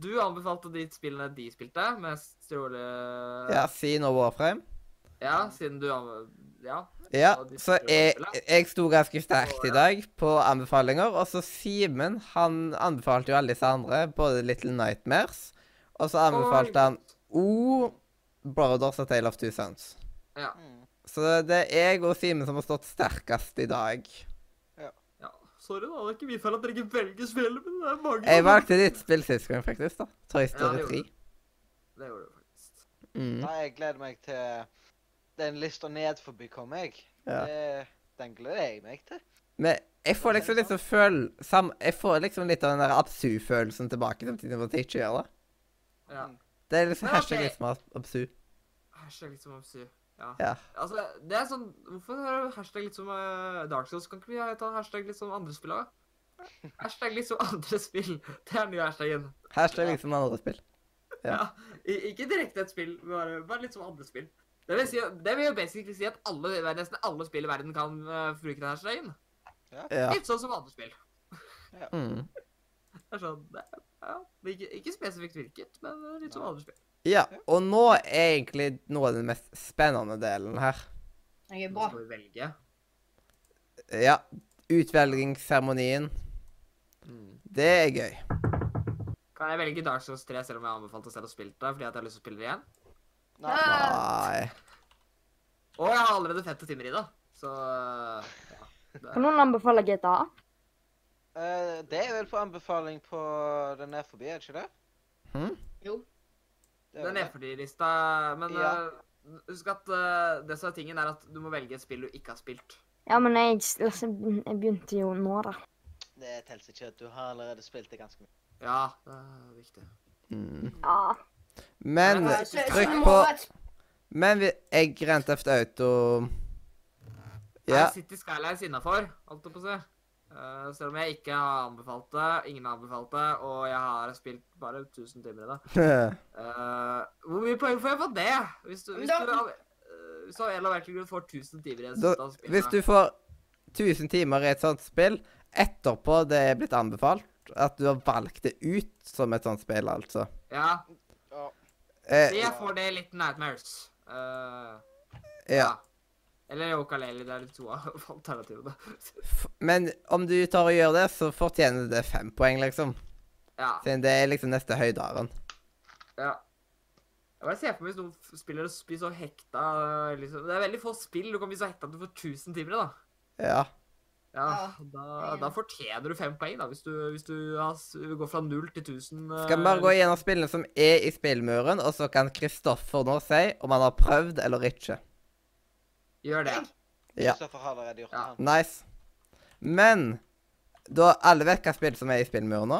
S1: Du anbefalte de spillene de spilte, mest trolig eh,
S3: ja Sin og Warframe.
S1: Ja, siden du anbe- Ja.
S3: Ja,
S1: Og de
S3: så
S1: spiller
S3: jeg,
S1: spillet.
S3: jeg sto ganske sterkt i dag på anbefalinger. Og så Simen, han anbefalte jo alle disse andre, både Little Nightmares, og så anbefalte han O, Brothers og Tale of Two Sons.
S1: Ja.
S4: Mm.
S3: Så det er jeg og Simen som har stått sterkest i dag.
S1: ja. Sorry, da. Det er ikke min feil at dere ikke velger spill, men det er mange
S3: Jeg
S1: som-
S3: valgte ditt spill sist gang, faktisk. da. Toy Story
S1: gjorde
S3: 3.
S1: Det gjorde du faktisk.
S3: Mm.
S4: Nei, jeg gleder meg til den lista nedenfor kommer jeg.
S3: Ja.
S4: Det- Den gleder jeg meg til.
S3: Men jeg får liksom litt sånn føl... Sam, jeg får liksom litt av den der absu-følelsen tilbake, samtidig som at jeg ikke gjør det.
S1: Ja.
S3: Det er liksom
S1: Men altså,
S3: hashtag liksom absu.
S1: Hashtag litt som Absu. Ja.
S3: Ja.
S1: Altså, det er sånn Hvorfor har du hashtag litt som eh, Dark Souls? Kan ikke vi ha- ta hashtag litt som andre spill òg? Hashtag litt som andre spill. Det er den nye hashtagen.
S3: Hashtag
S4: Ja.
S3: liksom andre spill.
S1: Ja.
S3: Ja.
S1: I, ikke direkte et spill, bare, bare litt som andre spill. Det vil, si, det vil jo basically si at alle, nesten alle spill i verden kan eh, bruke den hashtagen.
S3: Ja.
S1: Litt sånn som andre spill.
S3: Mm.
S1: Det er sånn, det, er- ja, det er ikke, ikke spesifikt virket, men eh, litt som andre spill.
S3: ja. Og nå er egentlig noe av den mest spennende delen her.
S2: Jeg er
S1: Nå
S2: bra.
S1: skal vi velge.
S3: Ja. Utvelgingsseremonien. Det er gøy.
S1: Kan jeg velge Dark Souls 3 selv om jeg anbefalte selv å spille det? fordi at jeg har lyst til å spille det igjen?
S2: Ah.
S3: Nei.
S1: Og jeg har allerede 50 timer i det, så ja.
S5: Kan noen anbefale GTA?
S4: Eh, det er vel på anbefaling på den nedenfor, er det ikke det?
S3: Hm?
S2: Jo.
S4: Det
S1: Den
S4: er vel det.
S1: nedfordyrlista Men
S4: Ja.
S1: eh, husk at eh, det som er tingen, er at du må velge et spill du ikke har spilt.
S5: Ja, men jeg, altså, jeg begynte jo nå, da.
S4: Det teller ikke at du har allerede spilt det ganske mye.
S1: Ja, det er viktig.
S3: Mm.
S5: Ja.
S3: Men
S1: Men,
S2: Så- så det
S3: trykk
S2: må
S3: på
S2: være et
S3: Men vi, jeg Grand Theft Auto Ja.
S1: Er City Skylines innafor, holdt jeg på å si. Eh, selv om jeg ikke har anbefalt det, ingen har anbefalt det, og jeg har spilt bare 1000 timer i det. Eh, hvor mye poeng får jeg for det? Hvis du,
S2: Men
S1: hvis
S2: da-
S1: du, har- eh, hvis du av en eller annen merkelig grunn får 1000 timer i et
S3: Da,
S1: sånt av spillet.
S3: hvis du får 1000 timer i et sånt spill, etterpå det er blitt anbefalt at du har valgt det ut som et sånt spill, altså.
S1: Ja,
S4: Ja.
S3: Eh,
S1: Jeg får det litt Nightmares. Eh,
S3: ja.
S1: Eller Yokaleli. Det er de to av alternativene.
S3: F- Men om du tar og gjør det, så fortjener det fem poeng, liksom.
S1: Ja.
S3: Siden det er liksom neste høydaren.
S1: ja. Jeg bare ser for meg hvis noen f- spiller og blir så hekta liksom. Det er veldig få spill du kan bli så hekta at du får 1000 timer i, da.
S3: Ja.
S1: Ja,
S2: Ja,
S1: da, da fortjener du fem poeng, da, hvis du, hvis du har, s- går fra null til 1000. eh,
S3: Skal vi bare gå gjennom spillene som er i spillmuren, og så kan Kristoffer nå si om han har prøvd eller ikke.
S1: Gjør det.
S3: Ja.
S4: Kristoffer har allerede gjort det.
S1: Ja.
S4: han.
S3: Nice. Men da alle vet hva spill som er i spillmuren nå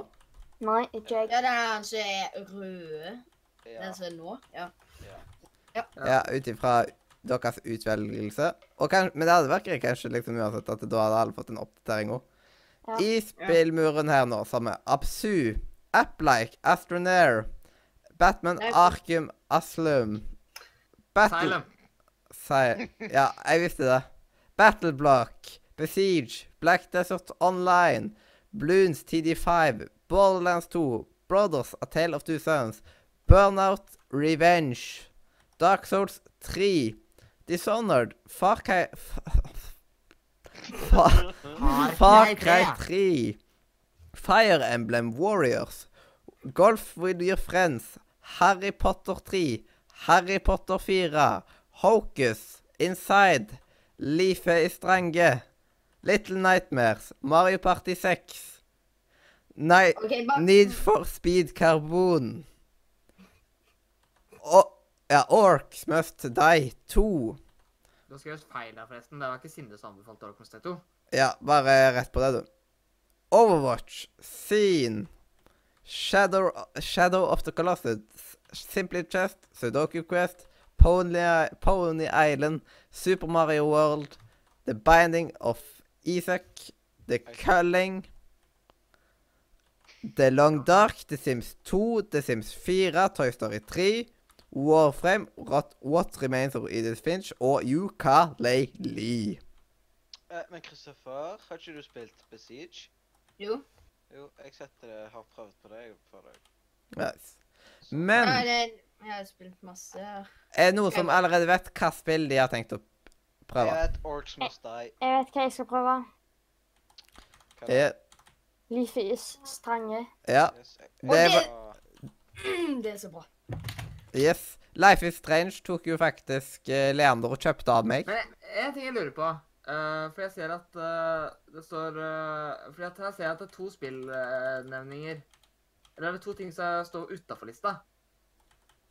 S5: Nei, ikke jeg.
S2: Ja, det er han som er rød.
S4: Ja.
S2: Den som er nå. Ja.
S1: Ja.
S3: Ja, ut ifra deres utvelgelse. Og kan, men det hadde vært greit kanskje liksom uansett at da hadde alle fått en oppdatering òg.
S5: Ja.
S3: I spillmuren her nå, som er Absu, Applike, Astronair, Batman
S2: Nei.
S3: Arkham Aslum Battle
S1: Silent.
S3: Si... Ja, jeg visste det. Battle Block, Besiege, Black Desert Online, Bloons TD5, Borderlands 2, Brothers A Tale of Two Sons, Burnout Revenge, Dark Souls 3, Dishonored, Far Cry F- Far, Far Cry 3, Fire Emblem Warriors, Golf with your friends, Harry Potter 3, Harry Potter 4, Hocus, Inside, Livet i Strange, Little Nightmares, Mario Party 6, Nei,
S2: Ok, bare...
S3: Need for Speed Carbon, O- ja, Orcs Must Die 2.
S1: Du har skrevet feil der, forresten. Det var ikke Sinde som anbefalte Orkons Teto.
S3: Ja, bare rett på det, du. Overwatch, Scene, Shadow, Shadow of the Colossus, Simply Chest, Sudoku Quest, Pony, Pony Island, Super Mario World, The Binding of Isaac, The Culling, The Long Dark, The Sims 2, The Sims 4, Toy Story 3, Warframe, Rot- What Remains of Edith Finch og Ukulele.
S4: Eh, men Kristoffer, har ikke du spilt Besiege?
S2: Jo.
S4: Jo, jeg setter det, har prøvd på det jeg før. jeg-
S3: Yes.
S4: Så-
S3: Men
S2: Nei, det, jeg har spilt masse. her.
S3: er det noen som allerede vet hva spill de har tenkt å
S4: Jeg
S3: prøve?
S4: vet Orcs Must Die.
S5: Jeg vet hva jeg skal prøve.
S4: Hva
S3: Ja,
S5: Leafys strange.
S3: ja.
S4: Yes, jeg-
S3: Det er
S4: jeg-
S2: Mm, Det er så bra.
S3: Yes. Life is Strange tok jo faktisk eh, Leander og kjøpte av meg.
S1: Men en ting jeg lurer på. eh, for jeg ser at eh, det står eh, For jeg, jeg ser at det er to spillnevninger. Eller er det to ting som står utafor lista?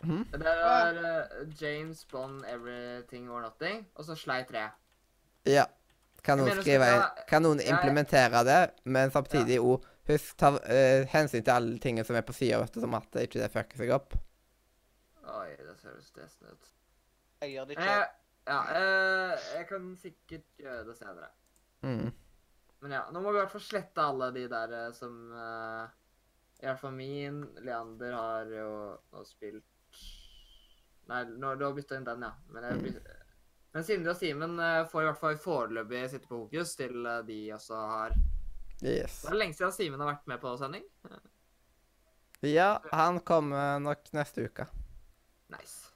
S3: Mhm.
S1: Det er eh, James Bond Everything or Nothing, og så Slei 3.
S3: Ja. Kan
S1: Jeg
S3: noen,
S1: mener,
S3: skrive,
S1: skal jeg-
S3: kan noen
S1: jeg-
S3: implementere det, men samtidig òg husk ta eh, hensyn til alle tingene som er på sida, som at det ikke det fucker seg opp.
S1: Oi, det høres stressende ut.
S4: Jeg gjør det
S1: Eh,
S4: ikke.
S1: ja, eh, jeg kan sikkert gjøre det senere.
S3: Mm.
S1: Men ja, nå må vi i hvert fall slette alle de der eh, som eh, I hvert fall min. Leander har jo nå spilt Nei, nå, du har bytta inn den, ja. Men, jeg, byt- men Sindre og Simen eh, får i hvert fall foreløpig sitte på fokus til eh, de også har Det
S3: Yes.
S1: er lenge siden Simen har vært med på sending.
S3: Ja, han kommer nok neste uke.
S1: Nice.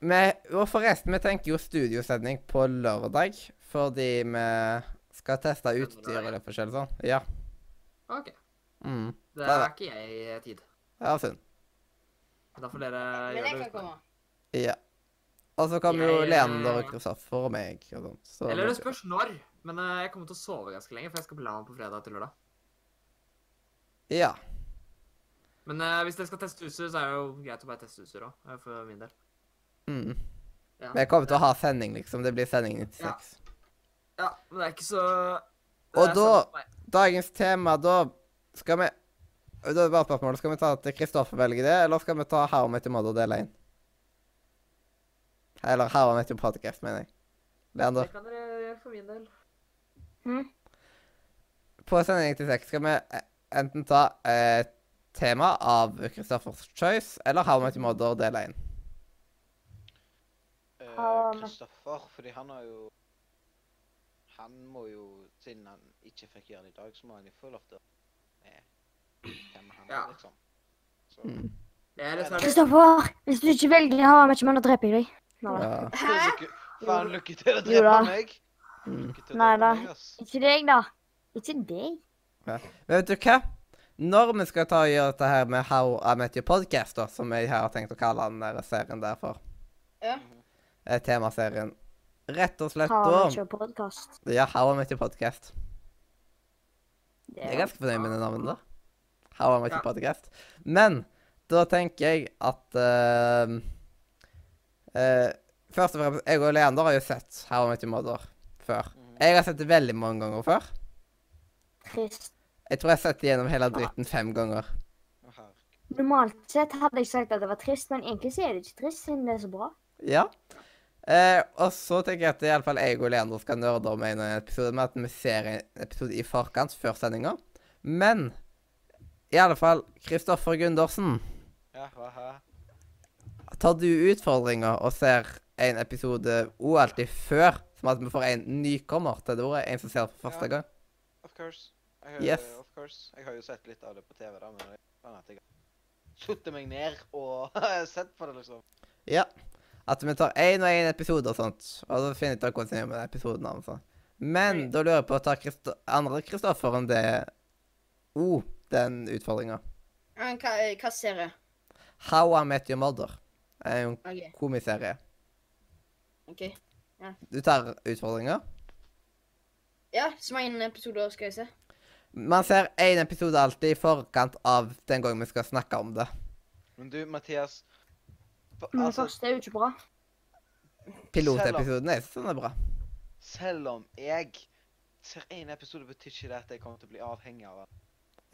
S3: Vi, og forresten, vi tenker jo studiosending på lørdag, fordi vi skal teste utstyr og det forskjellige sånn. Ja.
S1: OK.
S3: Mm.
S1: Det
S3: Da-
S1: er ikke jeg eh, tid.
S3: Ja, synd.
S1: Da får dere
S2: Men
S1: gjøre det
S2: jeg
S1: uten
S2: kan
S1: meg.
S2: komme.
S3: Ja. Og så kommer jo
S1: Jeg, eh,
S3: Leander og Kristoffer og meg og sånt. Så
S1: Eller det spørs når. Men eh, jeg kommer til å sove ganske lenge, for jeg skal på LAN på fredag til lørdag.
S3: Ja.
S1: Men eh, hvis dere skal teste utstyr, så er det jo greit å bare teste utstyr òg, for min del.
S3: Mm.
S1: Ja.
S3: Vi kommer til å ha sending, liksom. Det blir sending 96.
S1: Ja, men det er ikke så det
S3: Og da-
S1: er sånn for meg.
S3: Dagens tema, da skal vi Da er det bare spørsmålet. Skal vi ta at Kristoffer velger det, eller skal vi ta How I Met Your Mother del 1? Eller How I Met Your Podcast, mener jeg. Leander,
S1: Det kan dere gjøre for min del.
S3: på sending 96 skal vi eh, enten ta eh, tema av Kristoffers choice eller How I Met Your Mother del 1.
S4: Eh,
S5: Ah, men-
S4: Kristoffer, fordi han har jo Han må jo Siden han ikke fikk gjøre det i dag, så må han jo få lov til å eh, Hvem han
S1: Ja.
S4: er, liksom. Så
S3: Mm.
S1: Det er litt sånn
S5: Kristoffer, hvis du ikke velger How I Met Your Mother, dreper jeg deg. Nei da.
S3: Ja.
S2: Hæ?
S4: Lykke- Faen, lykke til å
S5: Jo
S4: drepe
S5: da.
S4: meg!
S3: Mm.
S4: Lykke til å
S5: Nei
S4: drepe
S5: da.
S4: meg, ass.
S5: Ikke deg, da. Ikke deg.
S3: Men vet du hva? Når vi skal ta og gjøre dette her med How I Met Your Podcast, da, som jeg har tenkt å kalle den der serien der for,
S2: Ja.
S3: eh, temaserien Rett og slett
S5: How I Met
S3: da
S5: Your Podcast.
S3: Ja, How I Met Your Podcast. Jeg er
S5: Det-
S3: ganske fornøyd med det navnet, da. How I Met Your Podcast. Men da tenker jeg at eh, eh, Først og fremst, jeg og Leander har jo sett How I Met Your Mother før.
S4: Mhm.
S3: Jeg har sett det veldig mange ganger før.
S5: Trist.
S3: Jeg tror jeg har sett det gjennom hele dritten fem ganger.
S4: Å, herregud.
S5: Normalt sett hadde jeg sagt at det var trist, men egentlig så er det ikke trist, siden det er så bra.
S3: Ja. Eh, og så tenker jeg at iallfall jeg og Leander skal nerde om en episode med at vi ser en episode i forkant, før sendinga. Men i alle fall, Kristoffer Gundersen,
S4: Ja, hva her?
S3: tar du utfordringa og ser en episode òg alltid før, som at vi får en nykommer til det ordet? En som ser for første
S4: Ja.
S3: gang?
S4: Of course. Jeg har,
S3: Yes.
S4: of course. Jeg har jo sett litt av det på TV, da, men det er sånn at jeg har satt meg ned og sett på det, liksom.
S3: Ja. At vi tar én og én episode og sånt, og så finner vi ut hvordan vi gjør med den episoden. Altså. Men da lurer jeg på å ta Christo andre Kristoffer enn det O, den utfordringa.
S2: Men hva, eh, hva ser jeg?
S3: How I Met Your Mother er jo en
S2: OK.
S3: komiserie.
S2: ok.
S3: Du tar utfordringer.
S2: Ja, så mange episoder skal jeg se?
S3: Man ser én episode alltid i forkant av den gangen vi skal snakke om det.
S4: Men du, Mathias for,
S5: Men det
S4: altså,
S5: første er jo ikke bra.
S3: Pilotepisoden er sånn er bra.
S4: Selv om jeg ser en episode, betyr ikke det at jeg kommer til å bli avhengig av den.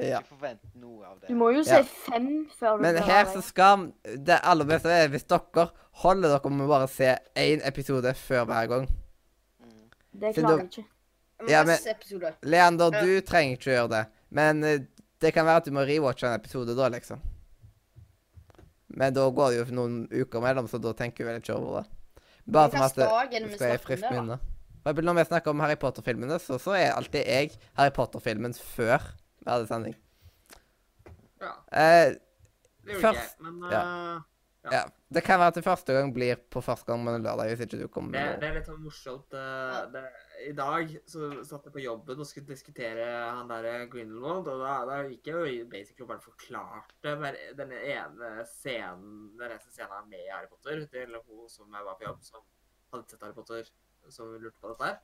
S3: Ja.
S4: Ikke forvent noe av det.
S5: Du må jo si
S3: Ja.
S5: fem før du
S3: Men
S5: drar
S3: her
S5: deg.
S3: så skal Det aller beste er hvis dere holder dere med å bare se én episode før hver gang.
S4: Mm.
S5: Det
S3: Siden
S5: klarer
S3: du-
S5: jeg ikke.
S3: Ja,
S2: Ja,
S3: men-
S2: Masse episoder.
S3: Leander, du trenger ikke å gjøre det. Men eh, det kan være at du må rewatche en episode da, liksom. Men da går det jo noen uker mellom, så da tenker vi vel ikke over det. Bare som
S2: Vi kan
S3: at det
S2: spare gjennom å
S3: skal jeg
S2: snakke om
S3: friskt
S2: det, da.
S3: minne. Og Når vi snakker om Harry Potter-filmene, så, så er alltid jeg Harry Potter-filmen før vi hadde sending.
S1: Ja,
S3: Eh,
S1: det gjorde ikke jeg,
S3: Først-
S1: men eh,
S3: ja. Det kan være at det første gang blir på første gang på en lørdag, hvis ikke du kommer
S1: det,
S3: med
S1: det
S3: noe.
S1: er litt sånn morsomt. eh, det, I dag så satt jeg på jobben og skulle diskutere han der Grindelwald, og da, da gikk jeg jo i- basically og bare forklarte hver- denne ene scenen den eneste scenen han er med i Harry Potter, til hun som jeg var på jobb, som hadde sett Harry Potter, som lurte på dette her.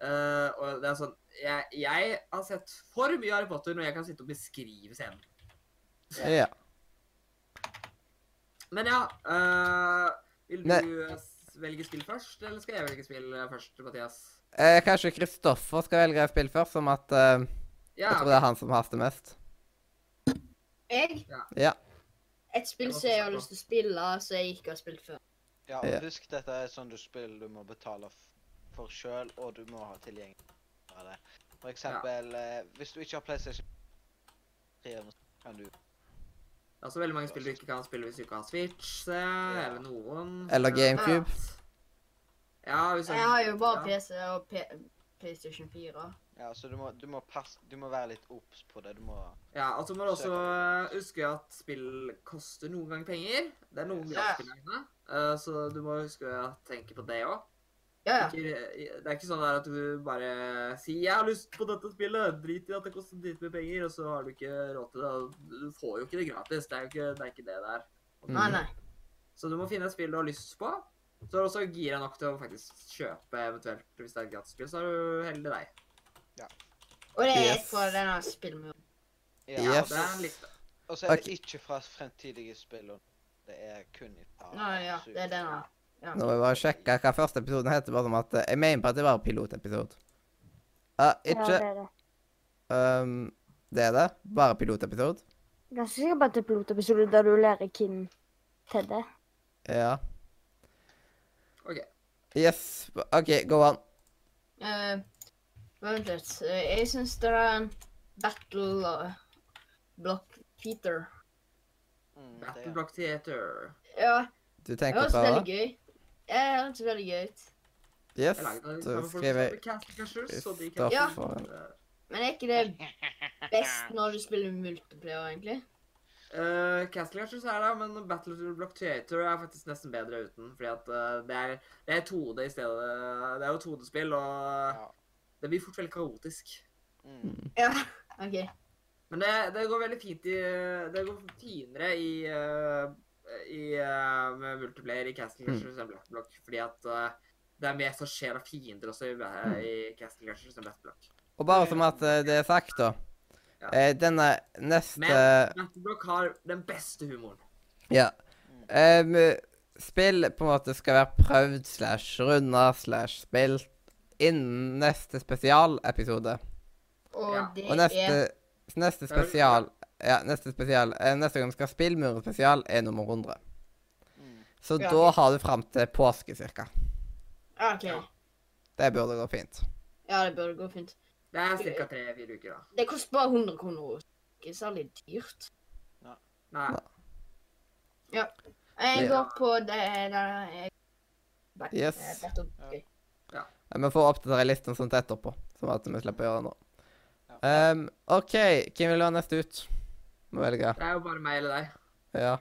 S1: Eh, og det er sånn, jeg, jeg har sett for mye Harry Potter når jeg kan sitte og beskrive scenen.
S3: Ja.
S1: Men ja, øh, vil du
S3: Nei.
S1: s- velge spill først, eller skal jeg velge spill øh, først, Mathias?
S3: Eh, kanskje Kristoffer skal velge et spill først, som at eh,
S1: Ja,
S3: Jeg tror det er han som haster mest.
S2: Jeg,
S3: Ja.
S2: et spill som jeg har lyst til å spille, som jeg ikke har spilt før.
S4: Ja, og
S3: Ja.
S4: husk dette er sånn du spiller du må betale f- for sjøl, og du må ha tilgjengelig av det. For eksempel, eh, hvis du ikke har PlayStation 3, eller noe sånt, kan du
S1: det er også altså, veldig mange spill du ikke kan spille hvis du ikke har Switch, eh, eller noen.
S3: Eller
S1: Ja.
S3: GameCube.
S1: Ja, hvis
S2: Jeg har jo bare PC og P PlayStation 4.
S4: Ja, så du må, du må passe Du må være litt obs på det. Du må
S1: Ja, og så må du også øh, huske at spill koster noen ganger penger. Det er noen
S4: Ja.
S1: gratisspillene, uh, så du må huske å tenke på det også.
S2: Ja, ja.
S1: Ikke, det er ikke sånn der at du bare sier 'jeg har lyst på dette spillet', drit i at det koster dritmye penger, og så har du ikke råd til det. og Du får jo ikke det gratis. Det er jo ikke det er ikke det det er.
S3: Mm.
S2: Nei, nei.
S1: Så du må finne et spill du har lyst på. Så er du også gira nok til å faktisk kjøpe, eventuelt hvis det er et gratisspill, så er du heldig deg.
S2: Og det er et
S3: Yes.
S2: fra denne spillmuren.
S1: Ja,
S3: Yes.
S1: det er en liste.
S4: Og så er
S3: Ok.
S4: det ikke fra fremtidige spill. og Det er kun fra
S2: Nei, ja, det er denne. Ja.
S3: Nå må vi bare sjekke hva første episoden heter. bare som at eh, Jeg mener på at det var en pilotepisode. Ja,
S5: Ja, det
S3: ikke
S5: er det.
S3: um, Det er det. Bare pilotepisode.
S5: Jeg er Ganske sikker på at det er pilotepisode der du lærer Kim til det.
S3: Ja.
S1: OK.
S3: Yes. OK, go on.
S2: Eh, vent litt. Eh, Jeg syns det er en battle eh, block Peter.
S4: Mm, det
S1: Battle
S4: er-
S1: Block Theater.
S2: Ja,
S3: Du
S2: det
S3: tenker
S2: høres
S3: på
S2: veldig
S3: det?
S2: gøy. Ja, det høres veldig gøy ut.
S3: Yes.
S1: Jeg laget
S3: Da
S1: det sammen med folk som
S3: skriver
S1: hadde Castle Crushers, så de
S3: Kristoffer.
S1: kan-
S2: Men er ikke det best når du spiller multiplayer, egentlig?
S1: Eh, Castle Crushers er det, men Battle of the Block Theater er faktisk nesten bedre uten. Fordi at eh, det er, det er 2D i stedet. Det er jo 2D-spill, og
S4: Ja.
S1: det blir fort veldig kaotisk.
S4: Mm.
S2: Ja. OK.
S1: Men det, det går veldig fint i Det går finere i, eh, i eh, med multiplayer i Castle Crushers enn Black Block. Fordi at eh, det er mer som skjer av fiender også i, i Castle Crushers enn Black Block.
S3: Og bare som at eh, det er sagt, da.
S1: Ja.
S3: Eh, Denne neste
S1: Men- Battle Block har den beste humoren.
S3: Ja. Um, spill på en måte skal være prøvd slash runda slash spilt innen neste spesialepisode.
S2: Og
S1: Ja.
S2: det
S3: Og neste,
S2: er
S3: neste
S1: Det er vel-
S3: spesial Ja, neste spesial eh, Neste gang vi skal spille Muren spesial, er nummer 100.
S4: Mm.
S3: Så
S2: Ja.
S3: da har du fram til påske, cirka.
S2: Ja, OK.
S3: Det burde gå fint.
S2: Ja, det burde gå fint.
S1: Det er ca. tre-fire uker, da.
S2: Det koster bare 100 kroner. Ikke særlig dyrt.
S1: Nei.
S2: Jeg
S3: Ja.
S2: går på det der jeg- Back-
S3: Yes.
S2: eh, battle.
S4: Ja.
S3: Eh, Vi får oppdatere listen sånt etterpå, sånn at vi slipper å gjøre det nå. Um, OK, hvem vil være neste ut? Må velge.
S1: Det er jo bare meg eller deg.
S3: Ja.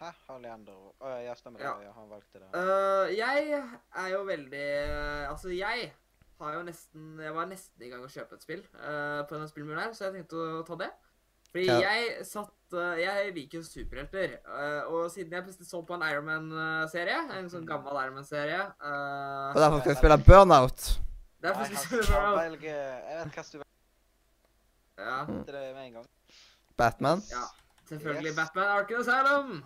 S4: Hæ? Har Leander Å ja, stemmer det.
S1: Ja.
S4: Ja, han valgte det.
S1: Øh, jeg er jo veldig Altså, jeg har jo nesten Jeg var nesten i gang å kjøpe et spill øh, på denne spillmuren her, så jeg tenkte å ta det. Fordi
S3: Ja.
S1: jeg satt øh, Jeg liker jo superhelter. øh, og siden jeg plutselig så på en Ironman-serie, en sånn gammel Ironman-serie øh,
S3: Og derfor skal vi spille Burnout.
S1: Det er
S4: Nei,
S1: plutselig
S4: han,
S1: sånn
S4: han velger Jeg vet hva du
S1: Ja,
S4: valgte det med en gang.
S3: Batman.
S1: Ja. selvfølgelig.
S4: Yes.
S1: Batman Arkham Asylum.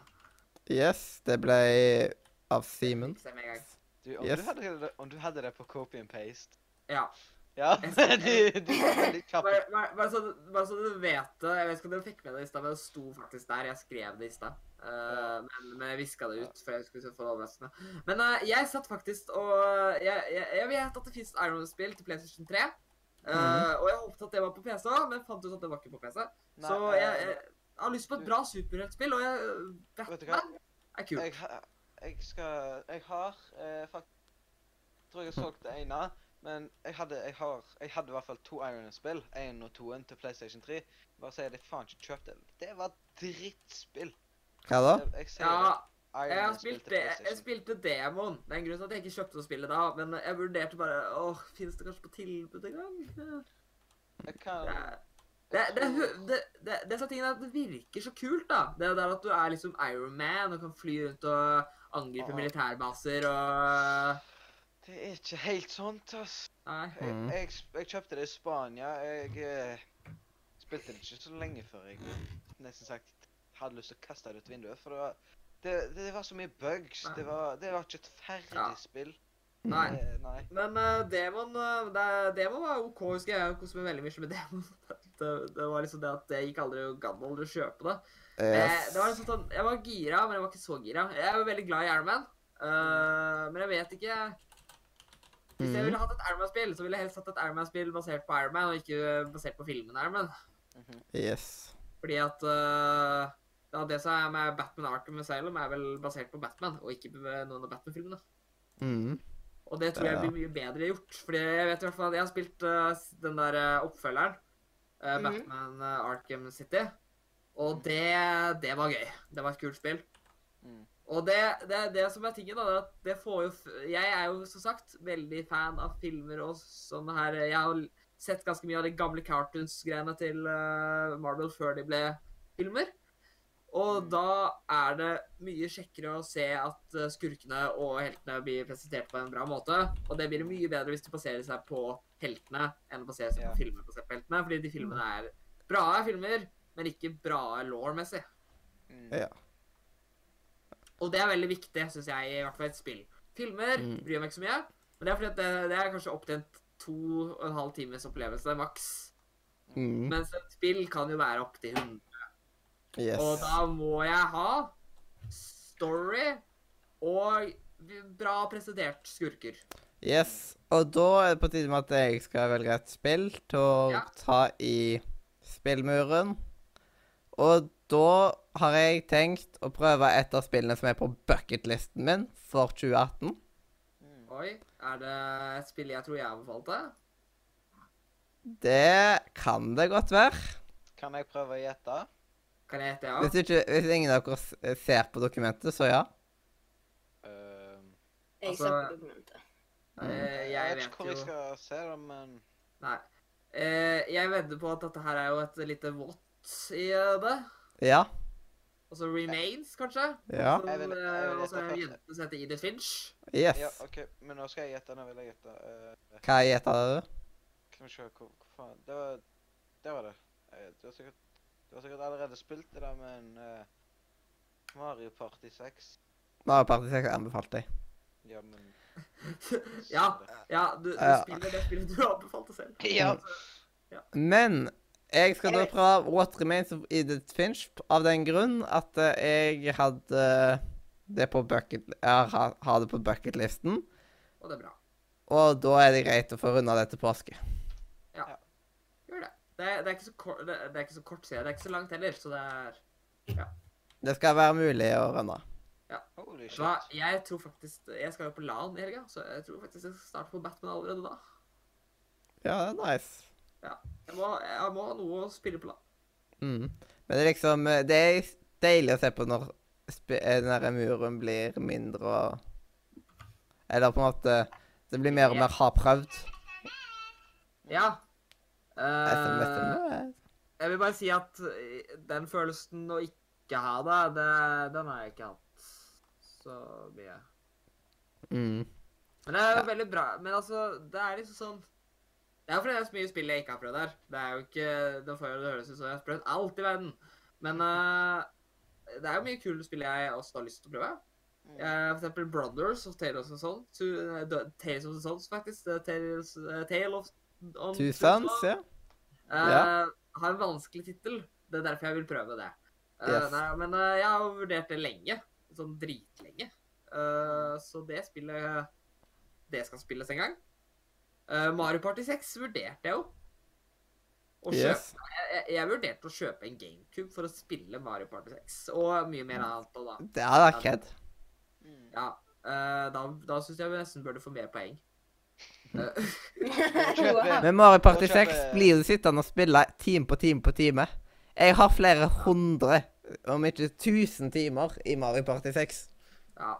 S3: Yes, det ble av Simen.
S1: Fikk seg med en gang.
S4: Du, om,
S3: Yes.
S4: du hadde, det- om du hadde det på copy and paste
S1: Ja.
S4: Ja, du, du var veldig kjapp.
S1: Bare, bare, bare, så, bare så du vet det. Jeg vet ikke om dere fikk med det i stad, men det sto faktisk der. Jeg skrev det i stad. Eh, men, men jeg viska det ut, for jeg skulle liksom få det overraskende. Men eh, jeg satt faktisk og Jeg, jeg, jeg vet at det fins Ironman-spill til PlayStation 3. eh,
S3: Mhm.
S1: Og jeg håpet at det var på PC, men fant ut at det var ikke på PC.
S4: Nei,
S1: så
S4: eh,
S1: jeg, jeg, har lyst på et bra superheltspill, og jeg,
S4: Vet du hva?
S1: Batman er kult.
S4: Jeg, ha- jeg skal Jeg har eh, faktisk Tror jeg har solgt det ene, men jeg hadde jeg har, jeg hadde i hvert fall to Iron-spill. Én og toen til PlayStation 3. Bare sier jeg det faen ikke kjøpt det. Det var drittspill.
S3: Hva da?
S4: Jeg, jeg sier
S1: Ja,
S4: det.
S1: jeg har
S4: Iron-spill
S1: spilt,
S4: til
S1: det, jeg
S4: PlayStation.
S1: spilte demoen. Det er en grunn til at jeg ikke kjøpte spillet da, men jeg vurderte bare Åh, fins det kanskje på tilbud en gang? Det,
S4: Jeg kan
S1: det,
S4: jeg
S1: det,
S4: tror-
S1: det, det, det, som er tingen er at det virker så kult, da. Det der at du er liksom Iron Man og kan fly rundt og angripe
S4: Ah.
S1: militærbaser og
S4: Det er ikke helt sånt, ass.
S1: Nei.
S4: Jeg,
S3: Mhm.
S4: jeg, sp- jeg kjøpte det i Spania. Jeg eh, spilte det ikke så lenge før jeg nesten sagt hadde lyst til å kaste det ut vinduet. For det var, det, det var så mye bugs. Det var, det var ikke et ferdig
S1: Ja.
S4: spill.
S1: Nei.
S4: Eh, nei.
S1: Men eh, demon, eh, det, demon var OK, husker jeg. Jeg koste meg veldig mye med demon. Det, det var liksom det at jeg gikk aldri og gadd aldri å kjøpe det. Eh,
S3: Yes.
S1: Det var liksom sånn, Jeg var gira, men jeg var ikke så gira. Jeg er jo veldig glad i Ironman, uh, men jeg vet ikke Hvis jeg
S3: Mhm.
S1: ville hatt et Ironman-spill, så ville jeg helst hatt et Ironman-spill basert på Ironman, og ikke basert på filmen Ironman.
S4: Mhm.
S3: yes.
S1: Fordi at eh, ja, det som er med Batman Arkham Asylum, er vel basert på Batman, og ikke på noen av Batman-filmene.
S3: Mm.
S1: Og det tror jeg
S3: Ja.
S1: blir mye bedre gjort. Fordi jeg vet i hvert fall at jeg har spilt eh, s- den der eh, oppfølgeren, eh,
S2: Mhm.
S1: Batman eh, Arkham City, og det, det var gøy. Det var et kult spill.
S4: Mm.
S1: Og det, det, det som er tingen, da, det er at det får jo f- Jeg er jo som sagt veldig fan av filmer og sånne her Jeg har l- sett ganske mye av de gamle cartoons-greiene til eh, Marvel før de ble filmer. Og
S4: Mm.
S1: da er det mye kjekkere å se at eh, skurkene og heltene blir presentert på en bra måte. Og det blir mye bedre hvis de baserer seg på heltene enn å basere seg
S4: Ja.
S1: på filmer basert på heltene. Fordi de filmene er bra filmer, men ikke bra law-messig.
S4: Mm.
S3: Ja.
S1: Og det er veldig viktig, syns jeg, i hvert fall i et spill. Filmer
S3: Mm.
S1: bryr jeg meg ikke så mye. Men det er fordi at det, det er kanskje opptil en to og en halv times opplevelse maks.
S3: Mm.
S1: Mens et spill kan jo være opptil 100.
S3: Yes.
S1: Og da må jeg ha story og bra presentert skurker.
S3: Yes. Og da er det på tide med at jeg skal velge et spill til å
S1: Ja.
S3: ta i spillmuren. Og da har jeg tenkt å prøve et av spillene som er på bucketlisten min for 2018.
S4: Mm.
S1: Oi, er det et spill jeg tror jeg anbefalte?
S3: Det kan det godt være.
S4: Kan jeg prøve å gjette?
S1: Kan jeg hete det
S3: Hvis,
S1: òg?
S3: ikke, hvis ingen av dere s- eh, ser på dokumentet, så ja.
S4: Ehm,
S2: Jeg
S1: Altså-
S2: ser på dokumentet.
S1: Eh, Jeg
S4: ikke
S1: vet
S4: hvor jeg
S1: jo
S4: skal se det, men
S1: Nei. Eh, Jeg vedder på at dette her er jo et lite vått i eh, det.
S3: Ja.
S1: Altså Remains, kanskje?
S3: Ja.
S1: Som,
S4: Jeg vil- jeg vil
S1: eh,
S4: gjette
S1: altså, en
S4: først.
S1: jente som heter Edith Finch.
S3: Yes.
S4: Ja, OK. Men nå skal jeg gjette. Nå vil jeg gjette. Eh,
S3: Hva gjetta du?
S4: Kan vi se hvor, hvor faen Det var det. Var det. Eh, Du, har sikkert, du har sikkert allerede spilt det der med en eh, Mario Party 6.
S3: Mario Party 6 anbefalte jeg.
S4: Ja, men
S1: ja,
S4: så det.
S1: ja, du, du
S3: Ja.
S1: spiller det spillet du anbefalte selv.
S4: ja.
S3: Men jeg skal da
S2: Jeg-
S3: prøve What Remains of Edith Finch av den grunn at eh, jeg hadde det på bucket... Jeg har har det på bucketlisten,
S1: Og det er bra.
S3: og da er det greit å få runda det til påske.
S1: Gjør det. Det er, det, er ikke så kort, det, er- det er ikke så kort serie, det er ikke så langt heller, så det er
S3: Det skal være mulig å runde.
S4: Holy shit.
S1: Hva, Jeg tror faktisk Jeg skal jo på LAN i helga, så jeg tror faktisk jeg skal starte på Batman allerede da.
S3: Ja, det er nice.
S1: Jeg må, jeg må ha noe å spille på LAN.
S3: Mm. Men det er liksom eh, Det er deilig å se på når sp- eh, den der muren blir mindre og Eller på en måte Det blir mer og mer har prøvd.
S1: Ja.
S3: Jeg ser mest
S1: Eh,
S3: om det.
S1: jeg vil bare si at eh, den følelsen å ikke ha det, det den har jeg ikke hatt så mye.
S3: Mm.
S1: Men det er jo
S3: Ja.
S1: veldig bra. Men altså, det er liksom sånn Det er fordi det er så mye spill jeg ikke har prøvd her. Det er jo ikke Det får jo det høres ut som jeg har prøvd alt i verden. Men eh, det er jo mye kule spill jeg også har lyst til å prøve.
S4: Mm.
S1: Eh, for eksempel Brothers og Tales of the Sons. Tales of the Sons, faktisk. Eh, Tales, eh, Tale of om
S3: Tusans, ja.
S1: Eh,
S3: Ja.
S1: Har en vanskelig tittel. Det er derfor jeg vil prøve det. Eh,
S3: Yes.
S1: nei, men eh, jeg har vurdert det lenge. Sånn dritlenge. Eh, så det spillet Det skal spilles en gang. Eh, Mario Party 6 vurderte jeg jo. Og kjøp,
S3: Yes.
S1: jeg, jeg- jeg vurderte å kjøpe en GameCube for å spille Mario Party 6. Og mye mer annet. Og da
S3: Det hadde vært kødd.
S4: Mm.
S1: ja, eh, da, da syns jeg vi nesten burde få mer poeng. Eh,
S4: Kjøper.
S3: Men Mario Party
S4: Da kjøper-
S3: 6 blir du sittende og spille time på time på time. Jeg har flere hundre, om ikke tusen timer, i Mario Party 6.
S1: ja.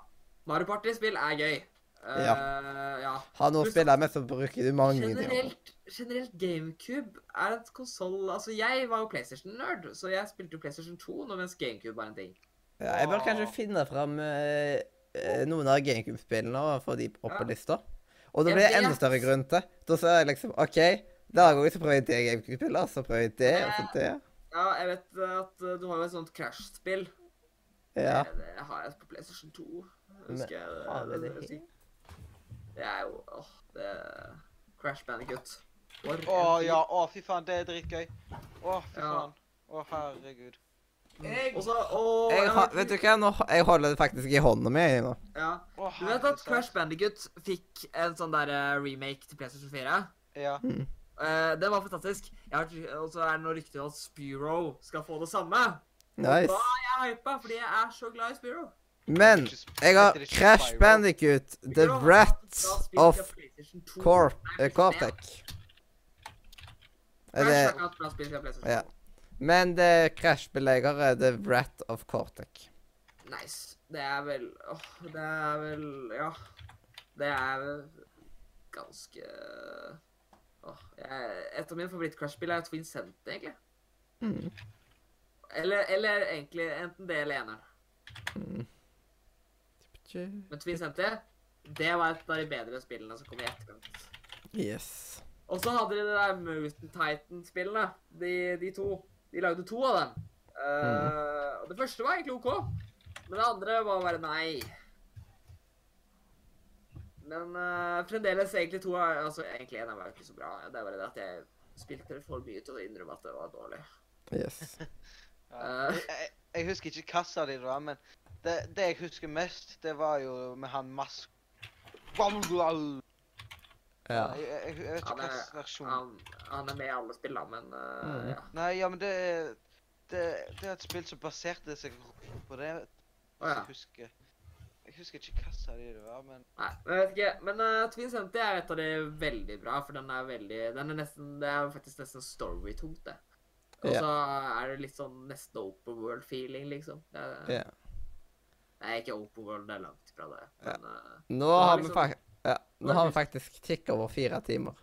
S1: Mario Party-spill er gøy. Eh, ja.
S3: Har noe å spille med, så bruker du mange timer.
S1: Generelt, generelt GameCube er et konsoll Altså, jeg var jo PlayStation-nerd, så jeg spilte jo PlayStation 2 nå mens GameCube var en ting.
S3: Ja, jeg bør kanskje finne fram eh, eh, noen av GameCube-spillene og få de opp på
S1: Ja.
S3: lista. Og da
S1: Jeg
S3: blir det enda
S1: vet.
S3: større grunn til. Da ser jeg liksom OK, der går jeg, så prøver jeg det GameCube-spillet, og så prøver jeg det, og så det.
S1: Ja, jeg vet eh, at eh, du har jo et sånt Crash-spill.
S3: Ja.
S1: Det, det har jeg på PlayStation 2.
S3: Men
S1: Husker jeg det.
S3: har vi det
S1: husker jeg. Det er jo åh, det Crash Bandicut.
S4: Å ja, å fy faen, det er dritgøy. Å fy
S1: Ja.
S4: faen. Å herregud.
S1: Og så, og,
S3: Jeg, har- vet du hva, nå, jeg holder det faktisk i hånda mi nå.
S1: Ja.
S4: Å,
S1: Du vet at
S4: herregud.
S1: Crash Bandicut fikk en sånn der eh, remake til PlayStation 4?
S4: Ja.
S1: Eh, den var fantastisk. Jeg har, og så er det noe rykte om at Spiro skal få det samme. Da
S3: Nice.
S1: er jeg hypa, fordi jeg er så glad i Spiro.
S3: Men jeg har
S4: Heter det ikke
S3: Crash
S4: Spyro?
S3: Bandicoot, The Brats of Cor eh, Cortec. Er det
S1: det
S3: Ja. Men det Crash-beleggere eh, The Brat of Cortec.
S1: Nice. Det er vel åh, Det er vel Ja. Det er vel ganske Åh, jeg, Et av mine favoritt-crashspill er Twin Cent, egentlig.
S3: Mm.
S1: Eller, eller egentlig enten det eller eneren. Men Twin Center, det var et av de bedre spillene som kom i etterkant.
S3: Yes.
S1: Og så hadde de det der Mountain Titan-spillene. De, de to. De lagde to av dem. Eh, og det første var egentlig OK, men det andre var bare nei. Men eh, fremdeles egentlig to er Altså egentlig en var jo ikke så bra. Det er bare det at jeg spilte det for mye til å innrømme at det var dårlig.
S3: Yes.
S4: Ja.
S1: Eh.
S4: Jeg, jeg- jeg husker ikke kassa di, da, men det, det jeg husker mest, det var jo med han mask... Jeg,
S3: Ja.
S4: jeg, jeg jeg vet
S1: Ja, det-
S4: ikke hva slags versjon.
S1: Han, han er med i alle spillene, men eh,
S3: Mm.
S1: ja.
S4: Nei, ja, men det er- Det, det er et spill som baserte seg på det.
S1: Å, ja.
S4: Jeg husker Jeg husker ikke kassa di, da, men
S1: Nei, men jeg vet ikke. Men eh, Twin Center er et av de veldig bra, for den er veldig Den er nesten Det er faktisk nesten storytungt, det. Og
S3: Ja.
S1: så er det litt sånn nesten open world-feeling, liksom. Det er,
S3: Ja.
S1: Nei, ikke open world, det er langt fra det.
S3: Ja.
S1: Men eh,
S3: Nå har vi,
S1: liksom-
S3: fak ja.
S1: Nå
S3: Nå
S1: er
S3: har vi
S1: det-
S3: faktisk tikka over fire timer.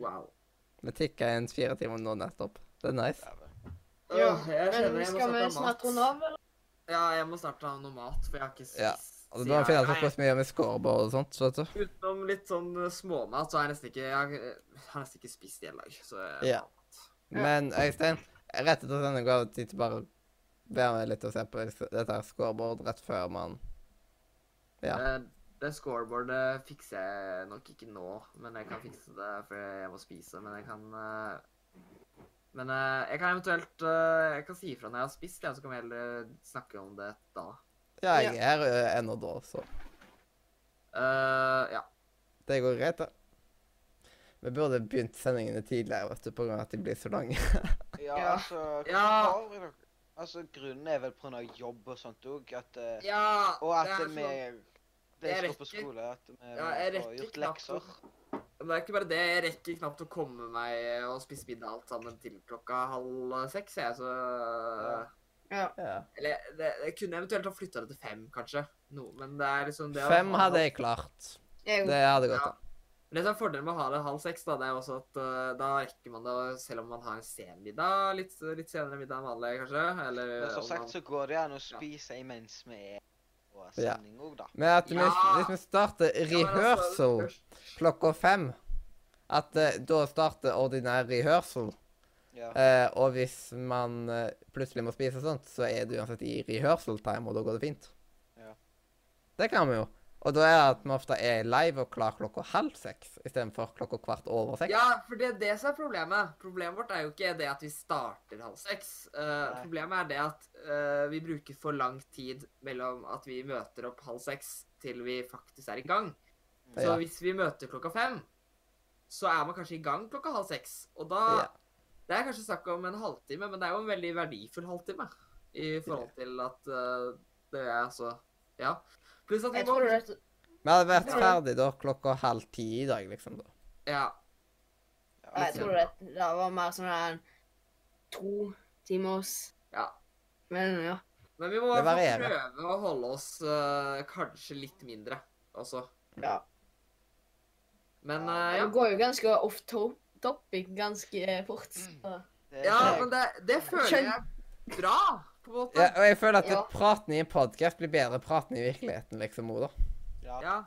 S1: wow.
S3: Vi tikka inn fire timer nå nettopp. Det er nice.
S4: dæven.
S2: Jo,
S1: Åh, jeg kjenner
S2: men
S1: jeg må
S2: skal vi
S1: sette av
S2: snart
S1: mat.
S2: runde av, eller?
S1: Ja, jeg må snart ha noe mat, for jeg har ikke spist.
S3: Ja, Og da
S1: siden-
S3: må vi finne ut
S1: Nei,
S3: hvordan vi gjør med scoreboard og sånt. vet du.
S1: Utenom litt sånn eh, småmat, så har jeg nesten ikke Jeg har- jeg har nesten ikke spist i hele dag, så jeg-
S3: Ja. Men Øystein, rett etter denne gav tid til bare ber meg litt å se på dette her scoreboard rett før man Ja.
S1: Eh, Det scoreboardet fikser jeg nok ikke nå, men jeg kan fikse det før jeg må spise. Men jeg kan eh, Men eh, jeg kan eventuelt eh, Jeg kan si ifra når jeg har spist, ja, så kan vi heller snakke om det da.
S3: Ja, jeg er her ø, ennå da, så
S1: Eh, ja.
S3: det går greit, det. Vi burde begynt sendingene tidligere, vet du, på grunn av at de blir så lange.
S4: Ja,
S1: Ja.
S4: altså hva
S1: Ja.
S4: har vi nok- Altså, grunnen er vel på grunn av jobb og sånn òg, at eh,
S1: ja
S4: Og at
S1: det er
S4: vi
S1: sånn-
S4: Det
S1: Jeg
S4: står på
S1: rekker-
S4: skole, at vi
S1: Ja, jeg
S4: får
S1: rekker
S4: eh, gjort
S1: knapt å-
S4: lekser.
S1: Men det er ikke bare det. Jeg rekker knapt å komme meg og spise middag alt sammen til klokka halv seks, jeg, så
S2: Ja.
S3: Ja.
S1: Eller det, jeg kunne eventuelt ha flytta det til fem, kanskje. No, men det er liksom det å
S3: Fem
S1: ha-
S3: hadde jeg klart.
S2: Jeg,
S3: Det hadde gått
S1: Ja.
S3: an.
S1: Men det som er fordelen med å ha det halv seks, da, det er jo også at eh, da rekker man det selv om man har en sen middag, litt, litt senere middag enn vanlig, kanskje. Eller
S4: Men som
S1: om
S4: sagt
S1: man-
S4: så går det an å spise imens vi er på
S3: Ja.
S4: sending òg, da.
S3: Men at vi,
S1: Ja.
S3: hvis vi starter
S1: Ja, men altså,
S3: rehearsal
S1: først-
S3: klokka fem At eh, da starter ordinær rehearsal,
S4: Ja.
S3: eh, og hvis man eh, plutselig må spise og sånt, så er det uansett i rehearsal time, og da går det fint.
S4: Ja.
S3: Det kan vi jo. Og da er det at vi ofte er live og klar klokka halv seks istedenfor klokka kvart over seks.
S1: Ja, for det er det som er problemet. Problemet vårt er jo ikke det at vi starter halv seks. Eh,
S4: Nei.
S1: problemet er det at eh, vi bruker for lang tid mellom at vi møter opp halv seks til vi faktisk er i gang. Så
S3: Ja.
S1: hvis vi møter klokka fem, så er man kanskje i gang klokka halv seks. Og da
S3: Ja.
S1: Det er kanskje snakk om en halvtime, men det er jo en veldig verdifull halvtime i forhold til at eh, det er altså Ja. Pluss at vi
S2: Jeg
S1: må
S2: tror det er
S3: Vi hadde vært
S1: Ja.
S3: ferdig da klokka halv ti i dag, liksom. da.
S1: Ja.
S2: Ja, jeg tror det, det var mer sånn en to timers
S1: Ja.
S2: Men ja.
S1: Men vi må
S3: Det
S1: i hvert fall
S3: varierer.
S1: prøve å holde oss eh, kanskje litt mindre også.
S2: ja.
S1: Men
S4: Ja,
S1: eh,
S2: Det går jo ganske off to topic ganske fort. Så.
S1: ja. ja, men det, det føler jeg er bra, på en måte.
S3: Ja, og jeg føler at
S2: Ja.
S3: praten i en podkast blir bedre praten i virkeligheten, liksom. Oda.
S4: Ja.
S1: Ja.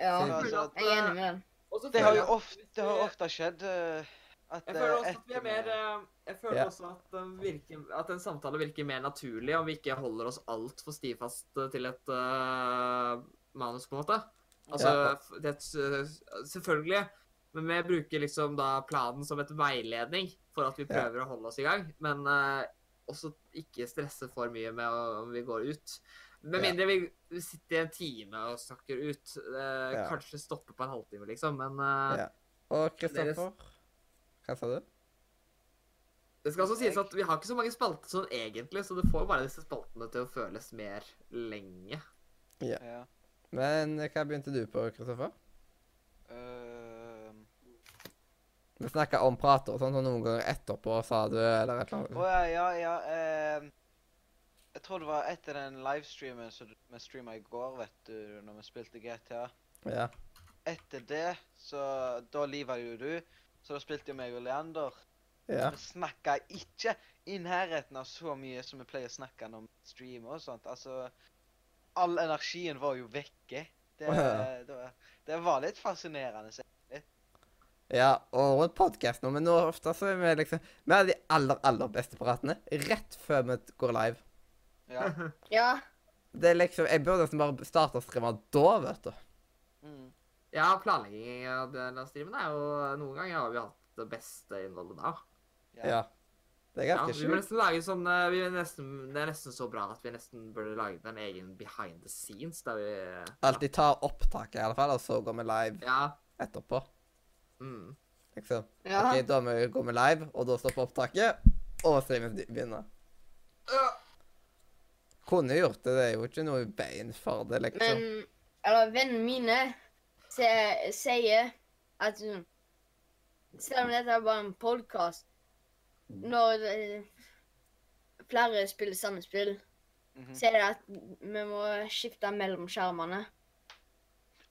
S2: Ja,
S1: Jeg
S2: jeg
S1: føler at,
S2: er enig med den.
S1: og så
S4: Det
S1: føler
S4: har
S1: jeg
S4: jo
S1: at
S4: ofte, det har
S1: vi-
S4: ofte skjedd eh, at
S1: Jeg
S4: eh,
S1: føler også at vi
S4: etter
S1: er mer
S4: vi-
S1: eh, Jeg føler
S3: Ja.
S1: også at, den virker, at en samtale virker mer naturlig om vi ikke holder oss altfor stivfast eh, til et eh, manus, på en måte. Altså,
S3: Ja.
S1: f- det, er et s- selvfølgelig. Men vi bruker liksom da planen som et veiledning for at vi
S3: Ja.
S1: prøver å holde oss i gang. Men eh, også ikke stresse for mye med å- om vi går ut. Med
S3: Ja.
S1: mindre vi sitter i en time og snakker ut. eh,
S3: Ja.
S1: Kanskje stopper på en halvtime, liksom. Men eh,
S3: Ja. Og Kristoffer Hva sa du?
S1: Det skal også sies at vi har ikke så mange spalter sånn egentlig, så det får bare disse spaltene til å føles mer lenge. eh,
S4: Ja.
S3: Men eh, hva begynte du på, Kristoffer?
S4: Eh,
S3: Vi snakka om prater og sånn, og noen ganger etterpå sa du eller et eller
S4: Å
S3: annet.
S4: ja, ja, ja. eh, jeg tror det var etter den livestreamen som du- vi streama i går, vet du, når vi spilte GTA.
S3: Ja.
S4: Etter det, så Da liva jo du, så da spilte jo meg og Leander.
S3: ja.
S4: Vi snakka ikke i nærheten av så mye som vi pleier å snakke når vi streamer og sånt. Altså All energien var jo vekke. Det,
S3: Å ja.
S4: det, var, det var litt fascinerende. så-
S3: Ja, og rundt podkasten, men nå ofte så er vi liksom Vi har de aller, aller beste pratene rett før vi går live.
S4: Ja.
S2: Ja,
S3: Det er liksom Jeg burde nesten bare starte å streame da, vet du.
S4: Mm.
S1: Ja, planlegging av denne streamen er jo Noen ganger har vi hatt det beste innholdet da.
S4: Ja.
S3: Ja. Det er
S1: Ja,
S3: ganske
S1: vi bør
S3: sjukt.
S1: nesten lage sånn eh, vi er nesten, Det er nesten så bra at vi nesten burde lage en egen behind the scenes der vi
S3: Alltid ta opptaket, i alle fall, og så går vi live
S1: Ja.
S3: etterpå.
S1: Mm.
S3: Liksom.
S2: ja.
S3: Ok, da må vi gå med live, og da stopper opptaket, og streamen begynner. Kunne gjort det, det er jo ikke noe i veien for det,
S2: Men
S3: liksom.
S2: eller, vennene mine se- sier at mm, selv om dette er bare en podkast Når eh, flere spiller samme spill,
S3: Mm.
S4: mhm.
S2: så er det at vi må skifte mellom skjermene.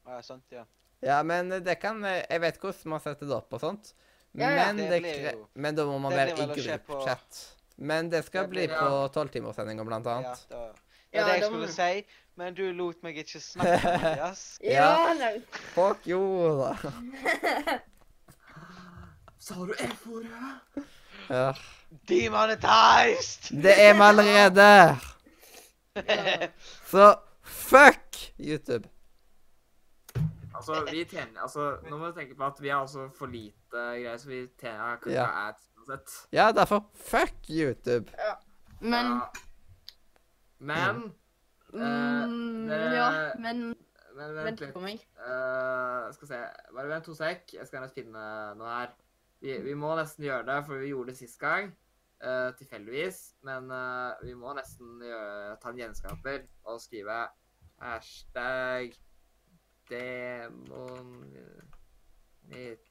S4: ja, sant, ja.
S3: Ja, men det kan Jeg vet hvordan man setter det opp og sånt.
S2: Ja, ja,
S3: Men,
S4: det
S3: det
S4: blir
S3: kre-
S4: jo-
S3: men da må man
S4: det
S3: være i
S4: blir vel å skje på-
S3: gruppechat. Men det skal
S4: Det
S3: bli
S4: blir-
S3: på tolvtimerssendinga, blant
S4: Ja,
S3: annet.
S4: det var det,
S2: Ja,
S4: var det jeg
S2: da må
S4: skulle si, men du lot meg ikke snakke, Mathias.
S3: Ja.
S2: Ja, nei,
S3: Fuck jo, da.
S1: Sa du F-ordet?
S3: Ja.
S4: Demonetized!
S3: Det er vi allerede!
S2: ja.
S3: Så fuck YouTube.
S1: Altså, vi tjener Altså, nå må du tenke på at vi har altså for lite greier, så vi tjener kanskje
S3: Ja.
S1: ads uansett.
S3: Ja, derfor fuck YouTube.
S2: Men
S1: Ja. Men Eh,
S2: mm,
S1: det-
S2: Ja, men
S1: Men vent
S2: Vent
S1: litt.
S2: på meg.
S1: Eh, skal se. Bare vent to sek. Jeg skal nesten finne noe her. Vi, vi må nesten gjøre det, for vi gjorde det sist gang. eh, tilfeldigvis. Men eh, vi må nesten gjøre, ta en gjenskaper og skrive hashtag demonetize.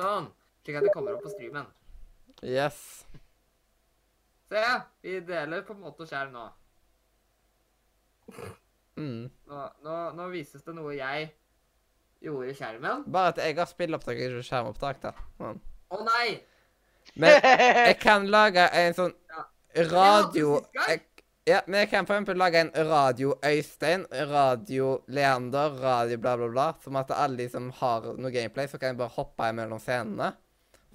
S1: Sånn. Slik at det kommer opp på streamen.
S3: Yes.
S1: Se, vi deler på en måte skjerm nå.
S3: Mm.
S1: Nå, nå, nå vises det noe jeg gjorde i skjermen.
S3: Bare at jeg har spillopptak, ikke skjermopptak. da. Men-
S1: Å nei!
S3: Men jeg kan lage en sånn radio...
S1: Eh, Ja,
S3: Jeg, ja, men jeg kan for eksempel lage en radio Øystein, radio Leander, radio bla, bla, bla. Som at alle de som har noe gameplay, så kan jeg bare hoppe imellom scenene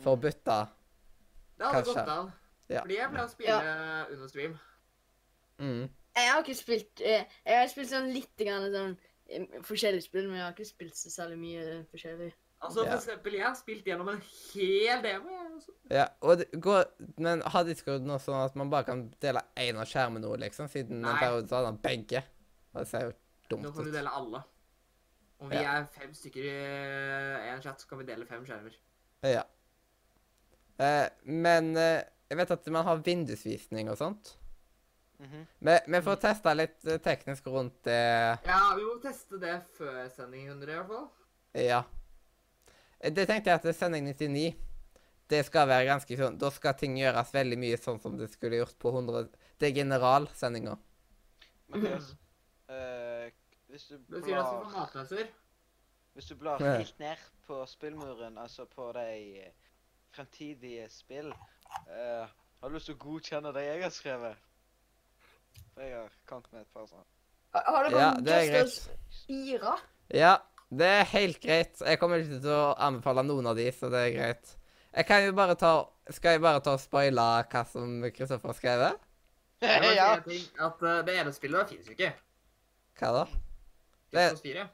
S3: for
S1: Mm.
S3: å bytte.
S1: Det hadde
S3: kanskje.
S1: gått an.
S3: Ja.
S1: Fordi jeg ble å spille under stream.
S3: Mm.
S2: Jeg har ikke spilt eh, Jeg har spilt sånn litt grann sånn eh, forskjellige spill, men jeg har ikke spilt så særlig mye eh, forskjellig.
S1: Altså,
S3: Ja.
S1: for eksempel, jeg har spilt gjennom en hel demo. jeg, altså.
S3: Ja, og det går, Men har Discord nå sånn at man bare kan dele én av skjermen nå, liksom? Siden en
S1: Nei.
S3: periode så hadde han begge. Og det ser jo dumt
S1: Nå kan du
S3: ut.
S1: dele alle. Om vi er fem stykker i én chat, så kan vi dele fem skjermer.
S3: Ja. Eh, men eh, jeg vet at man har vindusvisning og sånt.
S4: Mhm.
S3: Men, men for å teste litt eh, teknisk rundt det
S1: Ja, vi må teste det før sending 100, i hvert fall.
S3: Ja. Eh, Det tenkte jeg at sending 99 det skal være ganske sånn, Da skal ting gjøres veldig mye sånn som det skulle gjort på 100 Det er generalsendinga.
S4: Mathias, eh, hvis du
S1: Betyr det at vi får
S4: blar
S1: matmesser?
S4: Hvis du blar
S3: Ja.
S4: helt ned på spillmuren, altså på de eh, fremtidige spill eh, Har du lyst til å godkjenne det jeg har skrevet? For jeg har kant med et par sånne.
S2: Har har dere
S3: Ja,
S2: kommet
S3: det er
S2: Just Us 4?
S3: Ja, det er helt greit. Jeg kommer ikke til å anbefale noen av de, så det er greit. Jeg kan jo bare ta, Skal jeg bare ta og spoile hva som Kristoffer har skrevet?
S1: Jeg må si
S4: ja.
S1: en ting, at eh, Det ene spillet fins jo ikke.
S3: Hva da?
S1: Det...
S3: Det-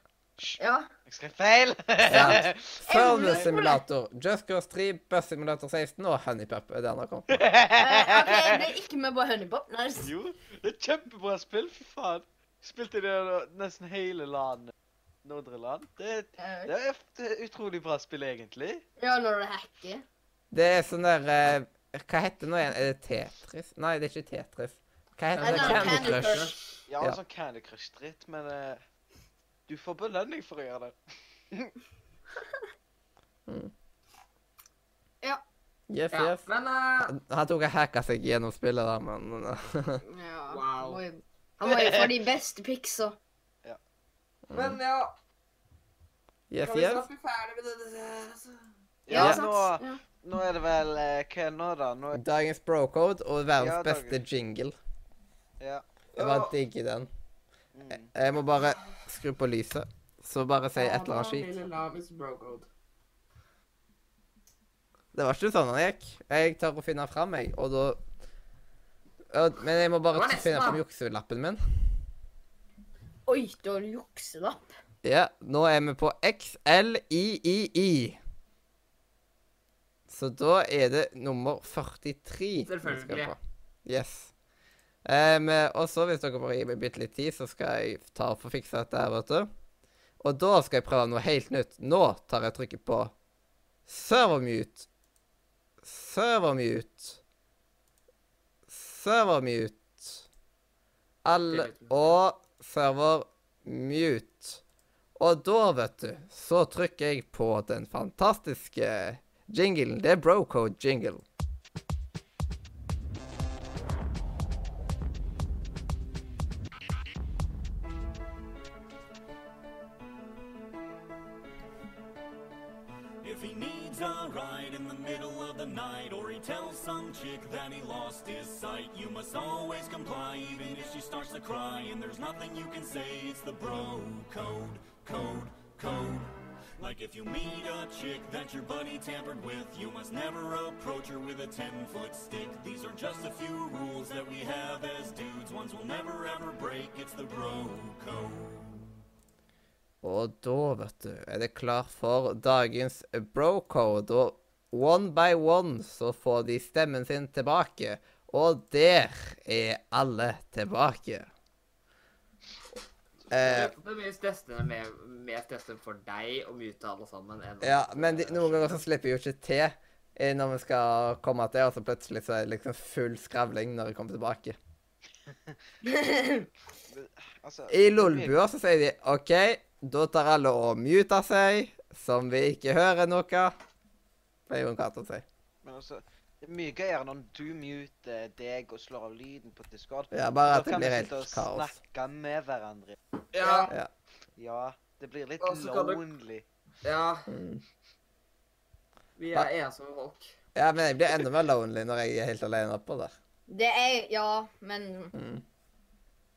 S2: Ja.
S4: Jeg skrev feil!
S3: Ja.
S2: Jeg lurer på det.
S3: Sørlandssimulator, Just Cause 3, Bus Simulator 16 og Honeypup er det han har kommet med.
S2: Eh, OK, jeg ble ikke med på Honeypop. Nice.
S4: jo, det er et kjempebra spill, fy faen. Spilte det nesten hele landet. Nordre land. Det,
S2: Eh,
S4: det er et utrolig bra spill, egentlig.
S2: Ja, når du hacker.
S3: Det er sånn der eh, Hva heter det nå igjen? Er det Tetris? Nei, det er ikke Tetris. Hva heter det?
S2: Nei,
S3: Candy
S2: Candy
S3: Crush.
S2: Crush.
S4: Ja,
S3: Ja.
S4: sånn Candy Crush-dritt, men eh, du får belønning for å gjøre det.
S3: Yes,
S1: Ja,
S3: yes.
S1: men eh,
S3: Han tok og hacka seg gjennom spillet der, men eh,
S2: Ja.
S1: Wow.
S2: må jo- Han må jo få de beste pikser.
S1: Men ja,
S3: Mm. Yes,
S1: kan vi
S3: yes.
S1: snart bli ferdig med det? altså?
S4: Ja,
S3: Ja.
S4: nå,
S2: Ja.
S4: nå er det vel eh, Hva er det nå, da? Nå er,
S3: Dagens brocode og verdens
S4: Ja, dagens.
S3: beste jingle.
S4: ja.
S3: Jeg bare digger den.
S4: Mm.
S3: Jeg må bare skru på lyset, så bare si et eller annet skit.
S1: Lille Lavis brocode.
S3: Det var ikke sånn han gikk. Jeg tør å finne fram, jeg, og da Ja, Men jeg må bare
S1: Det var nesten,
S3: finne fram
S1: da.
S3: jukselappen min.
S2: Oi, du har jukselapp.
S3: Ja, nå er vi på XLIII. Så da er det nummer 43. vi skal
S1: Selvfølgelig.
S3: på. Yes. Em, og så, hvis dere bare gir meg bitte litt tid, så skal jeg ta og få fiksa dette her, vet du. Og da skal jeg prøve noe helt nytt. Nå tar jeg trykket på servermute. Servermute. Servermute. Alle
S1: Det vet vi.
S3: Og servermute. Og da, vet du, så trykker jeg på den fantastiske jinglen. Det er Brocode-jingle.
S6: If he needs a ride in the middle of the night, or he tells some chick that he lost his sight, you must always comply, even if she starts to cry. And there's nothing you can say, it's the bro code, code, code. Like if you meet a chick that your buddy tampered with, you must never approach her with a 10 foot stick. These are just a few rules that we have as dudes, ones we'll never ever break. It's the bro code.
S3: Og da, vet du, er det klar for dagens brocode. Og one by one så får de stemmen sin tilbake. Og der er alle tilbake. Eh,
S1: Det er mye stressende med, mer stressende for deg å mute alle sammen enn
S3: ja, men de, noen ganger så slipper jeg jo ikke til eh, når vi skal komme til, og så plutselig så er det liksom full skravling når jeg kommer tilbake.
S4: Altså,
S3: I lolbua så sier de OK, da tar alle og muter seg, som vi ikke hører noe. Pleier hun katt å si.
S4: Men altså, det er mye gøyere når du muter deg og slår av lyden på Discord.
S3: Ja, bare at
S4: Da
S3: det
S4: kan vi
S3: blir
S4: sitte og
S3: helt kaos.
S4: snakke med hverandre.
S1: ja,
S4: Ja, det blir litt
S1: Og så kan du-
S4: lonely.
S1: ja,
S3: Mm.
S1: vi er ensomme folk.
S3: Ja, men jeg blir enda mer lonely når jeg er helt alene oppå der. Mm.
S2: Det er Ja, men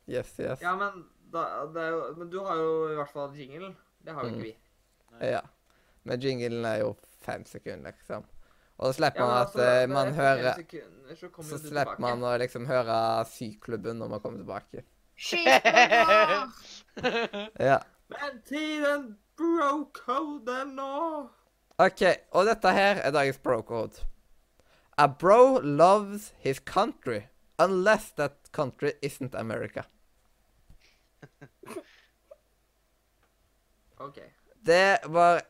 S3: Yes, yes.
S1: Ja, men, da, det er jo, men du har jo i hvert fall jingle. Det har jo
S3: Mm.
S1: ikke vi.
S3: Ja. Men jinglen er jo fem sekunder, liksom. Og så slipper
S1: Ja,
S3: man
S1: men
S3: at
S1: altså,
S3: eh,
S1: det-
S3: man
S1: etter fem
S3: hører
S1: sekunder Så, kommer
S3: Så
S1: du
S3: slipper
S1: tilbake.
S3: man å liksom høre syklubben når man kommer tilbake.
S2: Skyt meg!
S3: Ja.
S1: Men tiden bro-coden nå.
S3: OK, og dette her er dagens bro-code. A bro loves his country unless that country isn't America.
S1: OK.
S3: Det var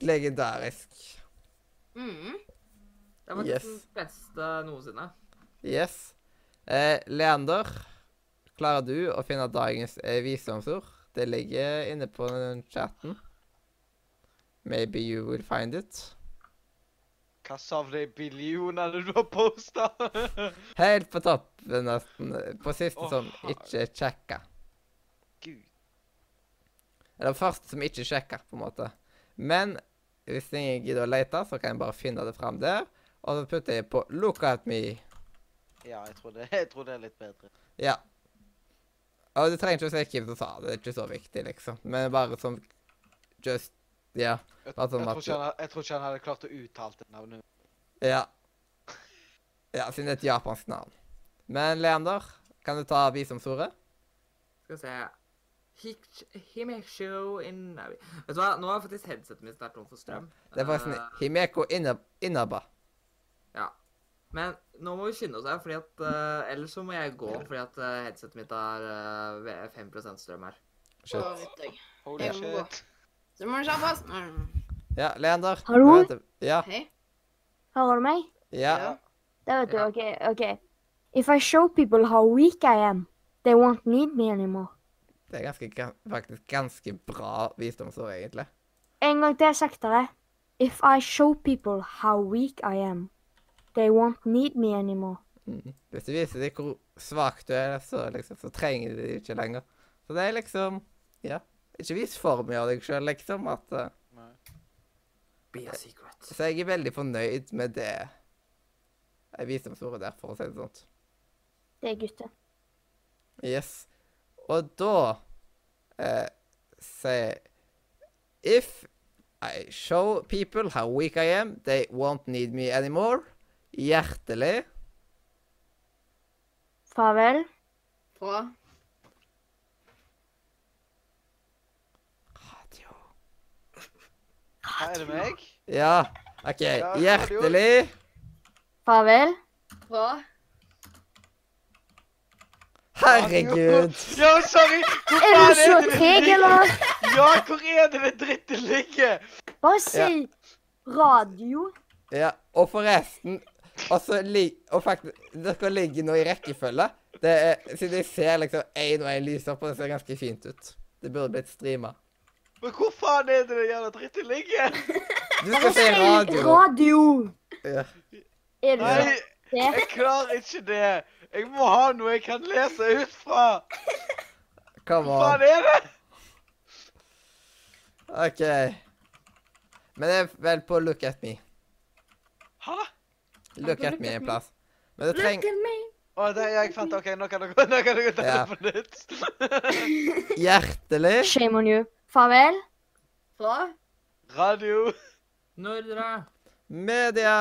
S3: legendarisk.
S2: Mm.
S1: Det var
S3: Yes.
S1: den beste noensinne.
S3: Yes. Eh, Leander, klarer du å finne dagens eh, visdomsord? Det ligger inne på den chatten. Maybe you will find it.
S4: Hva savner jeg billioner du har posta?
S3: Helt på topp, nesten. På siste
S4: Å,
S3: som
S4: herre-
S3: ikke sjekka.
S4: Gud.
S3: Eller først som ikke sjekka, på en måte. Men hvis ingen gidder å lete, så kan jeg bare finne det fram der. Og så putter jeg på 'look at me'.
S4: Ja, jeg tror, det, jeg tror det er litt bedre.
S3: Ja. Og du trenger ikke å se hvem som sa det, det er ikke så viktig, liksom. Men bare som Just Ja.
S4: Jeg, jeg,
S3: Altså,
S4: tror,
S3: Mats-
S4: ikke han, ha- jeg tror ikke han hadde klart å uttale det navnet.
S3: Ja. Ja, siden det er et japansk navn. Men Leander, kan du ta visdomsordet?
S1: Skal vi se Hik- Himekisho in Navi. Vet du hva, nå har faktisk headsetet mitt vært tom for strøm.
S3: Det er forresten
S1: Eh,
S3: Himeko Inab Inaba.
S1: Ja. Men nå må vi skynde oss her, fordi at eh, ellers så må jeg gå fordi at eh, headsetet mitt har eh, ve- 5 strøm her.
S2: Så vet jeg.
S4: Holy
S2: Ja.
S4: shit.
S2: Så må du kjappe oss. Mm.
S3: Ja, Leander.
S5: Hallo?
S3: Ja.
S2: Hei.
S5: Hører du meg?
S3: Ja.
S5: Det vet du,
S1: Ja.
S5: ok, ok. If I show people how weak I am, they won't need me anymore.
S3: Det er ganske, gan- faktisk ganske bra visdomsord, egentlig.
S5: En gang til saktere. If I show people how weak I am, they won't need me anymore.
S3: Hvis du viser dem hvor svak du er, så, liksom, så trenger de det ikke lenger. Så det er liksom Ja. Ikke vis for mye av deg sjøl, liksom. At, eh,
S4: Nei.
S1: Be a secret.
S3: så jeg er veldig fornøyd med det eh, visdomsordet der, for å si det sånn.
S5: Det er gutten.
S3: Yes. Og da eh, sier jeg If I show people how weak I am, they won't need me anymore. Hjertelig.
S5: Farvel.
S2: Fra
S3: Radio.
S4: Hæ, er det meg?
S3: Ja. OK.
S4: Ja,
S3: Hjertelig.
S5: Farvel.
S2: Fra
S3: Herregud.
S4: Ja, sorry! Hvor
S5: Er du så treg, eller?
S4: Ja, hvor er det det drittet ligger?
S5: Bare si radio.
S3: Ja, og forresten Og så lig- og faktisk, dere ligger nå i rekkefølge. Det er, siden jeg ser liksom én og én lys opp, og det ser ganske fint ut. Det burde blitt streama.
S4: Men hvor faen er det det jævla drittet ligger?
S3: Du
S5: Bare
S3: skal
S5: si
S3: se radio.
S5: radio.
S3: Ja.
S5: Er du
S4: Nei,
S5: så treg?
S4: jeg klarer ikke det. Jeg må ha noe jeg kan lese ut fra.
S3: Come
S4: Hva
S3: on.
S4: faen er det?
S3: OK. Men det er vel på Look at me.
S4: Hæ?
S3: Look at me en plass. Men du trenger
S4: Å, det er jeg fant. OK, nå kan dere, nå kan dere ta
S3: Ja.
S4: det på nytt.
S3: hjertelig
S5: Shame on you. Farvel.
S2: Fra
S4: Radio.
S1: Nordre.
S3: media.